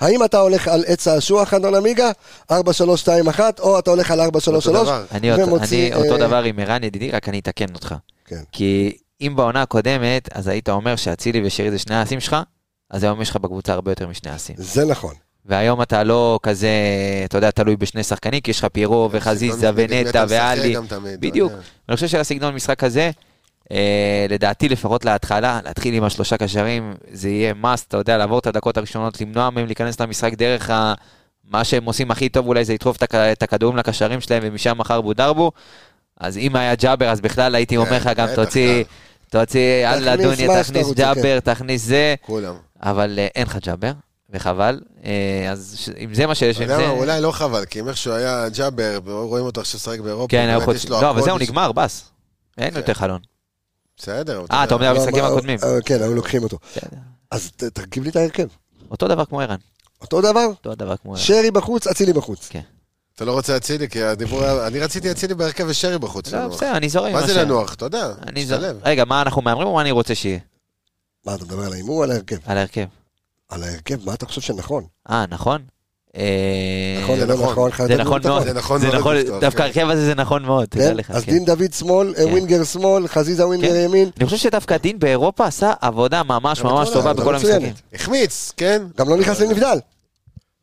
Speaker 1: האם אתה הולך על עץ האשוח, אדון עמיגה, 4-3-2-1, או אתה הולך על 4-3-3?
Speaker 4: אותו דבר.
Speaker 3: אני אותו-
Speaker 1: ומוציא,
Speaker 3: אני אותו
Speaker 1: אה,
Speaker 3: דבר עם ערן ידידי, רק אני אתקן אותך.
Speaker 1: כן.
Speaker 3: כי אם בעונה הקודמת, אז היית אומר שאצילי ושירי זה שני האסים שלך, אז היום יש לך בקבוצה הרבה יותר משני האסים.
Speaker 1: זה נכון.
Speaker 3: והיום אתה לא כזה, אתה יודע, תלוי בשני שחקנים, כי יש לך פירו וחזיזה
Speaker 4: סגנון משחק,
Speaker 3: ונטע
Speaker 4: אתה משחק
Speaker 3: ואלי.
Speaker 4: גם תמיד, אה, אתה
Speaker 3: בדיוק.
Speaker 4: יודע.
Speaker 3: אני חושב שלסגנון משחק הזה, אה, לדעתי לפחות להתחלה, להתחיל עם השלושה קשרים, זה יהיה must, אתה יודע, לעבור את הדקות הראשונות, למנוע מהם להיכנס למשחק דרך ה... מה שהם עושים הכי טוב אולי זה לדחוף את הכ- את הכדורים לקשרים שלהם ומשם מחר בודרבו. אז אם היה ג'אבר, אז בכלל הייתי אומר לך
Speaker 4: כן,
Speaker 3: גם
Speaker 4: בטח,
Speaker 3: תוציא, תוציא, יאללה
Speaker 1: תכניס מה
Speaker 3: דוניה,
Speaker 1: שאתה
Speaker 3: תכניס
Speaker 1: רוצה,
Speaker 3: ג'אבר, תכניס זה.
Speaker 4: כולם.
Speaker 3: אבל אה, אין לך ג'אבר, וחבל. אה, אז ש- אם זה מה שיש,
Speaker 4: אתה
Speaker 3: אם
Speaker 4: יודע מה,
Speaker 3: זה...
Speaker 4: אולי לא חבל, כי אם איכשהו היה ג'אבר, רואים אותו עכשיו לשחק באירופה,
Speaker 3: כן, היה
Speaker 4: באמת
Speaker 3: חוץ...
Speaker 4: יש לו
Speaker 3: לא, אבל
Speaker 4: הכל, כן.
Speaker 3: זהו,
Speaker 4: יש-
Speaker 3: נגמר, בס. אין יותר חלון.
Speaker 4: בסדר. אבל
Speaker 3: אה, אתה אומר
Speaker 1: לא,
Speaker 3: המשחקים
Speaker 1: מה-
Speaker 3: הקודמים.
Speaker 1: אה, כן, היו לוקחים אותו.
Speaker 3: בסדר.
Speaker 1: אז ת- תרכיב לי את ההרכב.
Speaker 3: אותו דבר כמו ערן.
Speaker 1: אותו דבר,
Speaker 3: אותו דבר כמו ערן.
Speaker 1: שרי בחוץ, אצילי בחוץ.
Speaker 4: אתה לא רוצה אצילי, כי הדיבור היה... אני רציתי אצילי בהרכב ושרי בחוץ.
Speaker 3: לא,
Speaker 4: לנוח.
Speaker 3: בסדר, אני זורם עם
Speaker 4: מה
Speaker 3: השם.
Speaker 4: זה לנוח? אתה יודע,
Speaker 3: אני זורם.
Speaker 4: משתלב.
Speaker 3: רגע, מה אנחנו מהמרים או מה אני רוצה שיהיה?
Speaker 1: מה, אתה מדבר על ההימור או על ההרכב?
Speaker 3: על ההרכב.
Speaker 1: על ההרכב, מה אתה חושב שנכון?
Speaker 3: אה, נכון? אה,
Speaker 1: נכון,
Speaker 4: זה
Speaker 1: או לא
Speaker 4: נכון.
Speaker 1: נכון,
Speaker 3: זה
Speaker 1: חייבים
Speaker 3: נכון
Speaker 1: ביטחון.
Speaker 3: מאוד.
Speaker 4: זה נכון
Speaker 3: זה
Speaker 4: מאוד
Speaker 3: נכון,
Speaker 4: לפתוח,
Speaker 3: דווקא
Speaker 4: כן.
Speaker 3: ההרכב הזה זה נכון מאוד, תדע
Speaker 1: כן?
Speaker 3: לך.
Speaker 1: אז
Speaker 3: כן.
Speaker 1: דין דוד שמאל, אה,
Speaker 3: כן.
Speaker 1: ווינגר שמאל, חזיזה ווינגר
Speaker 3: כן.
Speaker 1: ימין.
Speaker 3: אני חושב שדווקא דין באירופה עשה עבודה ממש
Speaker 4: גם
Speaker 3: ממש
Speaker 4: אתמול
Speaker 3: טובה
Speaker 4: היה
Speaker 3: בכל
Speaker 1: מצוינת.
Speaker 3: המשחקים.
Speaker 4: החמיץ, כן?
Speaker 1: גם לא
Speaker 3: אה,
Speaker 1: נכנס לנבדל.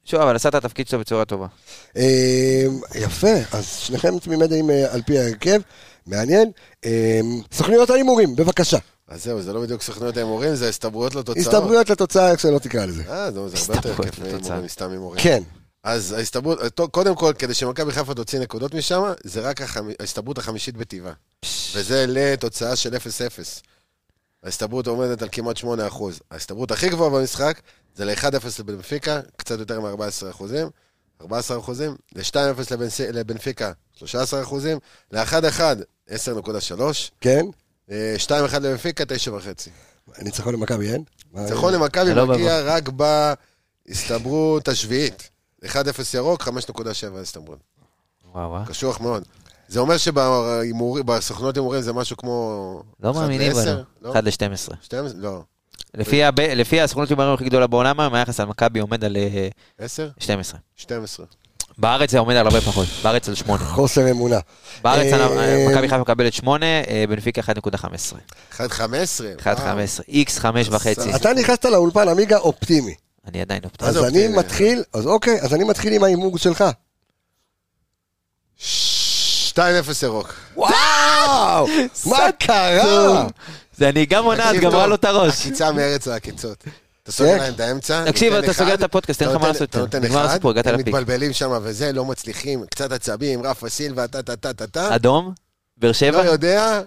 Speaker 3: שוב, אבל עשה את התפקיד שלו בצורה טובה.
Speaker 1: אה, יפה, אז שניכם תמימי דעים אה, על פי ההרכב, מעניין. אה, סוכניות ההימורים, בבקשה.
Speaker 4: אז זהו, זה לא בדיוק סוכנויות ההימורים, זה הסתברויות לתוצאות.
Speaker 1: הסתברויות לתוצאה, איך שלא תקרא לזה.
Speaker 4: אה, נו, זה הרבה יותר
Speaker 3: הסתברויות
Speaker 4: כיף
Speaker 3: לתוצאה.
Speaker 4: מהימורים, סתם הימורים.
Speaker 1: כן,
Speaker 4: אז ההסתברות, אה, טוב, קודם כל, כדי שמכבי חיפה תוציא נקודות משם, זה רק החמ- ההסתברות החמישית בטבעה. וזה לתוצאה של 0-0. ההסתברות עומדת על כמעט 8%. ההסתברות הכי גבוהה במשחק זה ל-1-0 לבנפיקה, קצת יותר מ-14%. 14%, ל-2-0 לבנפיקה, 13%, ל-1-1, 10.3,
Speaker 1: כן.
Speaker 4: אה, 2-1 לבנפיקה, 9.5.
Speaker 1: ניצחון למכבי אין?
Speaker 4: ניצחון למכבי
Speaker 3: זה לא
Speaker 4: מגיע רק בהסתברות השביעית. 1-0 ירוק, 5.7 הסתברות.
Speaker 3: וואו, וואו.
Speaker 4: קשוח מאוד. זה אומר שבסוכנות הימורים זה משהו כמו...
Speaker 3: לא
Speaker 4: אחד
Speaker 3: מאמינים
Speaker 4: לעשר?
Speaker 3: בנו.
Speaker 4: לא?
Speaker 3: 1 ל-12.
Speaker 4: 12? לא.
Speaker 3: לפי הב- לפי הסוכנות הימורים הכי גדולה בעולם היום, היחס על מכבי עומד על אה,
Speaker 4: 10?
Speaker 3: 12.
Speaker 4: 12.
Speaker 3: בארץ זה עומד על הרבה פחות, בארץ על 8.
Speaker 1: חוסר אמונה.
Speaker 3: בארץ
Speaker 1: אה,
Speaker 3: אנחנו- אה,
Speaker 1: אה,
Speaker 3: מכבי חיפה מקבלת 8, אה, בנפיקה
Speaker 4: אה.
Speaker 3: 1.15.
Speaker 4: 1 15?
Speaker 3: 1.15, איקס 5.5.
Speaker 1: אתה נכנסת לאולפן עמיגה אופטימי.
Speaker 3: אני עדיין לא אופטימי.
Speaker 1: אז
Speaker 4: אופטימי?
Speaker 1: אני מתחיל, אז אוקיי, אז אני מתחיל עם ההימור שלך.
Speaker 4: 2-0 ירוק.
Speaker 1: וואו! מה קרה?
Speaker 3: זה אני גם עונה, את
Speaker 4: תקשיב
Speaker 3: גמרה
Speaker 4: טוב,
Speaker 3: לו את הראש.
Speaker 4: עקיצה מארץ העקיצות. אתה סוגר
Speaker 1: כן.
Speaker 4: להם את האמצע.
Speaker 3: אוקיי. תקשיב,
Speaker 4: נותן
Speaker 3: אתה סוגר
Speaker 4: אחד,
Speaker 3: את הפודקאסט, אין
Speaker 4: אתה
Speaker 3: לך מה
Speaker 4: נותן-
Speaker 3: לעשות,
Speaker 4: אתה נותן
Speaker 3: נגמר
Speaker 4: אחד,
Speaker 3: הסיפור, הגעת
Speaker 4: הם
Speaker 3: לפיק.
Speaker 4: מתבלבלים שם וזה, לא מצליחים, קצת עצבים, רפה סילבה, טה טה טה טה טה.
Speaker 3: אדום, באר
Speaker 4: לא
Speaker 3: שבע,
Speaker 4: יודע,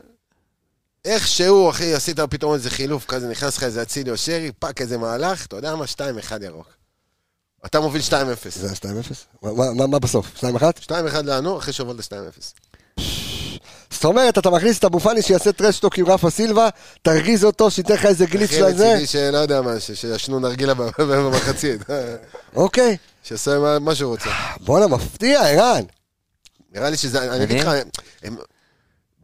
Speaker 4: איכשהו, אחי, עשית פתאום איזה חילוף כזה, נכנס לך איזה אצילי או שרי, פאק איזה מהלך, אתה יודע מה? 2-1 ירוק. אתה מוביל 2-0.
Speaker 1: זה היה 2-0? מה- מה- מה בסוף? 2-1?
Speaker 4: 2-1 לנו, אחרי שהובלת 2-0.
Speaker 1: זאת אומרת, אתה מכניס את אבו פאני שיעשה טרשטוק עם רפה סילבה, תרגיז אותו, שייתן לך איזה גליץ'
Speaker 4: הכי
Speaker 1: של זה.
Speaker 4: רציני שלא יודע מה, ש- שישנו נרגילה במחצית.
Speaker 1: אוקיי.
Speaker 4: שיעשה מה- מה שהוא רוצה.
Speaker 1: בואנה, מפתיע, ערן.
Speaker 4: נראה לי שזה, אני אגיד לך, הם-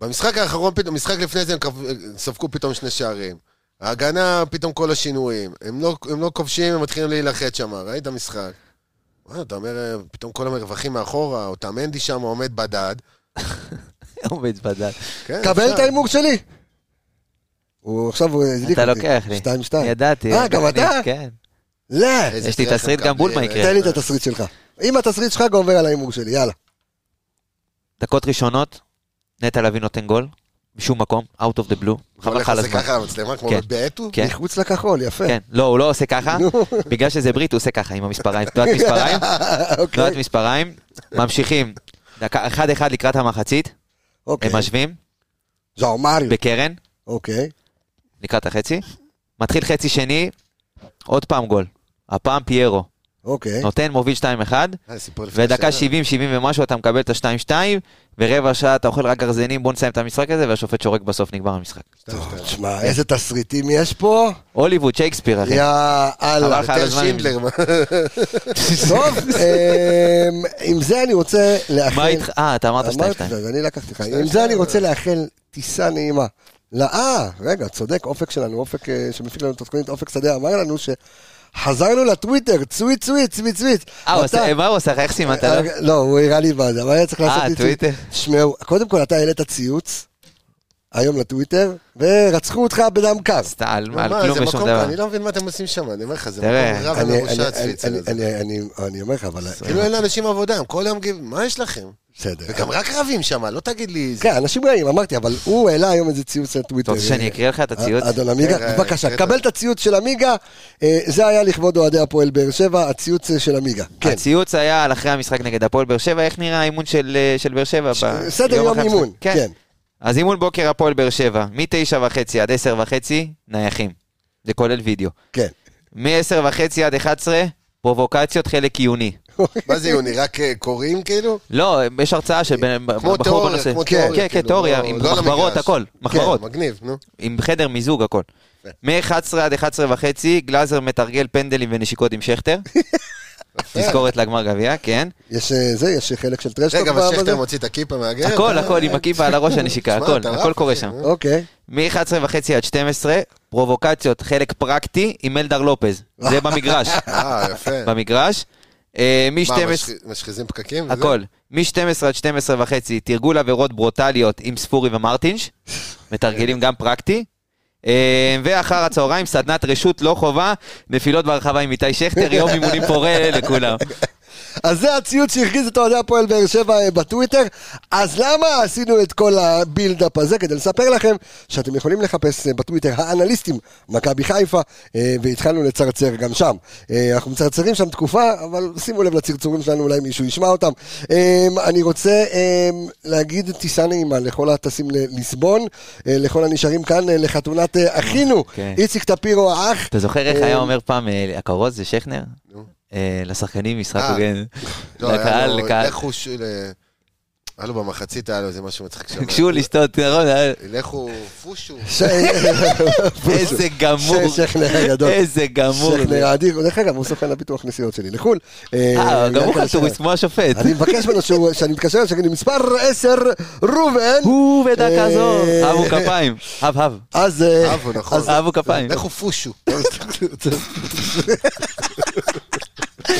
Speaker 4: במשחק האחרון, פתאום, משחק לפני זה הם כב- ספגו פתאום שני שערים. ההגנה, פתאום כל השינויים. הם לא, הם לא כובשים, הם מתחילים להילחץ שם, ראית משחק. וואלה, אתה אומר, אה, פתאום כל המרווחים מאחורה, או תמנדי שם עומד בדד.
Speaker 3: עומד בדל.
Speaker 4: כן,
Speaker 1: קבל
Speaker 4: אפשר.
Speaker 1: את ההימור שלי. הוא עכשיו, הוא הזליק
Speaker 3: אתה
Speaker 1: אותי.
Speaker 3: לוקח לי.
Speaker 1: 2-2.
Speaker 3: ידעתי.
Speaker 1: אה, גם
Speaker 3: אני-
Speaker 1: אתה?
Speaker 3: כן.
Speaker 1: לא.
Speaker 4: איזה
Speaker 3: יש לי
Speaker 4: טריח
Speaker 3: תסריט,
Speaker 4: הם
Speaker 3: גם בול מה
Speaker 4: מקבלים,
Speaker 3: יקרה.
Speaker 4: אה.
Speaker 1: תן לי את התסריט שלך. אם התסריט שלך גובר על ההימור שלי, יאללה.
Speaker 3: דקות ראשונות, נטע לביא נותן גול, משום מקום, out of the blue,
Speaker 4: הוא
Speaker 3: חבל לך
Speaker 4: הולך
Speaker 3: על
Speaker 4: לזה
Speaker 3: הזמן.
Speaker 4: ככה על המצלמה, כמו
Speaker 3: כן.
Speaker 4: בטו?
Speaker 3: כן.
Speaker 1: מחוץ לכחול, יפה.
Speaker 3: כן, לא, הוא לא עושה ככה, בגלל שזה ברית, הוא עושה ככה עם המספריים, תנועת מספריים, תנועת
Speaker 1: אוקיי.
Speaker 3: מספריים, ממשיכים, דקה, אחד אחד לקראת המחצית,
Speaker 1: אוקיי.
Speaker 3: הם משווים,
Speaker 1: ז'או מריו.
Speaker 3: בקרן,
Speaker 1: אוקיי.
Speaker 3: לקראת החצי, מתחיל חצי שני, עוד פעם גול, הפעם פיירו,
Speaker 1: אוקיי.
Speaker 3: נותן מוביל 2-1,
Speaker 4: אה, סיפור לפני
Speaker 3: ודקה
Speaker 4: שנה.
Speaker 3: 70, 70 ומשהו אתה מקבל את ה-2-2, ורבע שעה אתה אוכל רק גרזינים, בוא נסיים את המשחק הזה, והשופט שורק בסוף נגמר המשחק.
Speaker 1: טוב, תשמע,
Speaker 3: כן.
Speaker 1: איזה תסריטים יש פה.
Speaker 3: הוליווד, שייקספיר, אחי.
Speaker 1: יאללה.
Speaker 3: חבל לך על
Speaker 4: יותר
Speaker 3: הזמן.
Speaker 4: שינדלר, מה?
Speaker 1: טוב, אמ, עם זה אני רוצה לאחל...
Speaker 3: מה איתך? אה, אתה אמרת 2-2.
Speaker 1: אמרתי, אז אני לקחתי לך. עם זה אני רוצה לאחל טיסה נעימה. לא, אה, רגע, צודק, אופק שלנו, אופק אה, שמפיק לנו את התוכנית, אופק שדה אמר לנו שחזרנו לטוויטר, צוויט צוויט צוויט צוויט.
Speaker 3: אה, הוא
Speaker 1: אתה-
Speaker 3: עשה- מה הוא עשה? איך סימנת לו?
Speaker 1: אה, לא, הוא הראה לי מה זה, אבל היה צריך
Speaker 3: אה,
Speaker 1: לעשות לי
Speaker 3: טוויטר.
Speaker 1: שמעו, קודם כל אתה העלית ציוץ היום לטוויטר, ורצחו אותך בדם קר.
Speaker 3: סתם, על מה, על
Speaker 4: מה,
Speaker 3: כלום
Speaker 4: זה
Speaker 3: ושום
Speaker 4: מקום-
Speaker 3: דבר.
Speaker 4: אני לא מבין מה אתם עושים שם, אני אומר לך, זה
Speaker 3: תראה,
Speaker 4: מקום רע
Speaker 1: אני- אני-
Speaker 4: ומרושע
Speaker 1: אני-
Speaker 4: צפיצל.
Speaker 1: אני- אני- אני אומר לך, אבל...
Speaker 4: כאילו אין לאנשים עבודה, הם כל היום גיב... מה יש לכם?
Speaker 1: בסדר.
Speaker 4: וגם רק רבים שם, לא תגיד לי... זה-
Speaker 1: כן, אנשים רעים, אמרתי, אבל הוא העלה היום איזה ציוץ לטוויטר.
Speaker 3: אתה רוצה שאני אקריא לך את הציוץ?
Speaker 1: אדון עמיגה,
Speaker 4: רגע,
Speaker 1: בבקשה,
Speaker 4: רגע.
Speaker 1: קבל את הציוץ של עמיגה. אה, זה היה לכבוד אוהדי הפועל באר שבע, הציוץ אה, של עמיגה. כן.
Speaker 3: הציוץ היה על אחרי המשחק נגד הפועל באר שבע, איך נראה האימון של אה, של באר שבע?
Speaker 1: ש-
Speaker 3: ב-
Speaker 1: סדר יום
Speaker 3: אחרי המשחק?
Speaker 1: אימון, כן.
Speaker 3: אז אימון בוקר הפועל באר שבע, מ-9 וחצי עד 10 וחצי, נייחים. זה כולל וידאו.
Speaker 1: כן.
Speaker 3: מ-10 וחצי עד 11, פרובוקציות חלק עיוני.
Speaker 4: מה זה יוני, רק אה, קוראים כאילו?
Speaker 3: לא, יש הרצאה של בן... בחור
Speaker 4: תיאוריה,
Speaker 3: בנושא.
Speaker 4: כמו
Speaker 3: כן,
Speaker 4: תיאוריה,
Speaker 3: כן, כן,
Speaker 4: כאילו,
Speaker 3: תיאוריה,
Speaker 4: לא-
Speaker 3: עם
Speaker 4: לא על
Speaker 3: מחברות,
Speaker 4: המגרש.
Speaker 3: הכל. מחברות.
Speaker 4: כן, מגניב, נו.
Speaker 3: עם חדר מיזוג, הכל.
Speaker 4: יפה.
Speaker 3: מ-11 עד 11 וחצי, גלאזר מתרגל פנדלים ונשיקות עם שכטר. תזכורת לגמר גביע, כן.
Speaker 1: יש אה, זה, יש חלק של טרשטוק.
Speaker 4: רגע, אבל
Speaker 1: בזה?
Speaker 4: שכטר מוציא את הכיפה מהגרב?
Speaker 3: הכל,
Speaker 4: אה,
Speaker 3: הכל, עם הכיפה על הראש הנשיקה,
Speaker 4: תשמע,
Speaker 3: הכל,
Speaker 4: אתה
Speaker 3: הכל
Speaker 4: רב,
Speaker 3: קורה
Speaker 4: אחי,
Speaker 3: שם.
Speaker 4: אה?
Speaker 1: אוקיי.
Speaker 3: מ-11 וחצי עד 12, פרובוקציות, חלק פרקטי, עם אלדר לופז. זה במגרש,
Speaker 4: אה, יפה.
Speaker 3: במגרש. אה,
Speaker 4: מה,
Speaker 3: מ-12,
Speaker 4: משח- משחיזים פקקים? וזה?
Speaker 3: הכל. מ-12 עד 12 וחצי, תרגול עבירות ברוטליות עם ספורי ומרטינש. מתרגלים גם פרקטי. אה, ואחר הצהריים, סדנת רשות לא חובה, נפילות ברחבה עם איתי שכטר, יום אימונים פורה לכולם.
Speaker 1: אז זה הציוץ שהרגיז את אוהדי הפועל באר שבע אה, בטוויטר. אז למה עשינו את כל הבילדאפ הזה? כדי לספר לכם שאתם יכולים לחפש אה, בטוויטר האנליסטים מכבי חיפה, אה, והתחלנו לצרצר גם שם. אה, אנחנו מצרצרים שם תקופה, אבל שימו לב לצרצורים שלנו, אולי מישהו ישמע אותם. אה, אני רוצה אה, להגיד טיסה נעימה לכל הטסים לליסבון, אה, לכל הנשארים כאן, אה, לחתונת אה, אחינו,
Speaker 3: אוקיי.
Speaker 1: איציק טפירו האח.
Speaker 3: אתה זוכר איך
Speaker 1: אה,
Speaker 3: היה אומר פעם, אה, הכרוז זה שכנר? אה, לשחקנים משחק
Speaker 4: אה.
Speaker 3: הוגן.
Speaker 4: לא, היה
Speaker 3: לקהל,
Speaker 4: לו-
Speaker 3: לקהל.
Speaker 4: לכו ש... ל- היה לו במחצית, היה לו איזה משהו מצחיק שם.
Speaker 3: ביקשו לשתות, נכון? אה,
Speaker 4: לכו פושו.
Speaker 1: ש-
Speaker 3: איזה גמור.
Speaker 1: ש- שכנר הגדול.
Speaker 3: איזה גמור.
Speaker 1: שכנר האדיר, דרך אגב, הוא סוכן הביטוח נסיעות שלי לחו"ל.
Speaker 3: אה, גם
Speaker 1: בגלל
Speaker 3: הוא
Speaker 1: כל
Speaker 3: חלטוריסט
Speaker 1: השאר.
Speaker 3: כמו השופט.
Speaker 1: אני מבקש ממנו שהוא- שאני מתקשר, אליו, שאני מספר 10, ראובן.
Speaker 3: הוא בדקה זו.
Speaker 1: אה,
Speaker 3: הבו כפיים. הב הב.
Speaker 1: אז... אה,
Speaker 4: אבו, נכון.
Speaker 1: אז-
Speaker 3: אבו כפיים.
Speaker 4: לכו פושו. לא זה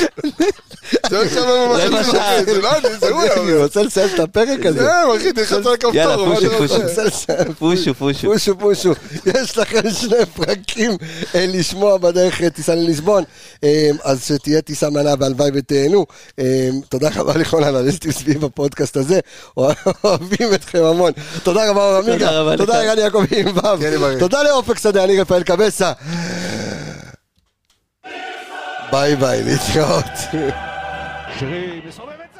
Speaker 4: לא שם
Speaker 3: רבע
Speaker 4: במחצית,
Speaker 3: שעה.
Speaker 4: זה לא אני, זה הוא.
Speaker 1: אני רוצה לסיים את הפרק הזה.
Speaker 4: זהו, אחי, תלחץ על הכפתור.
Speaker 3: יאללה,
Speaker 4: מה
Speaker 3: פושו,
Speaker 4: אתה רוצה?
Speaker 1: אני רוצה לסיים.
Speaker 3: פושו, פושו.
Speaker 1: פושו, פושו. יש לכם שני פרקים אה, לשמוע בדרך אה, טיסה לליסבון, אה, אז שתהיה טיסה מלאה והלוואי ותהנו. אה, תודה רבה לכל האנליסטים סביב הפודקאסט הזה, אוהבים אתכם המון. תודה רבה, אור
Speaker 3: תודה
Speaker 1: עמיגה.
Speaker 3: רבה
Speaker 1: תודה,
Speaker 3: לך.
Speaker 1: ערן יעקב עם
Speaker 4: תהיה לי בריא.
Speaker 1: תודה לאופק שדה, אני רפאל קבסה. ביי ביי, להתראות.
Speaker 2: שירי מסובב את זה